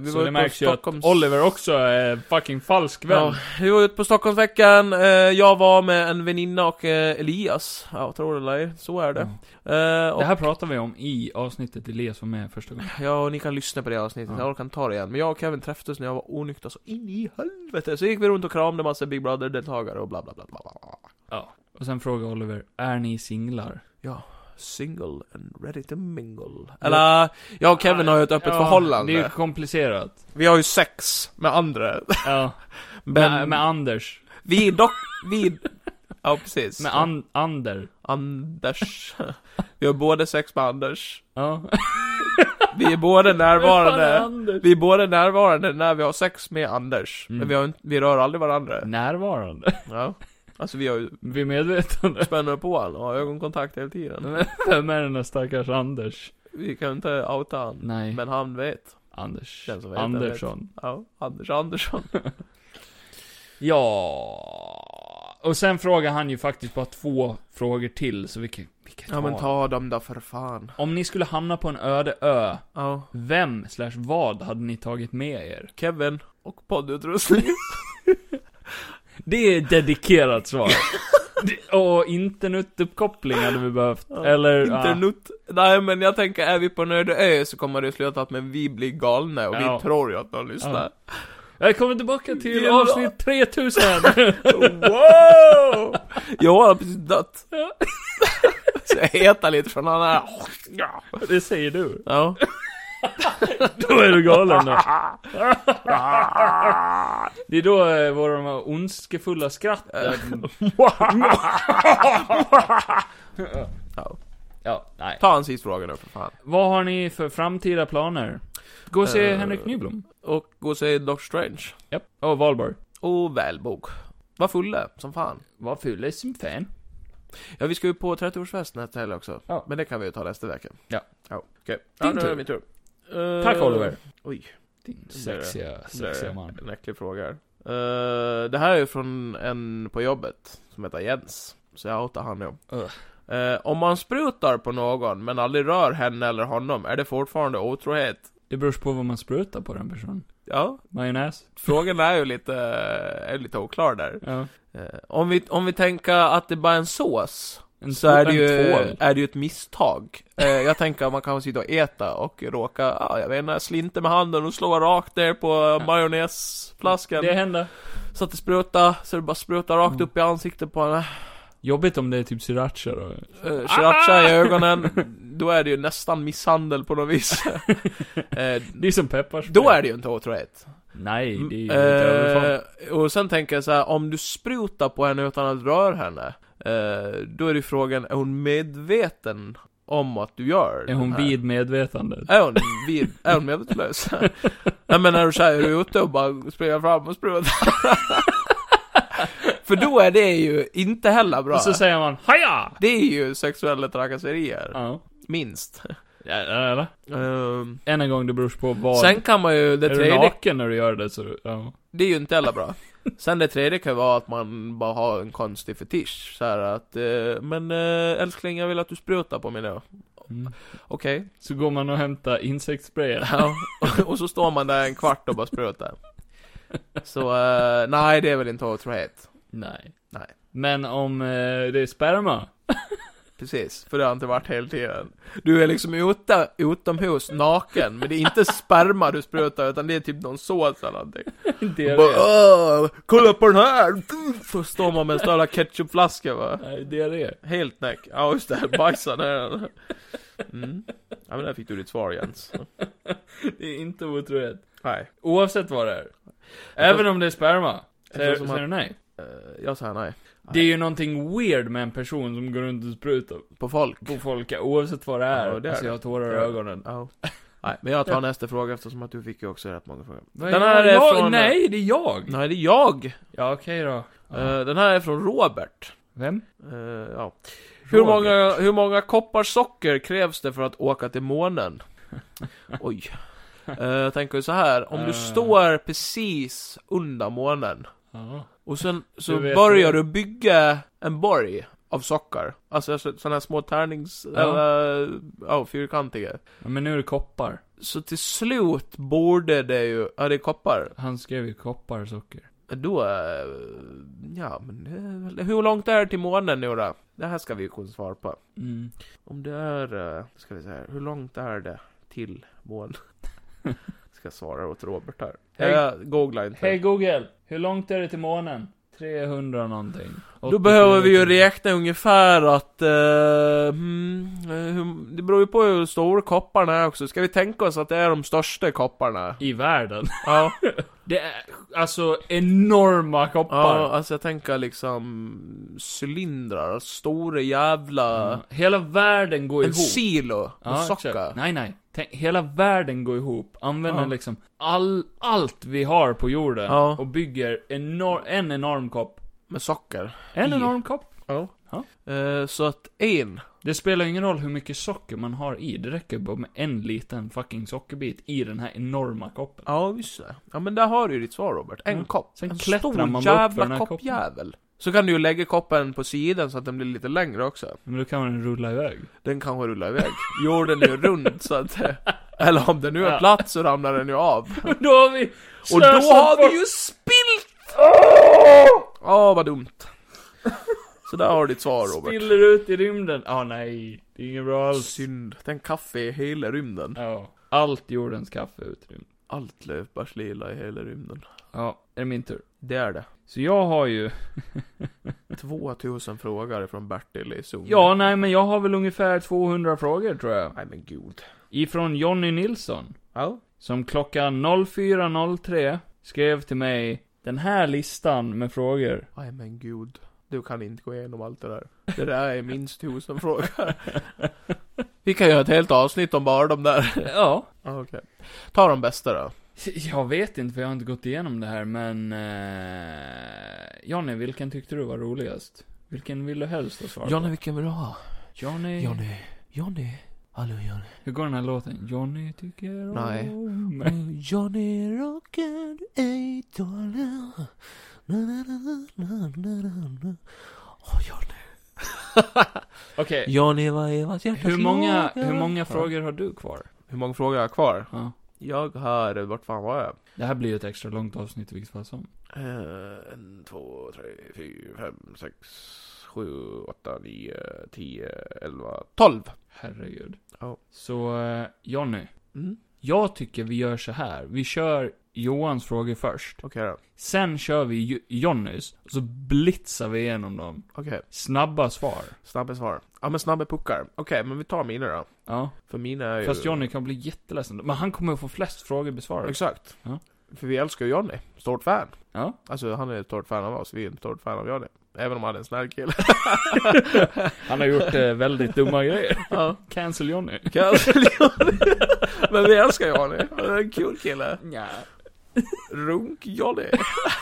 vi Så det var ute på märks ju att Stockholms- Oliver också är fucking falsk vän. Ja, vi var ute på Stockholmsveckan, eh, jag var med en väninna och eh, Elias. Ja, tror det eller ej, så är det. Eh, och Det här pratar vi om i avsnittet Elias var med första gången. Ja, och ni kan lyssna på det avsnittet, Ja. jag kan ta det igen. Men jag och Kevin träffades när jag var onykter så in i helvete. Så gick vi runt och kramade massa Big Brother-deltagare och bla bla bla bla. bla. Och sen frågar Oliver, är ni singlar? Single and ready to mingle. Eller, jag och Kevin har ju ett öppet Ja, förhållande. Det är ju komplicerat. Vi har ju sex med andra. Ja. Men Med, med Anders. vi är dock, vi är... Ja, precis. Med an, Ander. Anders. Vi har både sex med Anders. Ja. Vi är båda Fan, är närvarande. Anders. Vi är båda närvarande när vi har sex med Anders. Men Mm. vi, har, inte- vi rör aldrig varandra. Närvarande. Ja. Alltså vi har ju Vi är medvetna. spänner på honom och har ögonkontakt hela tiden. Vem är den där stackars Anders? Vi kan inte outa honom. Nej. Men han vet. Anders Den som vet, den vet. Andersson. Ja, Anders Andersson. Ja. Och sen frågar han ju faktiskt bara två frågor till, så vi kan, vi kan ta. Ja men ta dem då för fan. Om ni skulle hamna på en öde ö, Ja. vem slash vad hade ni tagit med er? Kevin och poddutrustning. Det är ett dedikerat svar. Det- Och internetuppkoppling hade vi behövt. Eller, ja. Internet. Nej men jag tänker, är vi på en öde ö så kommer det sluta att men vi blir galna och Ja. vi tror ju att någon lyssnar. Jag kommer tillbaka till Jävlar. avsnitt 3000! Wow! Jag har precis dött. Så jag hetar lite från han här. Ja. Det säger du. Ja. Då är du galen då. Det är då eh, våra de här ondskefulla skratten. Ja. Ja, nej. Ta en sista fråga nu för fan. Vad har ni för framtida planer? Gå och se Eh. Henrik Nyblom. Och gå och se Doctor Strange. Japp. Och Valborg. Och välbok. Var fulla som fan. Vad ful är som fan. Ja vi ska ju på 30-årsfest nästa helg också. Ja. Men det kan vi ju ta nästa vecka. Ja. Ja, okej. Ja, Din nu är tur. det min tur. Eh, Tack, Oliver. Oj. Din Där är det. sexiga, Där är sexiga man. En äcklig fråga här. Eh, det här är från en på jobbet som heter Jens. Så jag outar han nu. Ugh. Eh, om man sprutar på någon men aldrig rör henne eller honom, är det fortfarande otrohet? Det beror på vad man sprutar på den personen. Ja, Majonnäs? frågan är ju lite, är lite oklar där. Ja. Eh, om, vi, om vi tänker att det bara är en sås, En så är det, ju, eh, en tvål. är det ju ett misstag. Eh, jag tänker att man kan sitta och äta och råka, ja, jag vet inte, slinta med handen och slå rakt ner på majonnäsflaskan. Det Mm. händer. Så att det sprutar, så det bara sprutar rakt upp i ansiktet på henne. Jobbigt om det är typ sriracha då. Uh, Ah! Sriracha i ögonen. Då är det ju nästan misshandel på något vis. Eh, Det är som pepparspray. då är det ju inte otrohet. Nej, det är ju ett överfall. Eh, och sen tänker jag så här, om du sprutar på henne utan att röra henne. eh, då är det ju frågan, är hon medveten om att du gör Är den hon här? vid medvetandet? Är hon vid? Är hon medvetslös? Nej men när du säger du är ute och bara springer fram och sprutar. För då är det ju inte heller bra. Och så säger man HAJA! Det är ju sexuella trakasserier. Ja. Minst. Ja, Eller? Ehm, Än en gång, det beror på vad. sen kan man ju, det är du tredje, naken när du gör det så, ja. det är ju inte heller bra. Sen det tredje kan ju vara att man bara har en konstig fetisch. Så här att, eh, men eh, älskling jag vill att du sprutar på mig nu. Mm. Okej. Så går man och hämtar insektssprayen. Ja, och- och så står man där en kvart och bara sprutar. Så, eh, nej det är väl inte otrohet. Nej. Nej. Men om eh, det är sperma? Precis, för det har inte varit hela tiden. Du är liksom ute, utomhus, naken, men det är inte sperma du sprutar utan det är typ någon sås eller någonting. Det är Och bara, "Åh, kolla på den här! Så står man med en stor jävla ketchupflaska va. Nej, det är det. Helt näck. Ja just det, bajsa ner den. Mm. Ja men där fick du ditt svar Jens. Det är inte otrohet. Nej. Oavsett vad det är. Även om det är sperma. Säger, Jag tror som säger du nej? Eh, Jag säger nej. Det är ju någonting weird med en person som går runt och sprutar På folk. på folk, oavsett vad det är. Ja, det är alltså det. jag har tårar i Det är det. ögonen. Ja. Nej, men jag tar nästa fråga eftersom att du fick ju också rätt många frågor. Den här är från... Nej, det är jag! Nej, det är jag! Ja, okej då. Eh, den här är från Robert. Vem? Eh, ja. hur, Robert. många, hur många koppar socker krävs det för att åka till månen? Oj. Eh, jag tänker så här, om Eh. du står precis under månen Ja. och sen så Du vet börjar det. du bygga en borg av socker. Alltså sådana här små tärnings... Ja. Eller, ja, fyrkantiga. Men nu är det koppar. Så till slut borde det ju... Ja, det är koppar. Han skrev ju koppar och socker. Då, eh, ja men det är väl- hur långt är det till månen nu då? Det här ska vi ju kunna svara på. Mm. Om det är, eh, ska vi säga, här, hur långt är det till månen? ska jag svara åt Robert här. Hej. Jag googlar inte. Hej Google, hur långt är det till månen? 300 någonting. Då behöver vi ju räkna ungefär att, eh, hmm, eh, hur- det beror ju på hur stora kopparna är också. Ska vi tänka oss att det är de största kopparna? I världen. Ja. Det är alltså enorma koppar. ja, alltså jag tänker liksom cylindrar, stora jävla... Hela världen går En ihop. silo med Ja, socker. exakt. Nej, nej. Tänk, hela världen går ihop, använder Ja. liksom all, allt vi har på jorden Ja. och bygger enor- en enorm kopp. Med socker. En I. enorm kopp? Ja. Ja. Eh, så att en, Det spelar ingen roll hur mycket socker man har i, det räcker bara med en liten fucking sockerbit i den här enorma koppen. ja just det. Ja men där har du ju ditt svar Robert. En Mm. kopp. Sen en klättrar man upp för den jävla här koppen. koppjävel. Så kan du ju lägga koppen på sidan så att den blir lite längre också. Men då kan man rulla iväg. Den kanske rullar iväg. Jorden är ju rund så att... eh, Eller om den nu är Ja. platt så ramlar den ju av. Då har vi Och då har vi ju spilt! Åh, vad dumt. Så där har du ditt svar Robert. Spiller ut i rymden. Ah nej, det är inget bra alls. Synd. Tänk kaffe i hela rymden. Ja. Allt jordens kaffe ut i rymden. Allt löpbärs lila i hela rymden. Ja, är det min tur? Det är det. Så jag har ju... 2000 frågor från Bertil i Zoom. Ja, nej men jag har väl ungefär 200 frågor tror jag. Nej men gud. Ifrån Jonny Nilsson. Ja. Som klockan 04.03 skrev till mig den här listan med frågor. Nej men gud. Du kan inte gå igenom allt det där. Det där är minst tusen frågor. Vi kan göra ett helt avsnitt om bara de där. Ja. Okej. Ta de bästa då. Jag vet inte för jag har inte gått igenom det här men... Eh, Jonny, vilken tyckte du var roligast? Vilken vill du helst ha svar på? vilken vill du ha? Johnny, Johnny. Johnny. Hallå Johnny. Hur går den här låten? Johnny tycker om Nej. mig. Mm, Johnny rockar ej dollar. Na, na, na, na, na, na, na. Åh, Johnny. Okej, Johnny, vad är vad hjärtat hur många, slår? hur många frågor har du kvar? Hur många frågor har jag kvar? Ja. Jag har, vart fan var jag? Det här blir ju ett extra långt avsnitt i vilket fall som. Eh, en, två, tre, fyra, fem, sex, sju, åtta, nio, tio, elva, tolv. Herregud. Ja. Så, eh, Jonny. Mm. Jag tycker vi gör så här. Vi kör Johans frågor först. Okej då. Sen kör vi Jo- Jonnys. Och så blitzar vi igenom dem. Okej, Snabba svar. snabba svar. Ja men snabba puckar. Okej, men vi tar mina då. Ja. För mina är ju... Fast Jonny kan bli jätteledsen. Men han kommer att få flest frågor besvarade. Exakt. Ja. För vi älskar ju Johnny. Stort fan. Ja. Alltså han är ett stort fan av oss, vi är ett stort fan av Johnny. Även om han är en snäll kille. Han har gjort eh, väldigt dumma grejer. Ja. Cancel Jonny. Men vi älskar Johnny. Han är en kul kille. Ja. Runk-Johnny.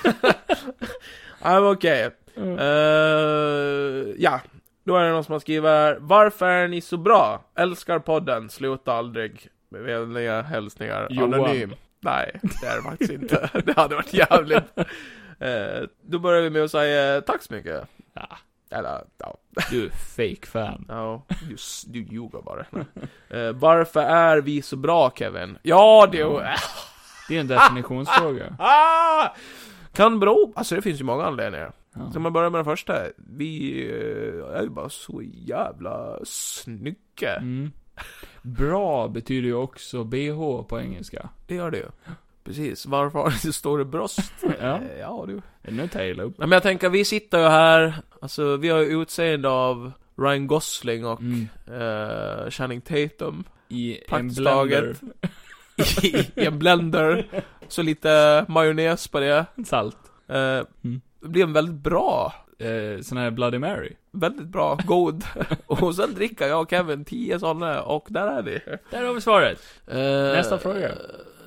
Ja, men okej. Mm. Eh, ja. Då är det någon som har skrivit här. Varför är ni så bra? Älskar podden, sluta aldrig. Med vänliga hälsningar. Johan. Anonym. Nej, det är det faktiskt inte. Det hade varit jävligt. Eh, då börjar vi med att säga eh, tack så mycket. Ja. Eller, ja. Du är fake fan. Ja, du, s- du ljuger bara. Eh, varför är vi så bra Kevin? Ja, det... Mm. Det är en definitionsfråga. Ah! Kan bero... Alltså det finns ju många anledningar. Ja. Så man börjar med den första. Vi eh, är ju bara så jävla snygga. Mm. Bra betyder ju också BH på engelska. Det gör det ju. Precis. Varför har ni så stora bröst? Ja. Eh, ja du. Är nu tail upp? Nej, men jag tänker, vi sitter ju här. Alltså vi har ju utseende av Ryan Gosling och Mm. eh, Channing Tatum. I en Praktiskt blender. taget. I en blender. Så lite majonnäs på det. Salt. Eh, Mm. Det blir en väldigt bra, Eh, sån här Bloody Mary. väldigt bra, god. och sen dricker jag och Kevin tio sådana och där är vi. Där har vi svaret. Eh, Nästa fråga.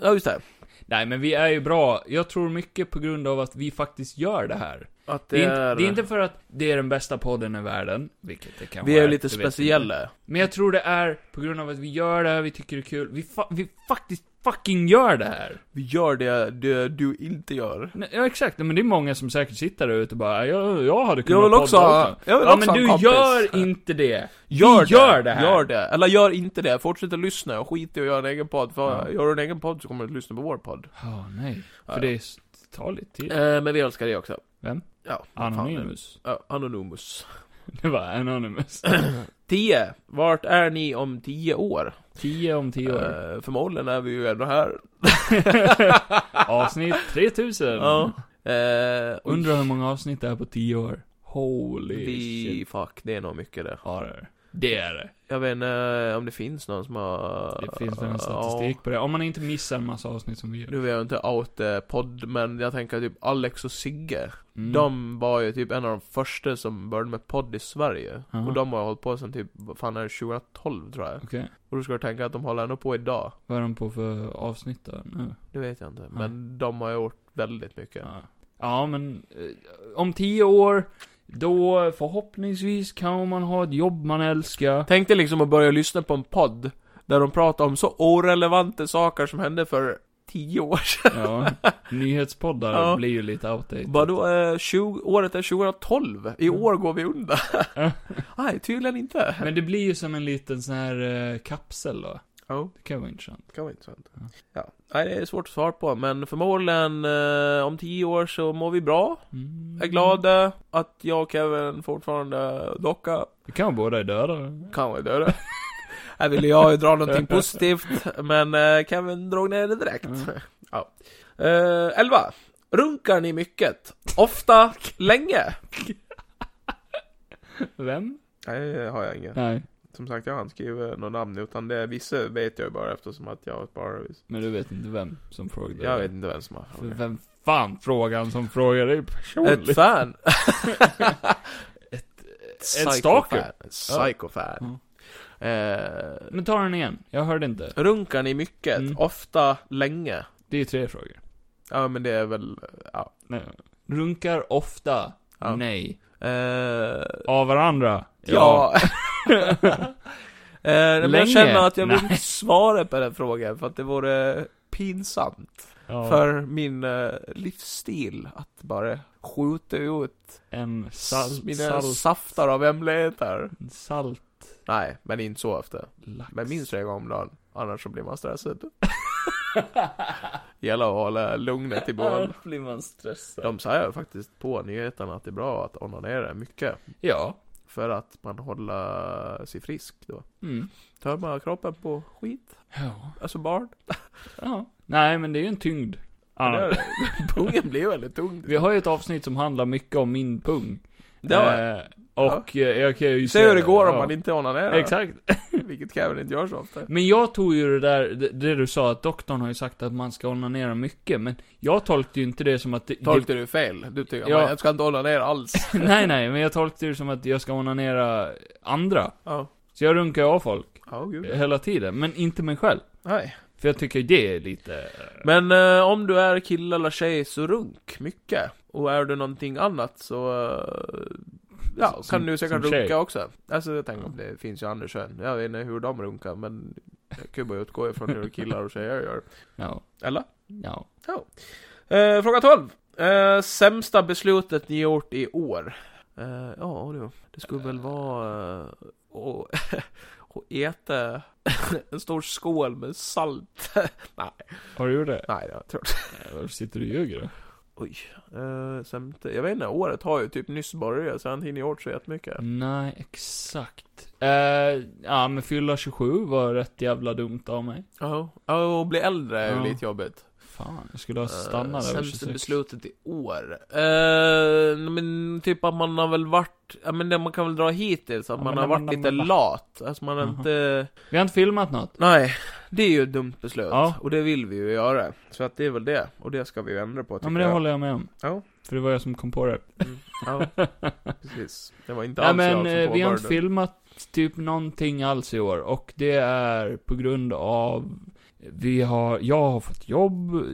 Ja, just det. Nej men vi är ju bra. Jag tror mycket på grund av att vi faktiskt gör det här. Att Det är, inte, det är inte för att det är den bästa podden i världen, vilket det kan vi är vara. ju lite det vet vi inte. speciella. Men jag tror det är på grund av att vi gör det här, vi tycker det är kul. Vi, fa- vi faktiskt fucking gör det här. Vi gör det, det du inte gör. Nej, Ja, exakt. Men det är många som säkert sitter där ute och bara, jag, jag hade kunnat Jag vill också podda ha, jag vill Ja, också men ha en du kompis. gör inte det. vi gör det här. Gör det. Eller gör inte det. Fortsätt att lyssna och skit i att göra en egen podd. För Ja. gör du en egen podd så kommer du att lyssna på vår podd. Ja, nej. För Ja. det är, s- tar lite tid. Eh, men vi älskar det också. Vem? Ja. vad fan är det? Anonymous. Ja, Anonymous. Det var Anonymous. 10. Vart är ni om 10 år? 10 om 10 år. Eh, förmodligen är vi ju ändå här. Avsnitt 3000. Eh, och Undrar hur många avsnitt det är på 10 år. Holy vi, shit. fuck, det är nog mycket det. Ja, det är det. det. är det. Jag vet inte eh, om det finns någon som har... Det finns väl en statistik på det. Om man inte missar en massa avsnitt som vi Ja. gör. Nu vill jag inte out eh, podd, men jag tänker typ Alex och Sigge. Mm. De var ju typ en av de första som började med podd i Sverige. Aha. Och de har ju hållit på sen typ, vad fan är det, 2012 tror jag. Okej. Och då ska du tänka att de håller ändå på idag. Vad är de på för avsnitt då? Nu? Det vet jag inte. Men de har gjort väldigt mycket. Ja. Ja, men eh, om tio år, Då förhoppningsvis kan man ha ett jobb man älskar. Tänk dig liksom att börja lyssna på en podd där de pratar om så orelevanta saker som hände för tio år sedan. Ja, nyhetspoddar Ja. blir ju lite outdated. Bara då, eh, 20, året är 2012. I år går vi undan. Nej, tydligen inte. Men det blir ju som en liten sån här eh, kapsel då. Ja. Det kan vara intressant. kan vara intressant. Ja. Nej, det är svårt att svara på, men förmodligen eh, om tio år så mår vi bra. Mm. Är glada att jag och Kevin fortfarande docka. Det kan vara båda är döda. Kan vara döda. Här ville jag ju dra någonting positivt, men eh, Kevin drog ner det direkt. Ja. Eh, elva. Runkar ni mycket? Ofta? Länge? Vem? Nej, det har jag inget. Nej, Som sagt, jag har inte skrivit några namn, utan det, vissa vet jag ju bara eftersom att jag bara... men du vet inte vem som frågade. Jag vet inte vem som har För vem fan frågan som frågar dig personligt? Ett fan? en stalker. Ett psykofan. Ja. Mm. Eh, Men ta den igen, jag hörde inte. runkar ni mycket? Mm. Ofta? Länge? Det är tre frågor. Ja, men det är väl... Ja. Nej. Runkar ofta? Ja. Nej. Eh, Av varandra? ja. eh, men Länge? jag känner att jag vill Nej. inte svara på den frågan, för att det vore pinsamt Ja. för min eh, livsstil att bara skjuta ut En s- salt... mina Salt... saftar av hemligheter. Salt... Nej, men inte så ofta. Lax. Men minst tre gånger om dagen, annars så blir man stressad. Gäller att hålla lugnet i behåll. blir man stressad. De säger faktiskt på nyheterna att det är bra att onanera mycket. Ja. För att man håller sig frisk då. Mm. Tömmer man kroppen på skit, Ja. alltså barn. ja. Nej, men det är ju en tyngd. Det Ja. är det. Pungen blir väldigt tung. Vi har ju ett avsnitt som handlar mycket om min pung. Det har jag. Eh, och eh, jag kan ju Se hur det går om ja. man inte onanerar. Exakt. Vilket Kevin inte gör så ofta. Men jag tog ju det där, det, det du sa, att doktorn har ju sagt att man ska onanera mycket, men jag tolkade ju inte det som att det, det, Tolkade du fel? Du tycker Ja. man jag ska inte onanera alls. Nej, nej, men jag tolkade det som att jag ska onanera andra. Ja, Så jag runkar av folk, ja gud. hela tiden, men inte mig själv. Nej. För jag tycker det är lite... Men eh, om du är kille eller tjej så runk mycket. Och är du någonting annat så eh, ja, Som- kan du säkert som runka tjej. också. Alltså jag tänker om det finns ju andra kön. Jag vet inte hur de runkar men jag kan ju bara utgå ifrån hur killar och tjejer gör. Ja, Eller? ja. Eh, fråga 12. Eh, sämsta beslutet ni gjort i år? Eh, ja du, det skulle väl vara eh, att att äta en stor skål med salt. Har du gjort det? Nej, jag tror Varför Eh, sitter du och ljuger då? Oj. Eh, sen, jag vet inte, året har ju typ nyss börjat så han hinner gjort så jättemycket. Nej, exakt. Eh, ja, men fylla 27 var rätt jävla dumt av mig. Ja, Ja, och bli äldre är ju Ja. lite jobbigt. Fan, jag skulle ha Eh, stannat över 26. Sämsta beslutet i år. Eh, men typ att man har väl varit, ja men det man kan väl dra hittills, att Ja, man men har när varit man- Mhm. lite när man- lat. Alltså man har Jaha. inte, Vi har inte filmat något. nej. Det är ju ett dumt beslut. Ja. Och det vill vi ju göra. Så att det är väl det. Och det ska vi ju ändra på Ja, tycker men det jag. håller jag med om. Ja. För det var jag som kom på det. Ja, precis. Det var inte Nej alls men jag som eh, vi har inte påbörjade. filmat typ någonting alls i år och det är på grund av vi har, jag har fått jobb,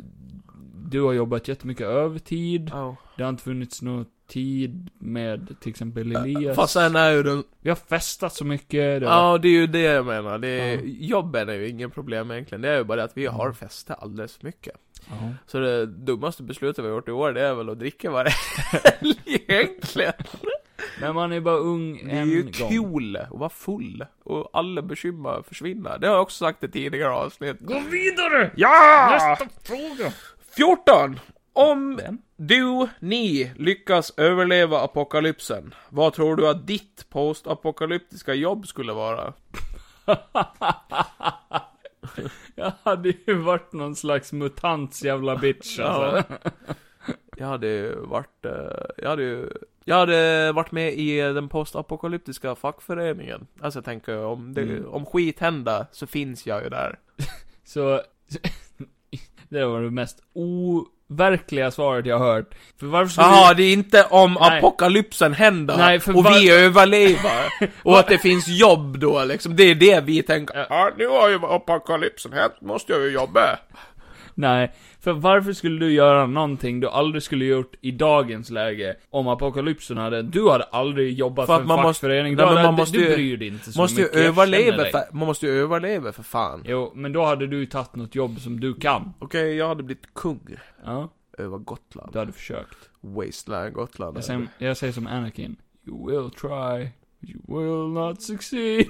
du har jobbat jättemycket övertid, Ja. det har inte funnits någon tid med till exempel Elias. Äh, Fast sen är ju den Vi har festat så mycket, det har varit- Ja, det är ju det jag menar. Det är, Ja. Mm. Jobben är ju inget problem egentligen. Det är ju bara det att vi har festat alldeles för mycket. ja. Så det dummaste beslutet vi har gjort i år, det är väl att dricka varje helg egentligen. Men man är bara ung Det är en ju gång. kul att vara full. Och alla bekymmer försvinner. Det har jag också sagt i tidigare avsnitt. Gå vidare! Ja! Nästa fråga! 14! Om Vem? du, ni, lyckas överleva apokalypsen, vad tror du att ditt postapokalyptiska jobb skulle vara? Jag hade ju varit någon slags mutants jävla bitch alltså. Jag hade ju varit, eh, jag hade ju, jag hade varit med i den postapokalyptiska fackföreningen. Alltså jag tänker om, det, Mm. om skit händer så finns jag ju där. Så, det var det mest overkliga svaret jag hört. För varför skulle Jaha, det är inte om Nej. apokalypsen händer Nej, för och var- vi överlever. och att det finns jobb då liksom, det är Alltså, det vi tänker. Ja, nu har ju apokalypsen hänt, måste jag ju jobba. Nej, För varför skulle du göra någonting du aldrig skulle gjort i dagens läge om apokalypsen hade... Du hade aldrig jobbat för, För att man en måste- fackförening, Nej, du, men hade, man måste du ju- bryr dig inte så Måste ju mycket, jag känner överleva, dig. för, man måste ju överleva för fan. Jo, men då hade du ju tagit något jobb som du kan. Okej, jag hade blivit kung Ja, över Gotland. du hade försökt. Wasteland Gotland. Jag säger, jag säger som Anakin. You will try, you will not succeed.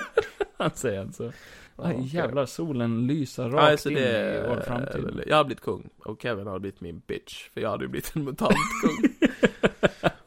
Han säger alltså. Aj, okej. jävlar, solen lyser rakt Ja, alltså in det... i vår framtid. Jag hade blivit kung. Och Kevin hade blivit min bitch. För jag hade ju blivit en mutantkung.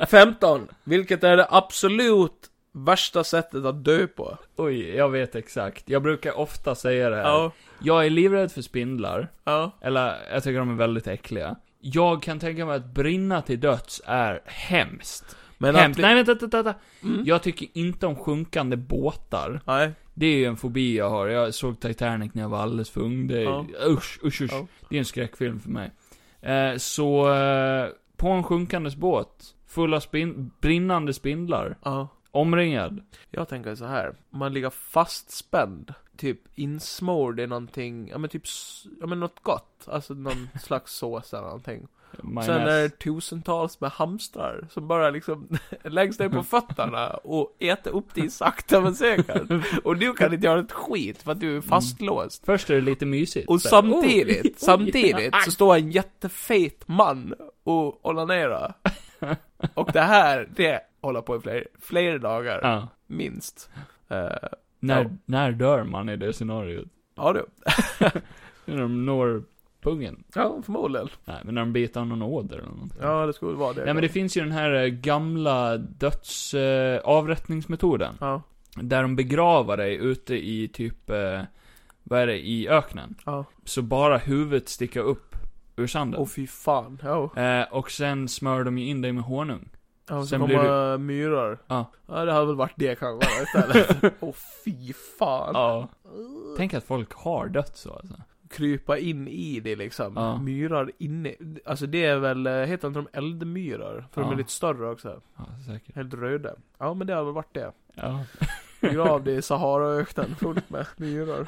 15. Vilket är det absolut värsta sättet att dö på? Oj, jag vet exakt. Jag brukar ofta säga det här. Ja. Jag är livrädd för spindlar. Ja. Eller, jag tycker de är väldigt äckliga. Jag kan tänka mig att brinna till döds är hemskt. Men Mm. hemskt. att... Nej, vänta, vänta, vänta. Jag tycker inte om sjunkande båtar. Nej. Det är ju en fobi jag har. Jag såg Titanic när jag var alldeles för ung. Det är, Ja. usch, usch, usch. Ja. Det är en skräckfilm för mig. Eh, så, eh, på en sjunkandes båt, full av spin- brinnande spindlar, Ja. omringad. Jag tänker så här. Man ligger fastspänd. Typ insmord i någonting, ja men typ, s- ja men något gott. Alltså någon slags sås eller någonting. Sen är det Majonnäs. tusentals med hamstrar som bara liksom läggs ner på fötterna och äter upp dig sakta men säkert. Och du kan inte göra ett skit för att du är fastlåst. Först är det lite mysigt. Och Så här, samtidigt, oj, oj, samtidigt aj. så står en jättefet man och onanerar. Och det här, det håller på i fler, flera dagar, Ja. minst. Eh, När, Ja. när dör man i det scenariot? ja du. När de når pungen? Ja, förmodligen. Nej, men när de biter av någon åder eller något. Ja, det skulle vara det. Nej men det finns ju den här eh, gamla döds... Eh, avrättningsmetoden. Ja, Där de begravar dig ute i typ... Eh, vad är det? I öknen. ja. Så bara huvudet sticker upp ur sanden. Åh fy fan. Ja. eh, och sen smörjer de ju in dig med honung. Ja, Sen sen blir kommer du... myror. Ja. Ja, det hade väl varit det kanske istället. Åh fy fan. Ja. Tänk att folk har dött så alltså. Krypa in i det liksom. Ja. Myrar inne. Alltså det är väl, eh, heter inte de eldmyror? För de Ja. är lite större också. Ja, säkert. Helt röda. Ja men det hade väl varit det. Ja. Grav det i Saharaöknen fullt med myror.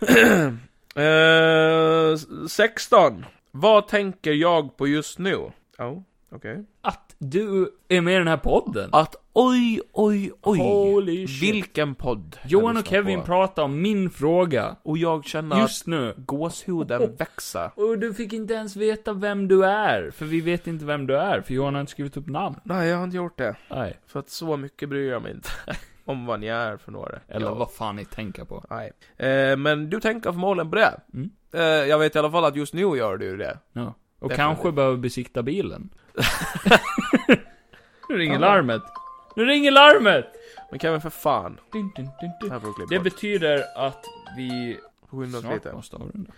Eh, s- 16. Vad tänker jag på just nu? Ja, okej. Att du är med i den här podden. Att oj, oj, oj. Holy shit. Vilken podd. jag Johan och lyssnar Kevin på. pratar om min fråga. Och jag känner Just nu. att gåshuden växer. Och du fick inte ens veta vem du är, för vi vet inte vem du är, för Johan har inte skrivit upp namn. Nej, jag har inte gjort det. Nej. För att så mycket bryr jag mig inte om vad ni är för några. Eller Ja. vad fan ni tänker på. Nej. Eh, men du tänker förmodligen på det. Mm. Eh, jag vet i alla fall att just nu gör du ju det. Ja. Och Definitivt. kanske behöver besikta bilen. nu ringer Ja. larmet. Nu ringer larmet! Men Kevin, för fan. Dun, dun, dun, Det dun. här får du klippa Det bort. betyder att vi Skynda oss snart lite. måste avrunda.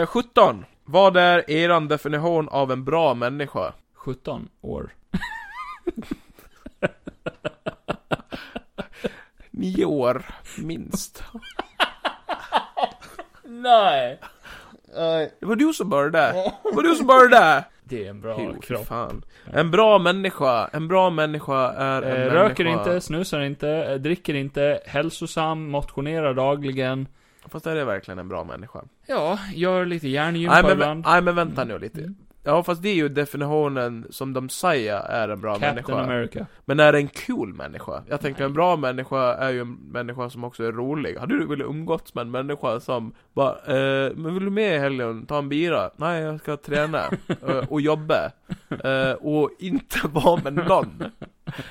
Eh, 17. Vad är eran definition av en bra människa? 17 år. Nio år, minst. Nej! Det var du som började. Det var du som började. Det är en bra Jo, fy kropp. fan. En bra människa, en bra människa är Eh, en människa... röker inte, snusar inte, eh, dricker inte, hälsosam, motionerar dagligen. Fast är det verkligen en bra människa? Ja, gör lite Nej hjärngympa men, ibland. Mm. nej men vänta nu lite. Ja fast det är ju definitionen som de säger är en bra Captain människa. America. Men är det en cool människa? Jag tänker en bra människa är ju en människa som också är rolig. Hade du velat umgås med en människa som bara eh, men vill du med i helgen? Ta en bira? Nej jag ska träna. eh, och jobba. Eh, och inte vara med någon.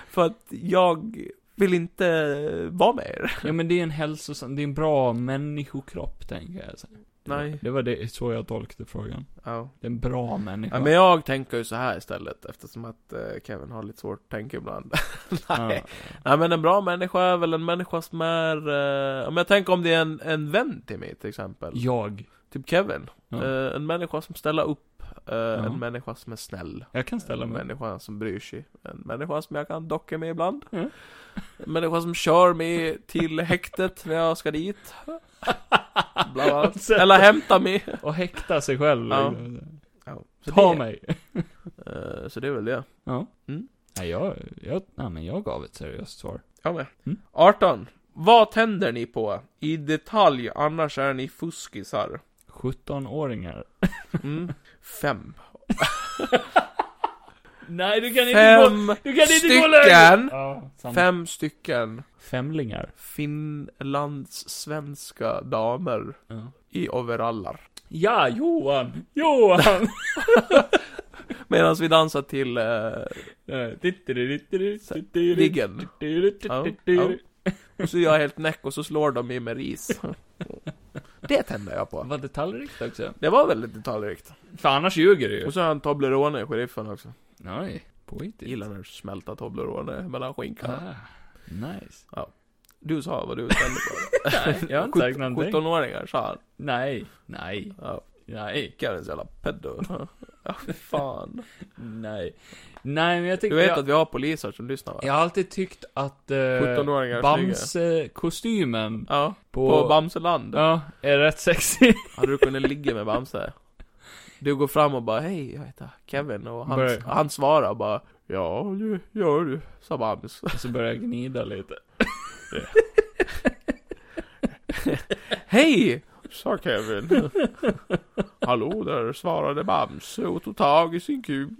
För att jag vill inte vara med er. Ja men det är en hälsosam, det är en bra människokropp tänker jag. säga. Nej. Det var det, så jag tolkade frågan. Ja. Det är en bra människa. Ja, men jag tänker ju så här istället eftersom att eh, Kevin har lite svårt att tänka ibland. Nej. Nej men en bra människa är väl en människa som är, eh, om jag tänker om det är en, en vän till mig till exempel. Jag. Typ Kevin. Ja. Eh, en människa som ställer upp, eh, en människa som är snäll. Jag kan ställa En mig. människa som bryr sig. En människa som jag kan docka med ibland. Mm. En människa som kör mig till häktet när jag ska dit. Bland Och annat. sen- Eller hämta mig. Och häkta sig själv. Ja. liksom. Ja, så Ta det- mig. eh, så det är väl det. Ja. Mm. Nej jag, jag, nej men jag gav ett seriöst svar. Jag med. Mm. 18. Vad tänder ni på? I detalj, annars är ni fuskisar. Mm. 17-åringar. Fem. Nej, du kan Fem inte gå, du kan inte gå stycken. längre. Ja, sant. Fem stycken Femlingar. finlandssvenska damer Ja. i overallar. Ja, Johan! Johan! Medan vi dansar till... Eh, Diggen. Ja, ja. och så gör jag helt näck och så slår de mig med ris. Det tänder jag på. Var det tallrikt också? Det var väldigt detaljrikt. För annars ljuger du ju. Och så har han Toblerone, sheriffen också. Nej, poetiskt. Gillar när du smälta Toblerone mellan skinkan. Ah, nice. Du sa vad du ställde på. Nej, jag har inte sagt någonting. 17-åringar sa han. Nej, nej, Ja, nej, Karins jävla pedo. Ja, fy fan. nej. Nej, men jag tycker... Du vet jag, att vi har poliser som lyssnar va? jag har alltid tyckt att eh, 17-åringar Bamse-kostymen Ja, på... på Bamseland. ja, är rätt sexig. Hade du kunnat ligga med Bamse? Du går fram och bara hej, jag heter Kevin och han, Börjar- han svarar bara Ja du, gör du, sa Bamse. Och så börjar jag gnida lite. Hej! Sa Kevin. Hallå där, svarade Bamse och tog tag i sin kuk.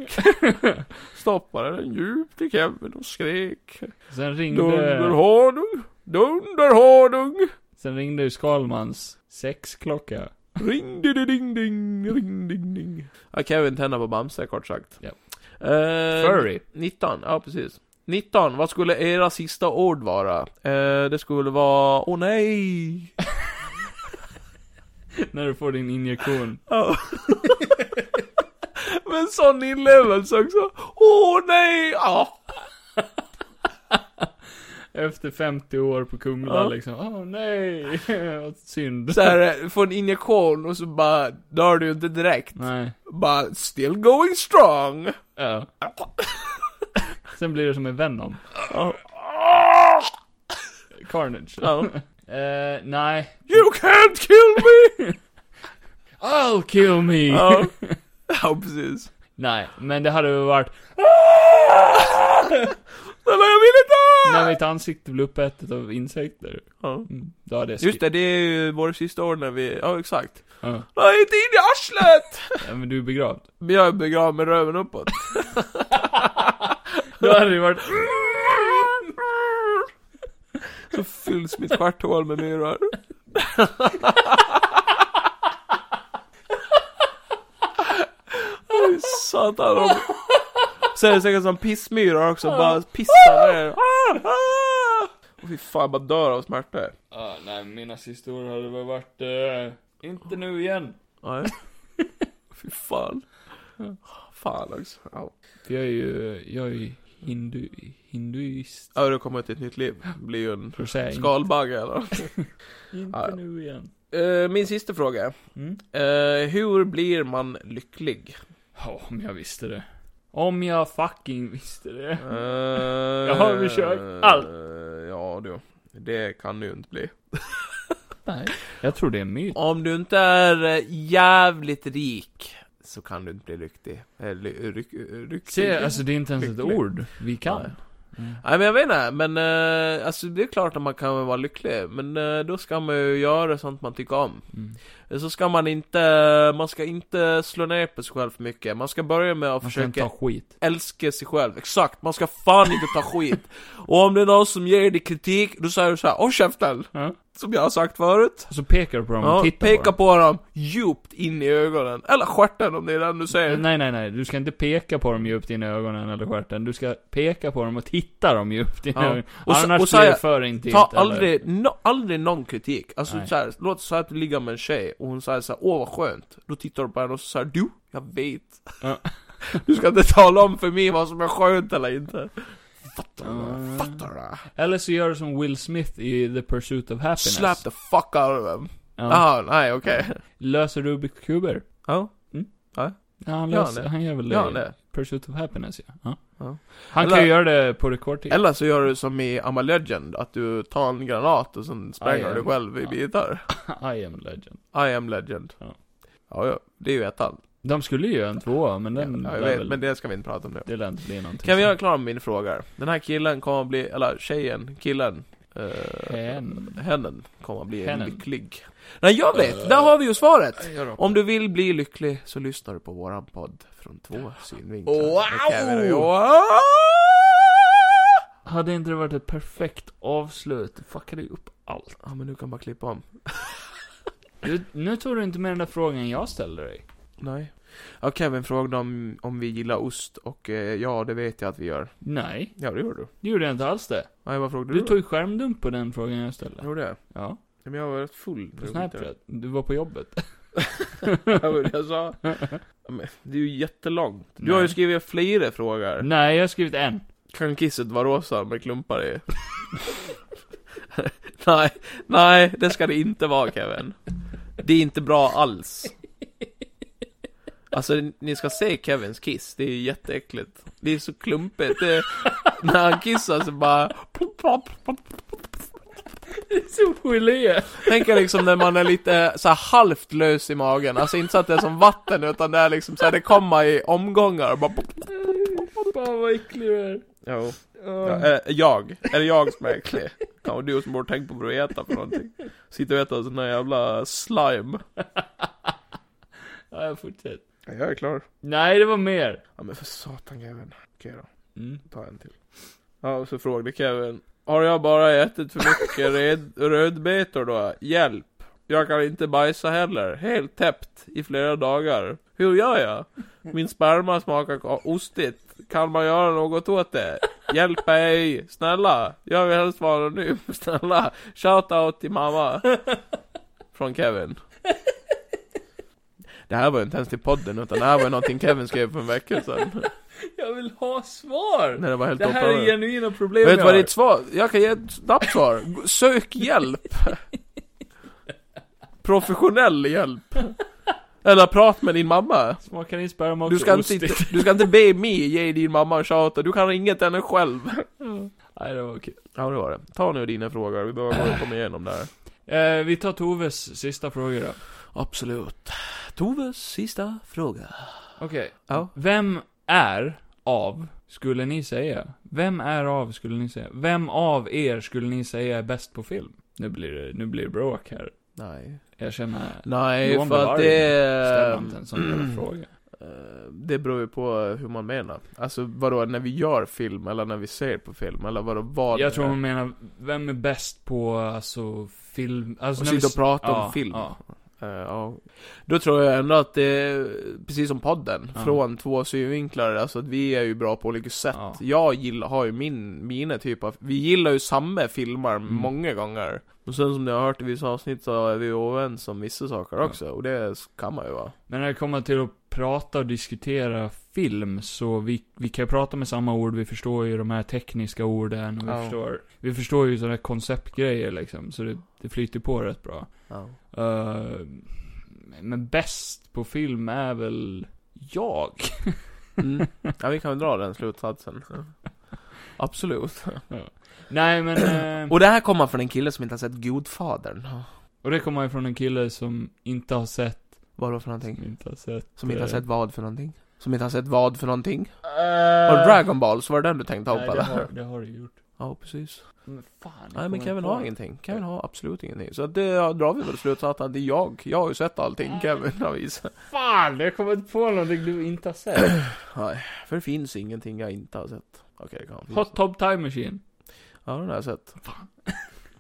Stoppade den djupt i Kevin och skrek. Sen ringde, Dunderhonung, dunderhonung. sen ringde ju Skalmans sexklocka. Ring di di ding ding, ring ding ding. Ja, Kevin tänder på Bamse kort sagt. Ja. Eh, Furry. 19, ja precis. 19, vad skulle era sista ord vara? Eh, det skulle vara, åh nej! När du får din injektion. Ja. Men sån inlevelse också. Åh nej! Ja. Efter 50 år på Kumla Ja. liksom. Åh nej, vad synd. Så här, eh, få en injektion och så bara dör du inte direkt. Nej, Bara, still going strong! ja. Sen blir det som i Venom. Carnage. Ja. Eh, nej. You can't kill me! I'll kill me! ja. ja, precis. Nej, men det hade väl varit Nej, men Ah! jag vill inte! när mitt ansikte blev uppätet av insekter. Ja. Mm, Då hade jag Just det, det är ju våra sista år när vi, ja exakt. Ja. Nej, inte in i arslet! Ja, men du är begravd. Men jag är begravd med röven uppåt. Då hade det varit Så fylls mitt stjärthål med myror. Oj, satan. de- Sen är det säkert som pissmyror också, bara pissar ner. Ah, ah. Och fy fan, jag bara dör av smärta. Ja, nej, mina sista år hade väl varit... eh, inte nu igen. Nej. Fy fan. Fan också. Ja. För jag är ju, eh, jag är ju hindu, hinduist. Ja, du kommer till ett nytt liv. Blir ju en För att säga inte, skalbagge eller inte ja. nu igen. Eh, Min sista fråga. Mm. Eh, hur blir man lycklig? Ja, om jag visste det. Om jag fucking visste det. Eh, Jag har försökt allt. eh, Ja du, det kan du ju inte bli. Nej. Jag tror det är en myt. Om du inte är eh, jävligt rik så kan du inte bli lycklig. Eh, ly- ryck, ryck, Se, alltså det är inte ens ett Lycklig. ord vi Nej. kan. Nej men jag vet inte, men eh, alltså det är klart att man kan väl vara lycklig, men eh, då ska man ju göra sånt man tycker om. Mm. Så ska man inte, man ska inte slå ner på sig själv för mycket, man ska börja med att Man ska inte försöka ta skit. älska sig själv, exakt, man ska fan inte ta skit. Och om det är någon som ger dig kritik, då säger du såhär 'Håll käften!' Ja. Som jag har sagt förut. Och så Alltså, pekar du på dem och Ja, tittar peka på på dem djupt in i ögonen, eller stjärten om det är den du dem. säger. Eh, Nej, nej, nej. Du ska inte peka på dem djupt in i ögonen eller stjärten. Du ska peka på dem och titta dem djupt in i Ja. ögonen. Och så- Annars och så blir här, det för intimt. Ta eller- aldrig, no, aldrig någon kritik. Alltså Nej. så här, låt säga att du ligger med en tjej och hon säger såhär 'Åh vad skönt' Då tittar du på henne och så säger du, jag vet. Ja. Du ska inte tala om för mig vad som är skönt eller inte. Fattar du? Ja. Fattar du? Eller så gör du som Will Smith i The Pursuit of Happiness. Slap the fuck out of him. ja. Ah, nej okej. Löser Rubiks kuber. Ja. Ja, han, Gör löser, det. han gör väl det. Gör det. Pursuit of happiness, ja. ja. Ja. Han Eller- kan ju göra det på rekordtid. Eller så gör du som i I'm a Legend, att du tar en granat och sen spränger I du am- själv i ja. bitar. I am legend. I am Legend. Ja. Ja, ja, det är ju ettan. De skulle ju göra en tvåa, men den Ja, lär jag vet, väl, men det ska vi inte prata om nu. det lär inte bli någonting. Kan vi så. göra klar med min fråga? Den här killen kommer att bli, eller tjejen, killen, Eh, Hen. hennen kommer att bli Hennen. lycklig. Nej, jag vet! Där har vi ju svaret! gör de. Om du vill bli lycklig så lyssnar du på våran podd från två synvinklar. Wow! Okej, men- Wow! Hade inte det varit ett perfekt avslut? Du fuckade ju upp allt. Ja, men nu kan man klippa om. Du, nu tog du inte med den där frågan jag ställde dig. Nej. Ja, Kevin frågade om, om vi gillar ost och eh, ja, det vet jag att vi gör. Nej, Ja, det gör du. det gjorde jag inte alls det. Nej, vad frågade du? Du tog ju skärmdump på den frågan jag ställde. Gjorde jag? Ja, Ja, Men jag var rätt full. när på jag hittade Snapchat. Du var på jobbet. det. Ja, men jag sa... Ja, men Det är ju jättelångt. Du har ju Nej. skrivit flera frågor. Nej, jag har skrivit en. Kan kisset vara rosa med klumpar i? nej, nej, det ska det inte vara Kevin. Det är inte bra alls. Alltså, ni ska se Kevins kiss, det är ju jätteäckligt. Det är så klumpigt, det, när han kissar så bara... pop, pop, pop. Så gelé. Tänk er liksom när man är lite så här halvt lös i magen, alltså inte så att det är som vatten utan det är liksom så här, det kommer i omgångar och bara... pop. Fan vad äcklig du är. Jo. Ja, Ja, eh, jag. Är det jag som är äcklig? Ja, och du som borde tänkt på vad du äter för någonting. Sitter och äter sån där jävla slime. ja fortsätt. Ja, jag är klar. Nej, det var mer. Ja men för satan Kevin. Okej då, Mm. ta en till. Ja, och så frågade Kevin. Har jag bara ätit för mycket red- rödbetor då? Hjälp! Jag kan inte bajsa heller, helt täppt i flera dagar. Hur gör jag? Min sperma smakar ko- ostigt. Kan man göra något åt det? Hjälp mig! Snälla! Jag vill helst vara anonym, snälla! Shoutout till mamma! Från Kevin. Det här var ju inte ens till podden, utan det här var ju någonting Kevin skrev för en vecka sedan. Jag vill ha svar! När det var helt Det här uppenbart. är genuina problem Vet du jag vad har. ditt svar? Jag kan ge ett snabbt svar. G- Sök hjälp. Professionell hjälp. Eller prat med din mamma. Smakar din sperma också Du ska, inte, ostigt? du ska inte be mig ge din mamma en shout Du kan ringa till henne själv. Nej, det var kul. Ja, det var det. Ta nu dina frågor. Vi behöver komma igenom det här. Eh, vi tar Toves sista fråga då. Absolut. Toves sista fråga. Okej. Ja. Vem är av, skulle ni säga? Vem är av, skulle ni säga? Vem av er skulle ni säga är bäst på film? Nu blir det, nu blir det bråk här. Nej. Jag känner... Nej, Johan för att Bevare det... Mm. Ställer inte en sån jävla fråga. Eh, Det beror ju på hur man menar. Alltså vadå, när vi gör film eller när vi ser på film eller vadå, vad Jag tror hon menar, vem är bäst på, alltså, film... Alltså, Och när vi sitta s- och prata om ja, film. Ja. Eh, ja. Då tror jag ändå att det är precis som podden, Ja. från två synvinklar, alltså att vi är ju bra på olika sätt. Ja. Jag gillar, har ju min, mina typ av, vi gillar ju samma filmer Mm. många gånger. Och sen som ni har hört i vissa avsnitt så är vi oense om vissa saker också, och det kan man ju vara. Men när det kommer till att prata och diskutera film, så vi, vi kan ju prata med samma ord, vi förstår ju de här tekniska orden, och vi, Ja. förstår, vi förstår ju sådana här konceptgrejer liksom, så det, det flyter på rätt bra. Eh, men bäst på film är väl jag? Mm. ja, vi kan väl dra den slutsatsen. Absolut. Nej men, eh, Och det här kommer från en kille som inte har sett Godfadern. och det kommer ju från en kille som inte har sett, Vadå för någonting? som inte har sett. Som inte har eh, sett vad för någonting? Som inte har sett vad för någonting? Var det Dragon Ball? Så var det den du tänkte ta upp Eh. Nej, det eller? har, det har det gjort. Ja, precis. Men fan, jag Nej men kommer Kevin på har det. ingenting. Kevin har absolut ingenting. Så att det ja, drar vi väl slutsatsen att det är jag. Jag har ju sett allting Kevin har visat. Fan, jag kommer inte på någonting du inte har sett. Nej, för det finns ingenting jag inte har sett. Okej, det kan finnas. Hot Top Time Machine. Ja, den har jag sett.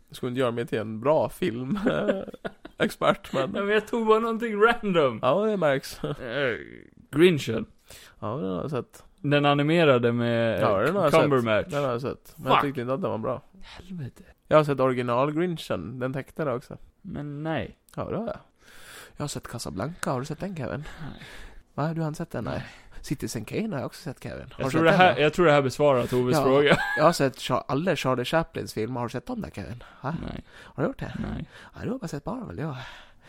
Jag skulle inte göra mig till en bra filmexpert Nej men... men jag tog bara någonting random. Ja, det märks. Eh, Grinchen. Ja, den har jag sett. Den animerade med Ja, den har ja, jag sett. Cumberbatch. Den har jag sett. Men jag Fuck. tyckte inte att den var bra. Helvete. Jag har sett original Grinchen. Den tecknade också. Men nej. Ja, det har jag. Jag har sett Casablanca. Har du sett den Kevin? Nej. Va, du har inte sett den? Nej. Citizen Kane har jag också sett Kevin. Har Jag du tror, det sett den, här, då? jag tror det här besvarar Toves Ja. fråga. Jag har sett Char- alla Charlie Chaplins filmer. Har du sett dem där Kevin? Ha? Nej, Har du gjort det? nej. Ja, du har bara sett Marvel, ja.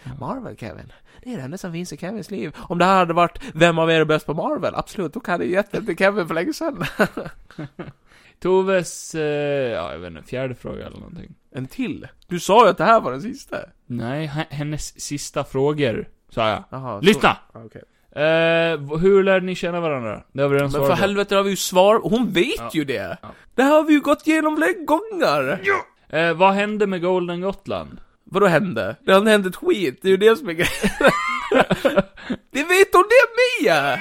Mm. Marvel Kevin. Det är det enda som finns i Kevins liv. Om det här hade varit Vem av er är bäst på Marvel? Absolut, då kan jag gett den till Kevin för länge sedan. Toves, eh, ja jag vet inte, fjärde fråga eller någonting. En till? Du sa ju att det här var den sista. Nej, he- hennes sista frågor, sa jag. Jaha. Lyssna! Så... Okej. Eh, v- hur lärde ni känna varandra? Det har vi redan Men för svarat på. helvete, det har vi ju svar. Hon vet Ja. ju det! Ja. Det här har vi ju gått igenom flera gånger! Eh, vad hände med Golden Gotland? Vadå hände? Det har hänt ett skit, det är ju det som är grejen. Det vet hon det Mia!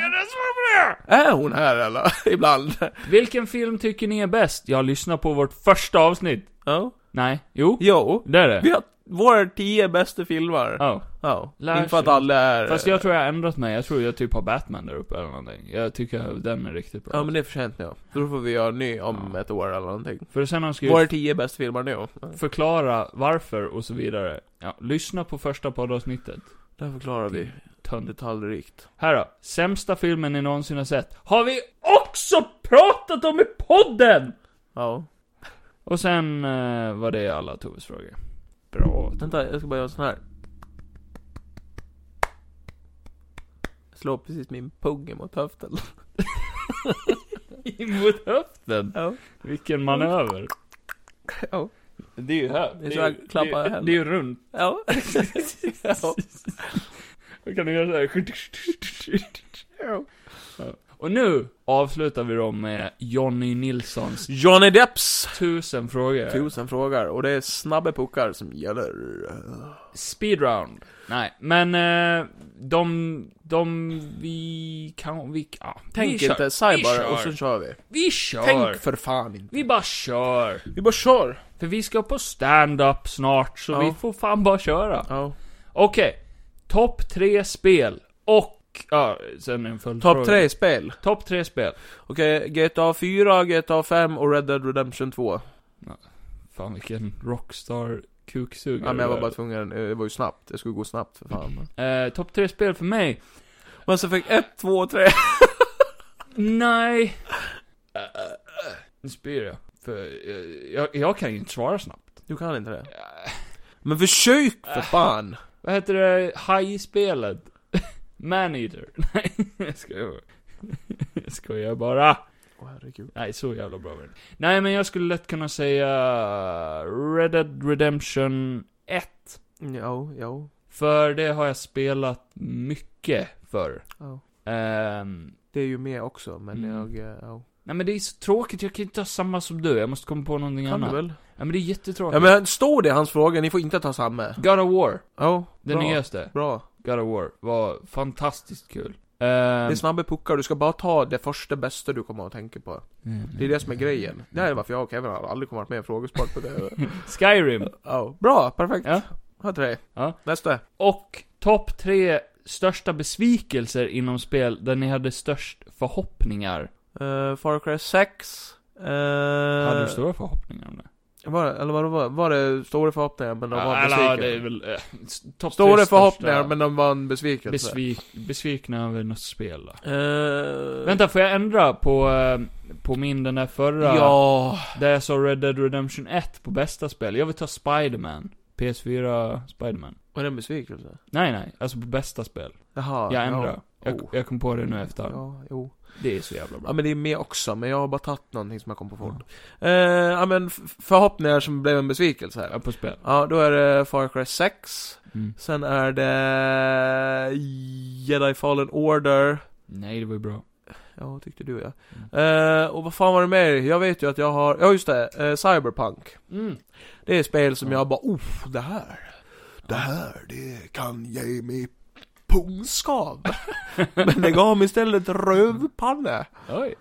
Är hon här eller? Ibland. Vilken film tycker ni är bäst? Jag lyssnar på vårt första avsnitt. Ja. Nej, jo, Jo. det är det. Vi har våra tio bästa filmer. Ja. Ja. Lär Inte för att sig. alla är... Fast jag tror jag har ändrat mig, jag tror jag typ har Batman där uppe eller någonting. Jag tycker den är riktigt bra. Ja men det är för sent nu. Då får vi göra en ny om ett år eller någonting. För sen har han skrivit Våra tio bästa filmer nu. förklara varför och så vidare. Ja, lyssna på första poddavsnittet. Där förklarar vi Tönt. detaljrikt. Här då. Sämsta filmen ni någonsin har sett. Har vi också pratat om i podden! Ja. Och sen eh, var det alla Toves frågor. Bra. Vänta, jag ska bara göra en sån här. Jag slår precis min pung mot höften. In mot höften. Ja. Vilken manöver. Ja. Det är ju här. Det är så jag klappar det, är- händerna. det är ju runt. Ja. ja. Då kan du göra så här. Ja. Och nu avslutar vi då med Jonny Nilssons Johnny Depps. tusen frågor. Tusen frågor och det är snabba puckar som gäller. Speedround. Nej, men eh, de, de, vi kan, vi, ja. vi Tänk kör. inte, vi säg bara kör. och så kör vi. Vi kör. Tänk för fan inte. Vi bara kör. Vi bara kör. För vi ska på stand-up snart, så Ja. vi får fan bara köra. Ja. Okej. Topp tre spel och, ja, sen en följdfråga. Topp tre spel. Topp tre spel. Okej, GTA 4, GTA 5 och Red Dead Redemption 2. Fan vilken rockstar kuksugare Ja, men jag var du är. bara tvungen, eh, det var ju snabbt. Det skulle gå snabbt för fan. eh, Topp tre spel för mig? Men så fick 1, 2, 3. Nej. Nu spyr jag. För eh, jag, jag kan ju inte svara snabbt. Du kan inte det? Men försök för fan! Vad heter det hajspelet? Maneater? Nej, jag skojar. Jag skojar bara. Åh herregud. Nej, så jävla bra var det Nej, men jag skulle lätt kunna säga eh, Red Dead Redemption 1. Jo, jo. För det har jag spelat mycket för. Ja. Ehm, Det är ju med också, men Mm. jag... eh, Ja. nej men det är så tråkigt, jag kan inte ha samma som du. Jag måste komma på någonting Kan annat. du väl? Ja men det är jättetråkigt. Ja men står det i hans fråga, ni får inte ta samma. God of War, Ja, den bra. nyaste. Bra. God of War var fantastiskt kul. Ehm, Det är snabba puckar, du ska bara ta det första bästa du kommer att tänka på. Det är det Mm. som är grejen. Det här är varför jag och Kevin har aldrig kommit med i en frågesport på det. Skyrim. Ja, bra, perfekt. Ja. Här tre. Ja. Nästa. Och topp tre största besvikelser inom spel där ni hade störst förhoppningar. Uh, Far Cry 6. Uh, hade du stora förhoppningar om det? Var, eller var, var, var det stora förhoppningar men de var eller, besvikna? det är väl... eh, s- topp tre Stora största förhoppningar men de var en besvikelse. Besvik, besvikna över något spel då. Eh, Vänta, får jag ändra på, eh, på min den där förra? Ja. Där jag sa Red Dead Redemption 1 på bästa spel. Jag vill ta Spiderman. PS4 Spiderman. Var det en besvikelse? Nej, nej. Alltså på bästa spel. Jaha. Jag ändrar. Ja. Jag, Oh. jag kom på det nu efter. Ja, jo. Det är så jävla bra. Ja men det är med också, men jag har bara tagit någonting som jag kom på fort. Eh, ja men f- förhoppningar som blev en besvikelse här. Ja, på spel. Ja, då är det Far Cry 6. Mm. Sen är det Jedi Fallen Order. Nej, det var ju bra. Ja, tyckte du ja. Mm. Eh, och vad fan var det mer? Jag vet ju att jag har, ja just det, eh, Cyberpunk. Mm. Det är spel som jag bara, oh, det här. Det här, det kan ge mig pungskav. Men det gav mig istället rövpanne. Oj.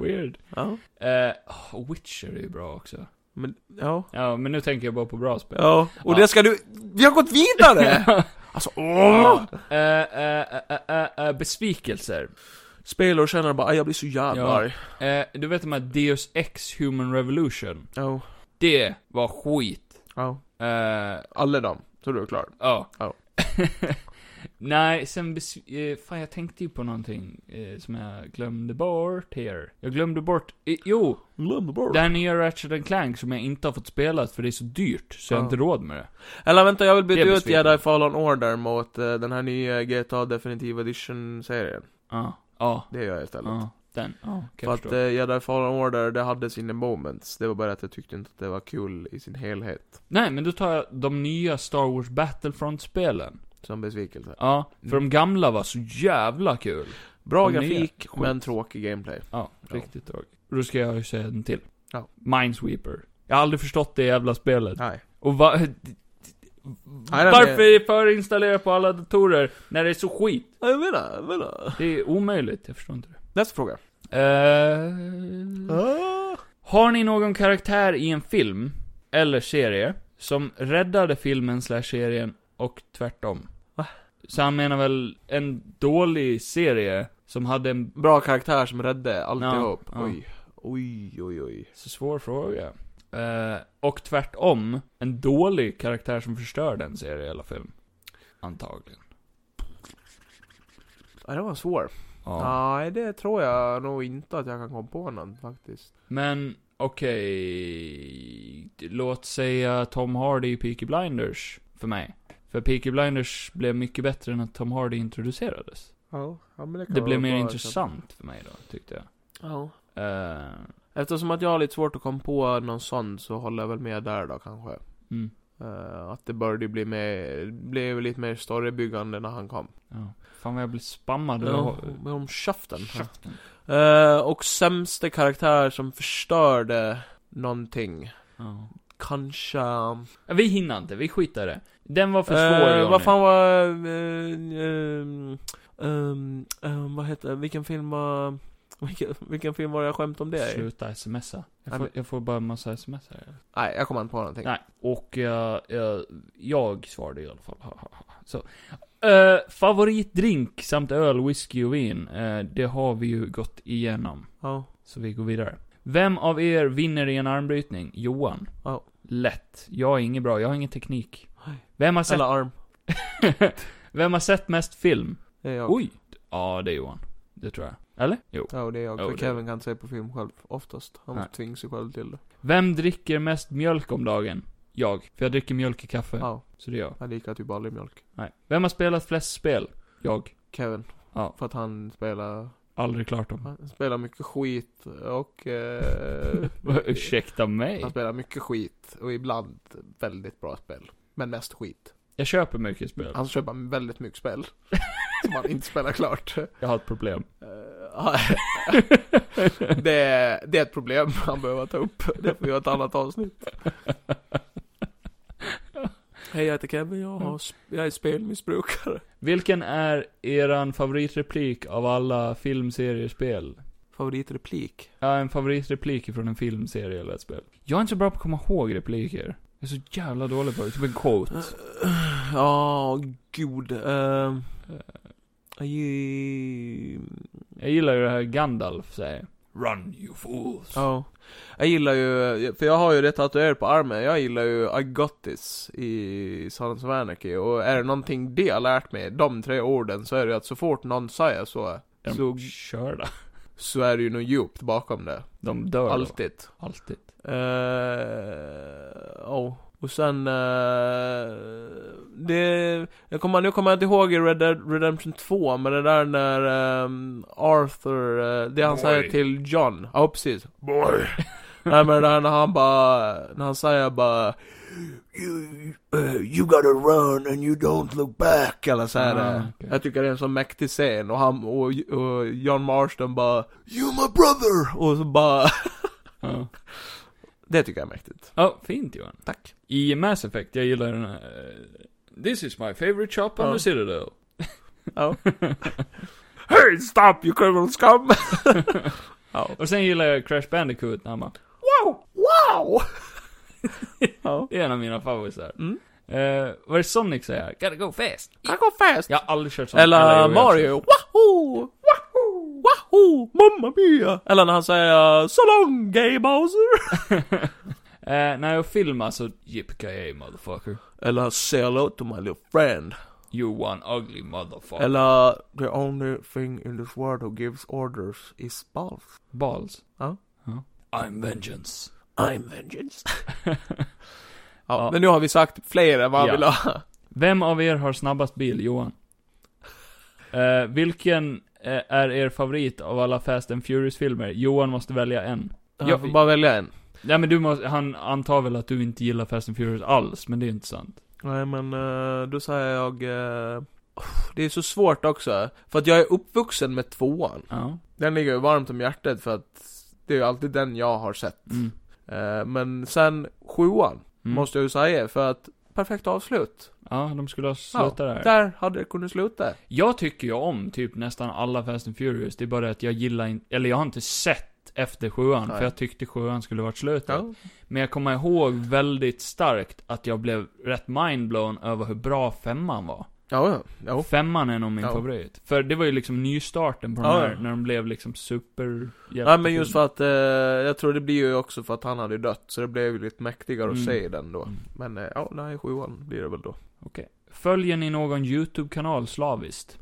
Weird. Ja. Eh, oh, Witcher är ju bra också. Men, ja. Ja, men nu tänker jag bara på bra spel. Ja, och Ja. det ska du... Vi har gått vidare! alltså, åh! Eh, eh, eh, eh, eh, eh, besvikelser. Spelare känner bara, "Aj, jag blir så jävla Ja. arg. Eh, du vet de här Deus Ex Human Revolution? Ja, Det var skit. ja. Eh, Ja. Alla dem, så du är klar. Ja. Nej, sen bes- eh, Fan, jag tänkte ju på någonting eh, som jag glömde bort här. Jag glömde bort... Eh, jo! Glöm bort. Det här nya Ratchet and Clank som jag inte har fått spela för det är så dyrt, så jag har Ja. inte råd med det. Eller vänta, jag vill Det är byta ut besviken. Jedi Fallen Order mot eh, den här nya GTA Definitive Edition-serien. Ja. Ja. Det gör jag istället. Ja. Den. Ja, kan För jag att förstå. eh, Jedi Fallen Order, det hade sina moments. Det var bara att jag tyckte inte att det var kul i sin helhet. Nej, men då tar jag de nya Star Wars Battlefront-spelen. Som besvikelse. Ja, för de Mm. gamla var så jävla kul. Bra Och nya. grafik, Skit. men tråkig gameplay. Ja, riktigt tråkigt. Och Då ska jag ju säga en till. Ja. Minesweeper. Jag har aldrig förstått det jävla spelet. Nej. Och va, Nej, den varför Är, är det förinstallerat på alla datorer när det är så skit? Ja, jag menar, jag menar. Det är omöjligt, jag förstår inte det. Nästa fråga. Eh, Ah. har ni någon karaktär i en film, eller serie, som räddade filmen slash serien och tvärtom? Va? Så han menar väl en dålig serie som hade en Bra karaktär som räddade alltihop. Ja, ja. Oj. Oj, oj, oj. så svår fråga. Eh, och tvärtom, en dålig karaktär som förstörde en serie eller film. Antagligen. Nej, det var svår. Ja. Nej, det tror jag nog inte att jag kan komma på någon faktiskt. Men, okej. Låt säga Tom Hardy i Peaky Blinders, för mig. För Peaky Blinders blev mycket bättre när Tom Hardy introducerades. Ja, ja men det kan Det vara blev mer bra, intressant för mig då, tyckte jag. liksom. Ja. Eh, Eftersom att jag har lite svårt att komma på någon sån så håller jag väl med där då kanske. mm, Eh, att det började bli mer, blev lite mer storybyggande när han kom. ja. Fan vad jag blev spammad. Ja, av- med om käften. Käften. Eh, och sämsta karaktär som förstörde någonting. Ja. Kanske... Vi hinner inte, vi skiter i det. Den var för svår Eh, Johnny. vad fan var... eh, ehm, ehm, ehm, vad heter Vilken film var... Vilken, vilken film var det jag skämt om det i? Sluta smsa. Jag Nej, får, men- jag får bara en massa sms här. Nej, jag kommer inte på någonting. Nej, och jag, jag, jag svarade i alla fall. Ha, ha, ha. Så. Eh, favoritdrink samt öl, whisky och vin. Eh, det har vi ju gått igenom. Ja. Så vi går vidare. Vem av er vinner i en armbrytning? Johan. Ja. Lätt. Jag är inget bra, jag har ingen teknik. Nej. Vem har sett, Eller arm. vem har sett mest film? Det är jag. Oj! Ja, det är Johan. Det tror jag. Eller? Jo. Ja, och det är jag. Ja, För det är Kevin kan inte se på film själv, oftast. Han Nej. tvingar sig själv till det. Vem dricker mest mjölk om dagen? Jag. För jag dricker mjölk i kaffe. Ja, Så det är jag. han dricker typ aldrig mjölk. Nej. Vem har spelat flest spel? Jag. Kevin. Ja. För att han spelar, Aldrig klart dem. han spelar mycket skit och... Eh, Ursäkta mig. han spelar mycket skit och ibland väldigt bra spel. Men mest skit. Jag köper mycket spel. Han köper väldigt mycket spel. som han inte spelar klart. Jag har ett problem. Eh, det, är, det är ett problem han behöver ta upp. Det får vi göra ett annat avsnitt. Hej, jag heter Kevin. Jag, har, sp- jag är spelmissbrukare. Vilken är eran favoritreplik av alla film, serier, spel? Favoritreplik? Ja, en favoritreplik från en film, serie eller ett spel. Jag är inte så bra på att komma ihåg repliker. Jag är så jävla dålig på det. Typ en quote. Ja, gud. ehm, jag gi- Eh, Jag gillar ju det här Gandalf säger. Run you fools. Ja. Jag gillar ju, för jag har ju det tatuerat på armen, jag gillar ju I got this i Sons of Anarchy. Och är det någonting det jag lärt mig, de tre orden, så är det ju att så fort någon säger så, Är så, de körda? så är det ju något djupt bakom det. De dör då. Alltid. Alltid. Eh, Ja, Eh, oh. och sen... eh, det... Jag kommer, nu kommer jag inte ihåg i Red Dead Redemption 2, men det där när ehm, Arthur... eh, det han Boy. säger till John. Ja, precis. Boy. Nej men det där när han bara... När han säger bara... You, eh, you gotta run and you don't look back, eller så här. Ah, eh. okej. Jag tycker det är en sån mäktig scen, och han och, och John Marston bara... You my brother! Och så bara... Ja. det tycker jag är mäktigt. Ja, fint Johan. Tack. I Mass Effect, jag gillar den här... eh, This is my favorite shop on Ja. the Citadel. Ja. Hey, stop you criminal scum! Och sen gillar jag Crash Bandicoot när han bara, Wow! Wow! ja. det är en av mina favoriter. Mm. Eh, vad är det Sonic säger? Gotta go fast. Kan gå fast! Jag har aldrig kört Sonic. Eller jo, jag har Mario, kört. wahoo! Wahoo! Wahoo! Mamma mia! Eller när han säger So long gay Bowser! Eh, när jag filmar så, yippee motherfucker. Eller Say hello to my little friend. You one ugly motherfucker. Eller The only thing in this world who gives orders is balls. Balls. Ja. Ja. I'm vengeance. I'm vengeance. ja, men nu har vi sagt fler än vad han Ja. ville ha. Vem av er har snabbast bil, Johan? Eh, vilken eh, är er favorit av alla Fast and Furious-filmer? Johan måste välja en. Jag får bara välja en. Nej men du måste, han antar väl att du inte gillar Fast and Furious alls, men det är inte sant. Nej men eh, då säger jag eh, Det är så svårt också För att jag är uppvuxen med tvåan Ja. Den ligger ju varmt om hjärtat för att Det är ju alltid den jag har sett Mm. Eh, men sen sjuan, måste jag ju säga, för att perfekt avslut. Ja, de skulle ha slutat där. Där hade det kunnat sluta. Jag tycker ju om typ nästan alla Fast and Furious, det är bara det att jag gillar inte, eller jag har inte sett efter sjuan, Nej. för jag tyckte sjuan skulle varit slutet. Ja. Men jag kommer ihåg väldigt starkt att jag blev rätt mindblown över hur bra femman var. Ja, ja. Jo. Femman är nog min Ja. favorit. För det var ju liksom nystarten på de Ja, här, ja. när de blev liksom super... Nej men just för att, eh, jag tror det blir ju också för att han hade ju dött, så det blev ju lite mäktigare att Mm. se den då. Mm. Men eh, ja, nej, sjuan blir det väl då. Okej. Följer ni någon YouTube-kanal slaviskt?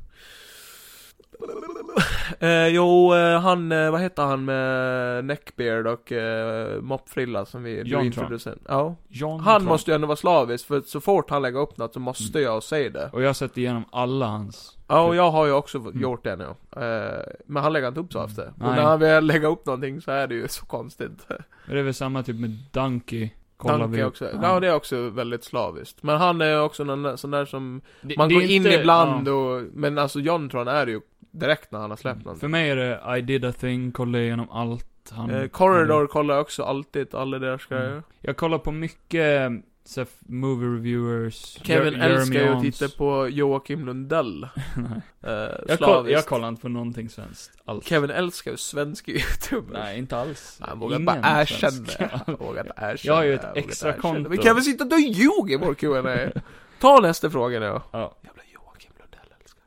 Eh, jo, eh, han, eh, vad heter han med neckbeard och eh, moppfrilla som vi du John introducerade? Ja. John Han Trump. Mm. måste ju ändå vara slavisk, för så fort han lägger upp något så måste jag se det. Och jag har sett igenom alla hans. Ja, och jag har ju också gjort det nu. Eh, men han lägger inte upp så ofta. Och Mm. Nej. när han väl lägger upp någonting så är det ju så konstigt. Är det väl samma typ med Donkey? Kollar Tanke vi. också. Ja. det är också väldigt slaviskt. Men han är också någon där- sån där som, Det- man det är går in inte- ibland ja. och, men alltså Jontron är det ju direkt när han har släppt någonting. För mig är det I did a thing, kollar igenom allt han... Mm. Eh, Corridor kollar jag också alltid, alla deras grejer. Jag kollar på mycket så, här, movie reviewers, Kevin Jer- Jeremy älskar ju att Irons. titta på Joakim Lundell. Nej. Eh, jag, koll, slaviskt. jag kollar inte på någonting svenskt. Alls. Kevin älskar ju svenska youtubers. Nej, inte alls. Han vågar Ingen bara svensk. erkänna. Han vågar inte erkänna. Jag har ju ett han vågar inte extra erkänna. konto. Vi kan väl sitta och ljuga i vår Q&A Ta nästa fråga nu. Ja. Jävla Joakim Lundell älskar.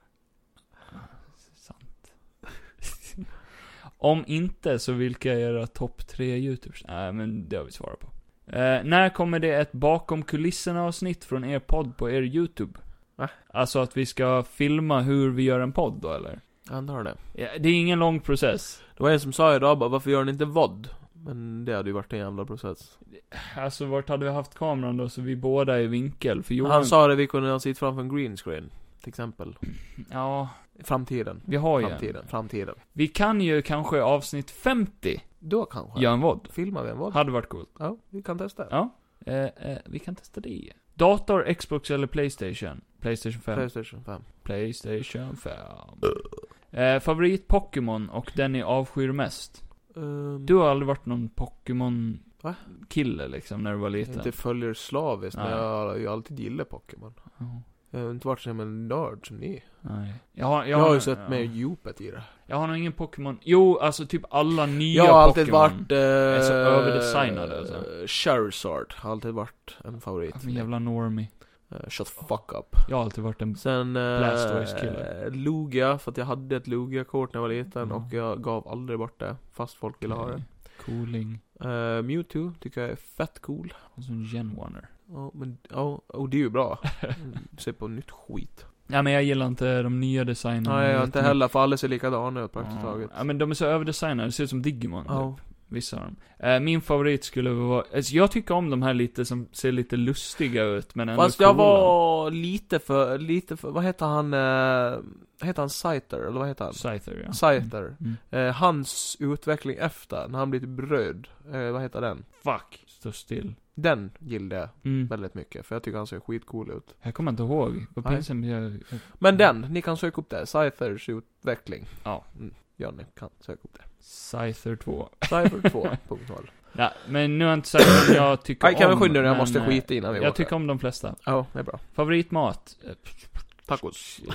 Sant. Om inte, så vilka är era topp tre youtubers? Nej, men det har vi svarat på. Eh, när kommer det ett bakom kulisserna avsnitt från er podd på er youtube? Va? Alltså att vi ska filma hur vi gör en podd då, eller? Jag antar det. Ja, det är ingen lång process. Det var en som sa idag bara, varför gör ni inte vod? Men det hade ju varit en jävla process. Alltså, vart hade vi haft kameran då, så vi båda är i vinkel? För Johan... Han sa det, vi kunde ha sitta framför en green screen. Till exempel. Ja, Framtiden. vi har ju en. Framtiden. Framtiden. Vi kan ju kanske i avsnitt 50 Då kanske. göra en vodd. Filmar vi en vod? Hade varit coolt. Ja, vi kan testa. Ja. Eh, eh, vi kan testa det. Dator, Xbox eller Playstation? Playstation 5. Playstation 5. Playstation 5. Eh, favorit Pokémon och den ni avskyr mest? Um, Du har aldrig varit någon Pokémon-kille Va? liksom, när du var liten? inte följer slaviskt, men Nej. jag har ju alltid gillat Pokémon. Ja. Jag har inte varit som en nörd som ni. Nej. Jag har, jag Jag har ju nog- sett ja. mer djupet i det. Jag har nog ingen Pokémon. Jo, alltså typ alla nya Jag har alltid Pokémon. varit... Eh, är så överdesignade, alltså. eh, Charizard har alltid varit en favorit. Men jävla normie. Eh, shut the fuck up. Jag har alltid varit en... Sen... Blastoise-kille. Eh, Lugia, för att jag hade ett Lugia-kort när jag var liten Mm. och jag gav aldrig bort det. Fast folk ville ha det. Cooling. Eh, Mewtwo tycker jag är fett cool. Och så en Genwanner. Ja, men, ja, och det är ju bra. Se på nytt skit. Ja, men jag gillar inte de nya designerna. Nej, jag har inte jättemycket. heller, för alla ser likadana ut praktiskt taget. Mm. Ja, men de är så överdesignade, det ser ut som Digimon Ja. typ. Vissa av dem. Eh, min favorit skulle vara, alltså, jag tycker om de här lite som ser lite lustiga ut men ändå Fast jag coola. var lite för, lite för, vad heter han, eh, heter han Scyther, eller vad heter han? Scyther ja. Scyther. Mm. Eh, hans utveckling efter, när han blir bröd, eh, vad heter den? Fuck. Stå still. Den gillade jag Mm. väldigt mycket, för jag tycker han ser skitcool ut. Jag kommer inte ihåg. Vad Nej. pinsamt jag... Men den, ni kan söka upp det, Scythers utveckling. Ja. Mm. Ja, ni kan söka upp det. Scyther 2. Scyther 2.0. Ja, men nu har jag inte sagt om jag tycker Nej, om. kan vi skynda nu? Jag men, måste eh, skita innan vi Jag åker. tycker om de flesta. Ja, det är bra. Favoritmat? Eh, Tacos. eh,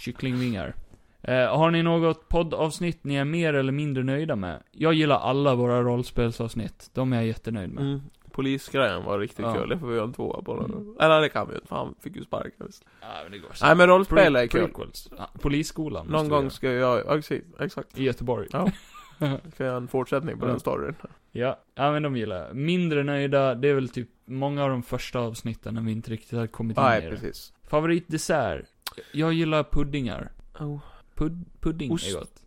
kycklingvingar. Eh, har ni något poddavsnitt ni är mer eller mindre nöjda med? Jag gillar alla våra rollspelsavsnitt. De är jag jättenöjd med. Mm. Polisgrejen var riktigt Ja. kul, det får vi göra en tvåa på den. Eller det kan vi ju inte, för han fick ju sparken visst. Ja, men det går Mm. Nej men rollspel är Pre- kul. prequels. Ja, Polisskolan. Någon måste gång vi ska jag, ja, precis, exakt. göra. I Göteborg. Ja. Ska jag göra en fortsättning på Ja. den storyn. Ja. ja, men de gillar jag. Mindre nöjda, det är väl typ många av de första avsnitten när vi inte riktigt har kommit in Nej, i det. precis. Favoritdessert? Jag gillar puddingar. Oh. Pud pudding Ost. är gott.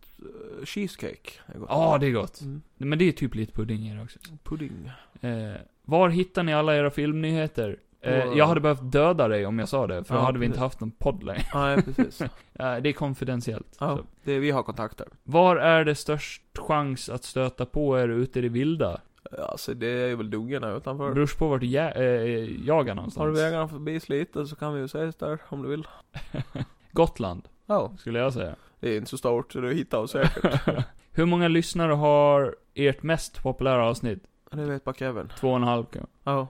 eh, Cheesecake är gott. Ja, det är gott. Mm. Men det är typ lite pudding i det också. Pudding. Eh, var hittar ni alla era filmnyheter? Eh, På- jag hade behövt döda dig om jag sa det, för då Ja, hade vi inte precis. haft någon podd längre. Nej, precis. Eh, det är konfidentiellt. Ja, Så. det, vi har kontakter. Var är det störst chans att stöta på er ute i det vilda? Alltså det är väl dungarna utanför. Beror på vart du jä- eh, jagar någonstans. Tar du vägarna förbi lite så kan vi ju ses där om du vill. Gotland, Ja, skulle jag säga. det är inte så stort så du hittar oss säkert. Hur många lyssnare har ert mest populära avsnitt? Ja, Det vet bara Kevin. Två och en halv kanske. Ja.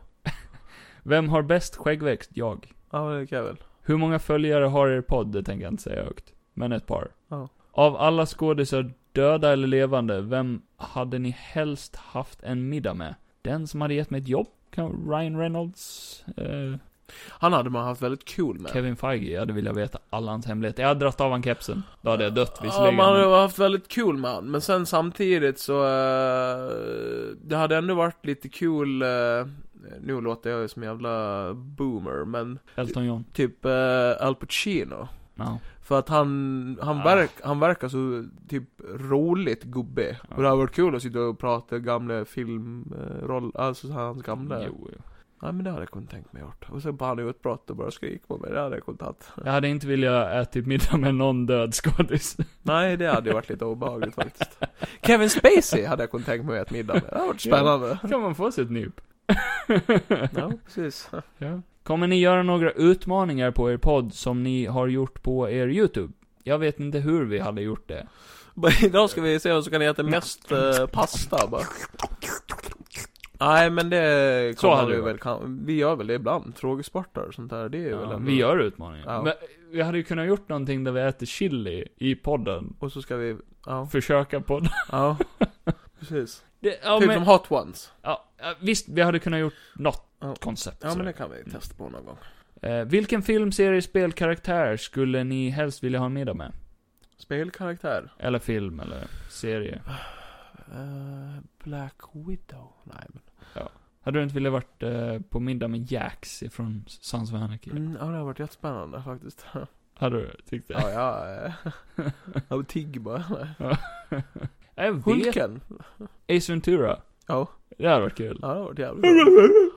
Vem har bäst skäggväxt? Jag. Ja, det är Kevin. Hur många följare har er podd? Det tänker jag inte säga högt. Men ett par. Ja. Av alla skådisar, döda eller levande, vem hade ni helst haft en middag med? Den som hade gett mig ett jobb? Kan- Ryan Reynolds? Eh, Han hade man haft väldigt kul med. Kevin Feige? Jag hade velat veta alla hans hemligheter. Jag hade dragit av han kepsen. Då hade jag dött Ja, visserligen. man hade men- haft väldigt kul med han, men sen samtidigt så... eh, det hade ändå varit lite kul... eh, nu låter jag ju som en jävla boomer, men Elton John. typ eh, Al Pacino. Ja. För att han, han, Ah. verk, han verkar så typ roligt gubbe. Och det hade varit kul att sitta och prata gamla filmroller, alltså så här, hans gamla. Jo, jo. Nej men det hade jag kunnat tänkt mig gjort. Och sen bara han utbrott och började skrika på mig, det hade jag kunnat tagit. Jag hade inte velat ätit middag med någon död skådis. Nej, det hade ju varit lite obehagligt faktiskt. Kevin Spacey hade jag kunnat tänka mig att äta middag med. Det hade varit spännande. kan man få sig ett nyp. Ja, precis. Ja. Kommer ni göra några utmaningar på er podd som ni har gjort på er YouTube? Jag vet inte hur vi hade gjort det. Bara Idag ska vi se vem som kan äta mest eh, pasta bara. Nej men det Så hade vi det väl kan, Vi gör väl det ibland, frågesportar och sånt där, det är väl Ja, ändå- vi gör utmaningar. Ja. Men vi hade ju kunnat gjort någonting där vi äter chili i podden. Och så ska vi, ja, Försöka podda. ja Precis Det, ja, Typ men, som hot ones ja, ja, visst, vi hade kunnat gjort något Ja. koncept. Ja men sådär. det kan vi testa på någon gång eh, vilken film, serie, spel, karaktär skulle ni helst vilja ha en middag med? Spelkaraktär Eller film, eller serie. Eh, Black Widow Nej men, Hade du inte velat varit eh, på middag med Jax ifrån Sons of Anarchy? mm, ja det har varit jättespännande faktiskt Ja Hade du tyckt det? ja, eh, jag var tigg bara nej. Jag vet Hulken Ace Ventura. Ja, Det hade varit kul. ja det har varit jävligt kul.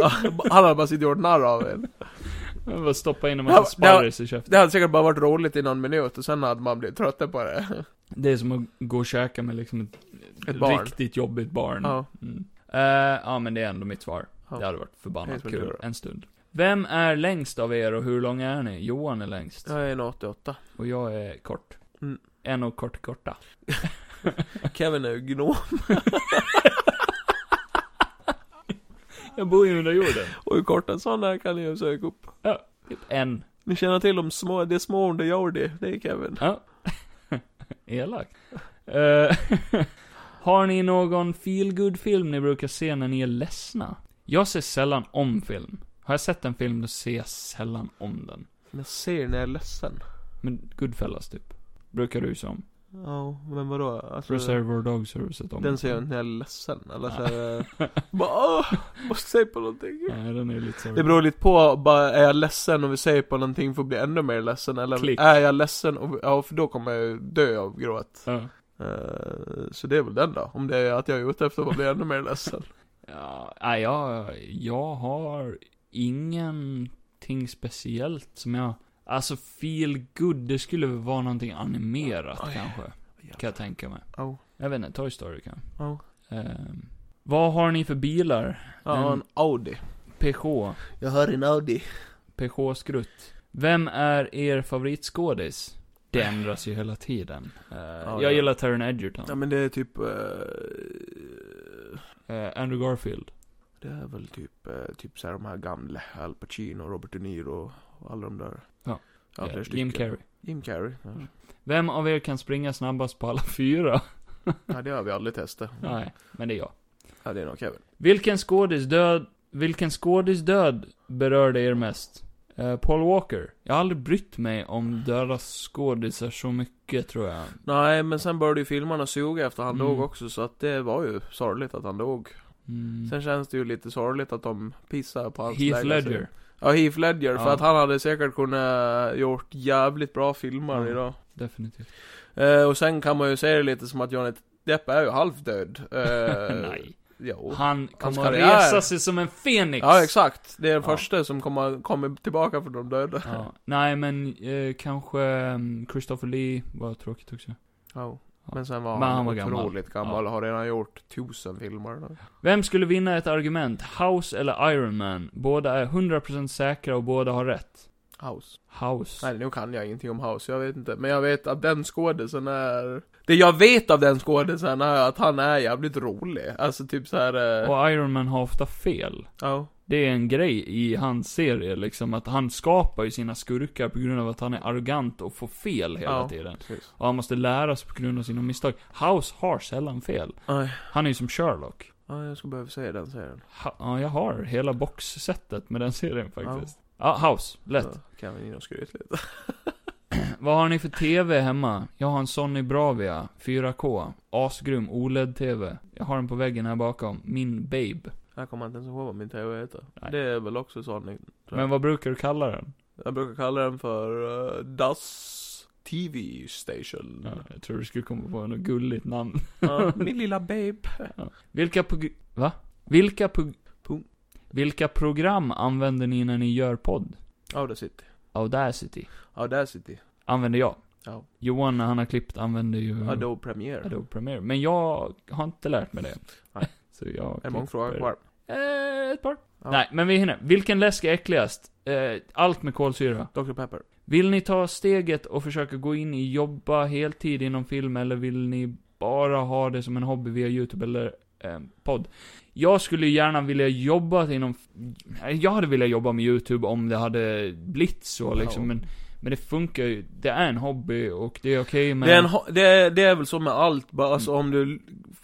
Ja, Han hade bara suttit och gjort narr av en Jag bara stoppa in en Ja, massa det- sparris i käften. Det hade säkert bara varit roligt i någon minut och sen hade man blivit trött på det. Det är som att gå och käka med liksom ett, Ett barn. riktigt jobbigt barn. Ja. Mm. Eh, ja, men det är ändå mitt svar. Ja. Det hade varit förbannat Ace kul Ventura. en stund. Vem är längst av er och hur lång är ni? Johan är längst. Jag är en 88. Och jag är kort. Mm. En och kort korta. Kevin är ju gnom Jag bor ju under jorden. och hur kort en sån där kan ni ju söka upp. Typ en. Ni känner till de små, det är små under jordi, det är Kevin. Ja. Elakt. Eh, har ni någon feel good film ni brukar se när ni är ledsna? Jag ser sällan om film. Har jag sett en film, då ser jag sällan om den. Jag ser när jag är ledsen. Men Goodfellas, typ. Brukar du se om. Ja, men vadå? Alltså, Reservoir Dogs har du sett om. den ser jag inte när jag är ledsen. Eller så här, eh, bara, åh, måste säga på någonting. Nej, den är lite så. Det beror lite på, bara, är jag ledsen och vi säger på någonting för att bli ännu mer ledsen? Eller Klick. är jag ledsen och, ja för då kommer jag ju dö av gråt. Ja. Eh, Så det är väl den då, om det är att jag är ute efter att bli ännu mer ledsen. Ja, nej, jag, jag har ingenting speciellt som jag... Alltså, feel good, det skulle väl vara någonting animerat Oj. kanske. Kan jag tänka mig. Oh. Jag vet inte, Toy Story kan. Ja. Ehm, vad har ni för bilar? Ja, en Mm. Audi. Peugeot. Jag har en Audi. Peugeot Skrutt. Vem är er favoritskådis? Det ändras ju hela tiden. Eh, ja. jag gillar Taron Edgerton. Ja men det är typ, eh, Eh, Andrew Garfield. det är väl typ, eh, typ såhär de här gamla, Al Pacino, Robert De Niro och alla de där. Ja. flera Eh, Jim stycken. Carrey. Mm. Jim Carrey. Ja. Vem av er kan springa snabbast på alla fyra? Nej det har vi aldrig testat. Nej, men det är jag. Ja det är nog Kevin. Vilken skådis död, vilken skådis död berörde er mest? Eh, Paul Walker. Jag har aldrig brytt mig om döda skådisar så mycket, tror jag. Nej men sen började ju filmarna suga efter han Mm. dog också så att det var ju sorgligt att han dog. Mm. Sen känns det ju lite sorgligt att de pissar på hans Heath legacy. Ledger. Ja, Heath Ledger, Ja. för att han hade säkert kunnat gjort jävligt bra filmer Mm. idag. Definitivt. Eh, och sen kan man ju se det lite som att Johnny Depp är ju halvdöd. Eh, Nej. Jo. Han kommer att karriär. resa sig som en fenix. Ja, exakt. Det är den Ja. första som kommer, kommer tillbaka från de döda. Ja. Nej, men eh, kanske um, Christopher Lee var tråkigt också. Ja. Men sen var Men han, han var gammal. otroligt gammal, och har redan gjort tusen filmer. Då. Vem skulle vinna ett argument? House eller Iron Man? Båda är 100% säkra och båda har rätt. House. House. Nej, nu kan jag ingenting om House, jag vet inte. Men jag vet att den skådisen är Det jag vet av den skådisen är att han är jävligt rolig. Alltså typ så här. eh, Och Iron Man har ofta fel. Ja. Det är en grej i hans serie liksom, att han skapar ju sina skurkar på grund av att han är arrogant och får fel hela Ja, tiden. precis. Och han måste lära sig på grund av sina misstag. House har sällan fel. Nej, Han är ju som Sherlock. ja, jag skulle behöva säga den serien. Ha- ja, jag har hela boxsetet med den serien faktiskt. Ja, House. Lätt. Så kan vi in och skryta lite. Vad har ni för TV hemma? Jag har en Sony Bravia 4K. Asgrym E OLED-TV. Jag har den på väggen här bakom. Min babe. Jag kommer inte ens ihåg vad min TV heter. Nej. Det är väl också Sonic. tror jag. Men vad brukar du kalla den? Jag brukar kalla den för eh, Das TV Station. Ja, jag tror du skulle komma på något gulligt namn. Ja, min lilla babe. Vilka prog... Va? Vilka prog... Pum. Vilka program använder ni när ni gör podd? Audacity. Audacity. Audacity. Använder jag. Ja. Johan, när han har klippt, använder ju Adobe Premiere. Mm. Adobe Premiere. Men jag har inte lärt mig det. Nej. Så jag... En många frågor klipper- kvar. Eh, ett par. Ja. Nej, men vi hinner. Vilken läsk är äckligast? Eh, allt med kolsyra. Dr. Pepper. Vill ni ta steget och försöka gå in i jobba heltid inom film, eller vill ni bara ha det som en hobby via YouTube eller eh, podd? Jag skulle ju gärna vilja jobba inom... Nej, Jag hade velat jobba med YouTube om det hade blivit så liksom, Ja. men, men det funkar ju. Det är en hobby och det är okej med... Det är, en ho- det, är, det är väl så med allt, bara alltså Mm. om du l-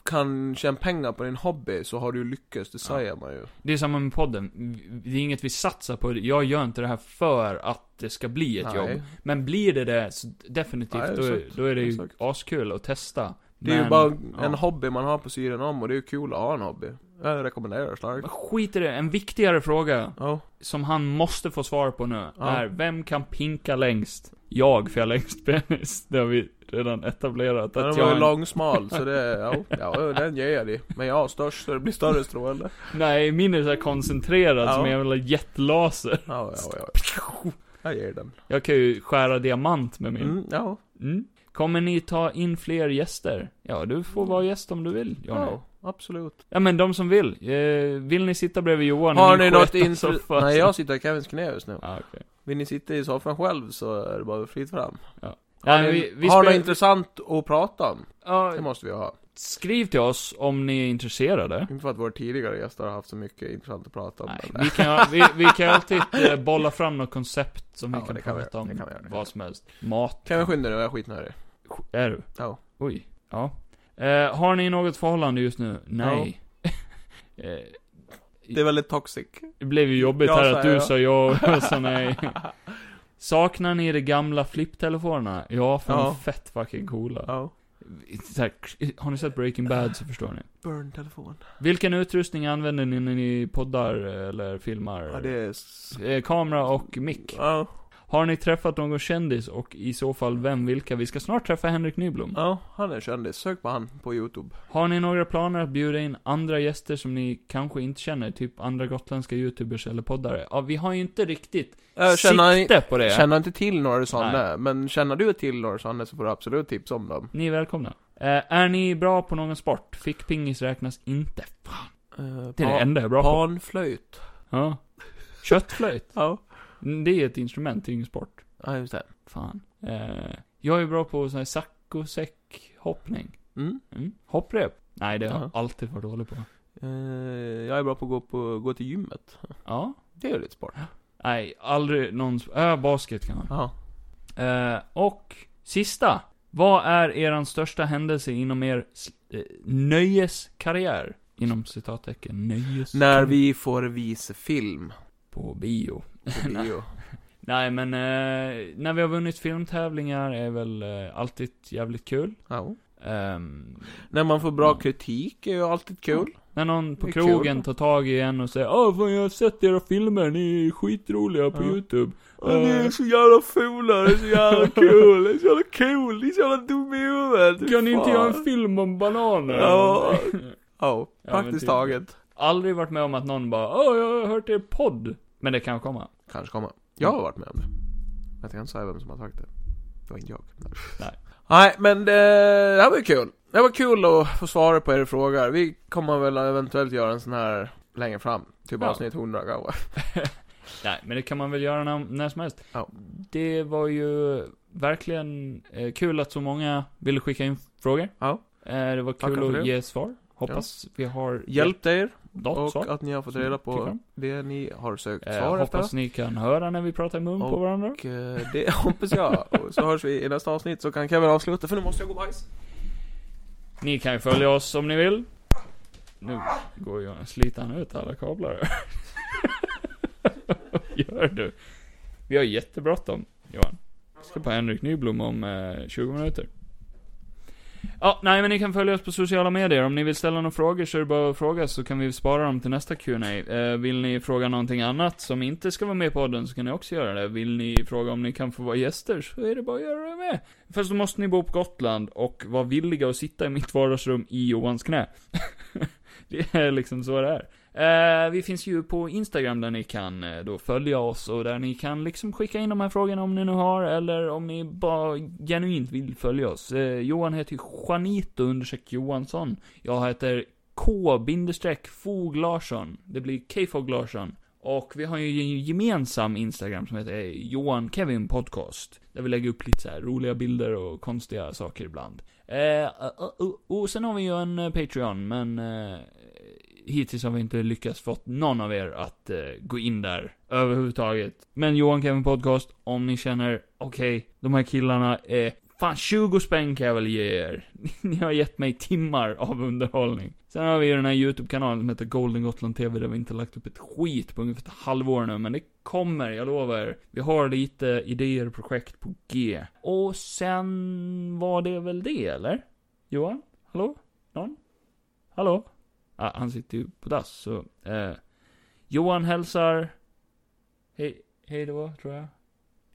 kan tjäna pengar på din hobby så har du ju lyckats, det säger man ju. Det är samma med podden. Det är inget vi satsar på. Jag gör inte det här för att det ska bli ett Nej. jobb. Men blir det det, så definitivt, Nej, exakt. då, då är det ju Exakt. askul att testa. Det är Men, ju bara ja. en hobby man har på sidan om och det är ju kul att ha en hobby. Jag rekommenderar det starkt. Men Skit i det. En viktigare fråga, Ja. som han måste få svar på nu, Ja. är vem kan pinka längst? Jag, för jag har längst penis. Det har vi redan etablerat. Den Att var ju jag... långsmal så det, ja, ja, den ger jag dig. Men jag har störst så det blir större stråle. Nej, min är så här koncentrerad Ja. som en jävla jetlaser. Ja, ja, ja. Jag ger den. Jag kan ju skära diamant med min. Mm, ja. Mm. Kommer ni ta in fler gäster? Ja, du får vara gäst om du vill, Johnny. Ja, absolut. Ja, men de som vill. Eh, vill ni sitta bredvid Johan i Har min ni något sketa intresse? soffa? Nej, jag sitter i Kevins knä just nu. Ja, okej. Vill ni sitta i soffan själv så är det bara fritt fram. Ja, men Har ni- vi, vi har spelar- något intressant att prata om? Ja, Det måste vi ha. skriv till oss om ni är intresserade. Inte för att våra tidigare gäster har haft så mycket intressant att prata om. Nej, men- vi, kan, vi, vi kan alltid eh, bolla fram något koncept som vi Ja, kan det kan vi prata göra, om. det kan vi göra, det kan vad som helst. Mat. Kan vi skynda dig? Jag är skitnödig. Är du? Ja. Oj. Ja. Eh, har ni något förhållande just nu? Nej. eh, Det är väldigt toxic. Det blev ju jobbigt Jag här sa att du ja. sa ja och jag sa nej. Saknar ni de gamla flipptelefonerna? Ja, för de är Ja. fett fucking coola. Ja. Så här, har ni sett Breaking Bad så förstår ni. Burn-telefon. Vilken utrustning använder ni när ni poddar eller filmar? Ja, det är... s- Eh, Kamera och mick. Ja. Har ni träffat någon kändis och i så fall vem, vilka? Vi ska snart träffa Henrik Nyblom. Ja, han är kändis. Sök på han på youtube. Har ni några planer att bjuda in andra gäster som ni kanske inte känner? Typ andra gotländska youtubers eller poddare? Ja, vi har ju inte riktigt Äh, känner, sikte på det. känner inte till några sådana, men känner du till några sådana så får du absolut tips om dem. Ni är välkomna. Eh, är ni bra på någon sport? Fickpingis räknas inte. Fan. Uh, Det är det enda jag är Eh, bra på. Panflöjt. Ja. Köttflöjt. Ja. Mm, Det är ett instrument, det är ingen sport. Ja, just det. Fan. Eh, jag är bra på sån här saccosäckhoppning. Mm. Mm. Hopprep? Nej, det har jag Ja. alltid varit dålig på. Eh, jag är bra på att gå, på, gå till gymmet. Ja. Det är ju lite sport. Nej, aldrig någon... sp- Äh, basket kan man. Ja. Eh, och sista. Vad är eran största händelse inom er s- eh, nöjeskarriär? Inom citattecken, nöjes... När vi får visa film På bio. på bio. Nej men, eh, när vi har vunnit filmtävlingar är väl eh, alltid jävligt kul. ja. Ehm, När man får bra kritik är ju alltid kul. när någon på Det är krogen kul. tar tag i en och säger Åh, fan, jag har sett era filmer, ni är skitroliga på Ja. YouTube. Eh, Ja, ni är så jävla fula, det är så jävla kul, det är så jävla kul, ni är så jävla dumma i huvudet. Kan ni inte Fan. göra en film om bananer? Ja. Ja, Ja, men praktiskt typ. taget. Aldrig varit med om att någon bara Åh, jag har hört er podd. Men det kan komma. Kanske kommer. Jag har varit med om det. Men jag kan inte säga vem som har sagt det. Det var inte jag. Nej. Nej, men det, det här var ju kul. Det var kul att få svara på era frågor. Vi kommer väl eventuellt göra en sån här längre fram. Typ Ja. avsnitt 100 kanske. Nej, men det kan man väl göra när, när som helst. Ja. Det var ju verkligen eh, kul att så många ville skicka in frågor. Ja. Eh, det var Tackar kul för att det. ge svar. Hoppas vi har Hjälpt er något och svar. att ni har fått reda Tycker på jag. det ni har sökt Eh, svar efter. hoppas ni kan höra när vi pratar i mun på Och- varandra. Och eh, det hoppas jag. Och så hörs vi i nästa avsnitt så kan Kevin avsluta för nu måste jag gå bajs. Ni kan ju följa oss om ni vill. Nu går jag, sliter han ut alla kablar. Vad gör du? Vi har jättebråttom, Johan. Vi ska på Henrik Nyblom om eh, 20 minuter. Ja, nej men ni kan följa oss på sociala medier. Om ni vill ställa några frågor så är det bara att fråga så kan vi spara dem till nästa Q&A. Eh, vill ni fråga någonting annat som inte ska vara med i podden så kan ni också göra det. Vill ni fråga om ni kan få vara gäster så är det bara att göra det med. Först då måste ni bo på Gotland och vara villiga att sitta i mitt vardagsrum i Johans knä. det är liksom så det är. Eh, vi finns ju på Instagram där ni kan eh, då följa oss och där ni kan liksom skicka in de här frågorna om ni nu har eller om ni bara genuint vill följa oss. Eh, Johan heter ju Juanito understreck Johansson. Jag heter K bindestreck Fog Larsson. Det blir K-Fog Larsson. Och vi har ju en gemensam Instagram som heter Johan Kevin Podcast. Där vi lägger upp lite så här roliga bilder och konstiga saker ibland. Eh, och- och- och sen har vi ju en eh, Patreon, men eh, hittills har vi inte lyckats fått någon av er att eh, gå in där överhuvudtaget. Men Johan Kevin Podcast, om ni känner, okej, de här killarna är Fan, 20 spänn kan jag väl ge er. Ni har gett mig timmar av underhållning. Sen har vi ju den här YouTube-kanalen som heter Golden Gotland TV där vi inte lagt upp ett skit på ungefär ett halvår nu, men det kommer, jag lovar. Vi har lite idéer och projekt på G. Och sen var det väl det, eller? Johan? Hallå? Någon? Hallå? Ah, han sitter ju på dass, så... Eh, Johan hälsar... Hej, hej då, tror jag.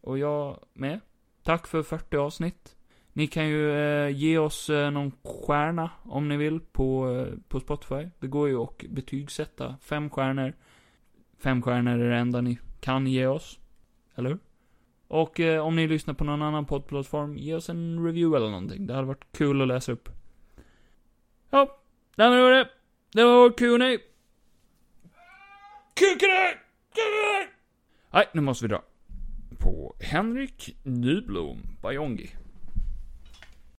Och jag med. Tack för 40 avsnitt. Ni kan ju eh, ge oss eh, någon stjärna om ni vill på, eh, på Spotify. Det går ju att betygsätta. Fem stjärnor. Fem stjärnor är det enda ni kan ge oss. Eller hur? Och eh, om ni lyssnar på någon annan poddplattform, ge oss en review eller någonting. Det hade varit kul att läsa upp. Ja, nej men det var det. Det var Q&A. Kukarö! Nej, nu måste vi dra på Henrik Nyblom Bajongi.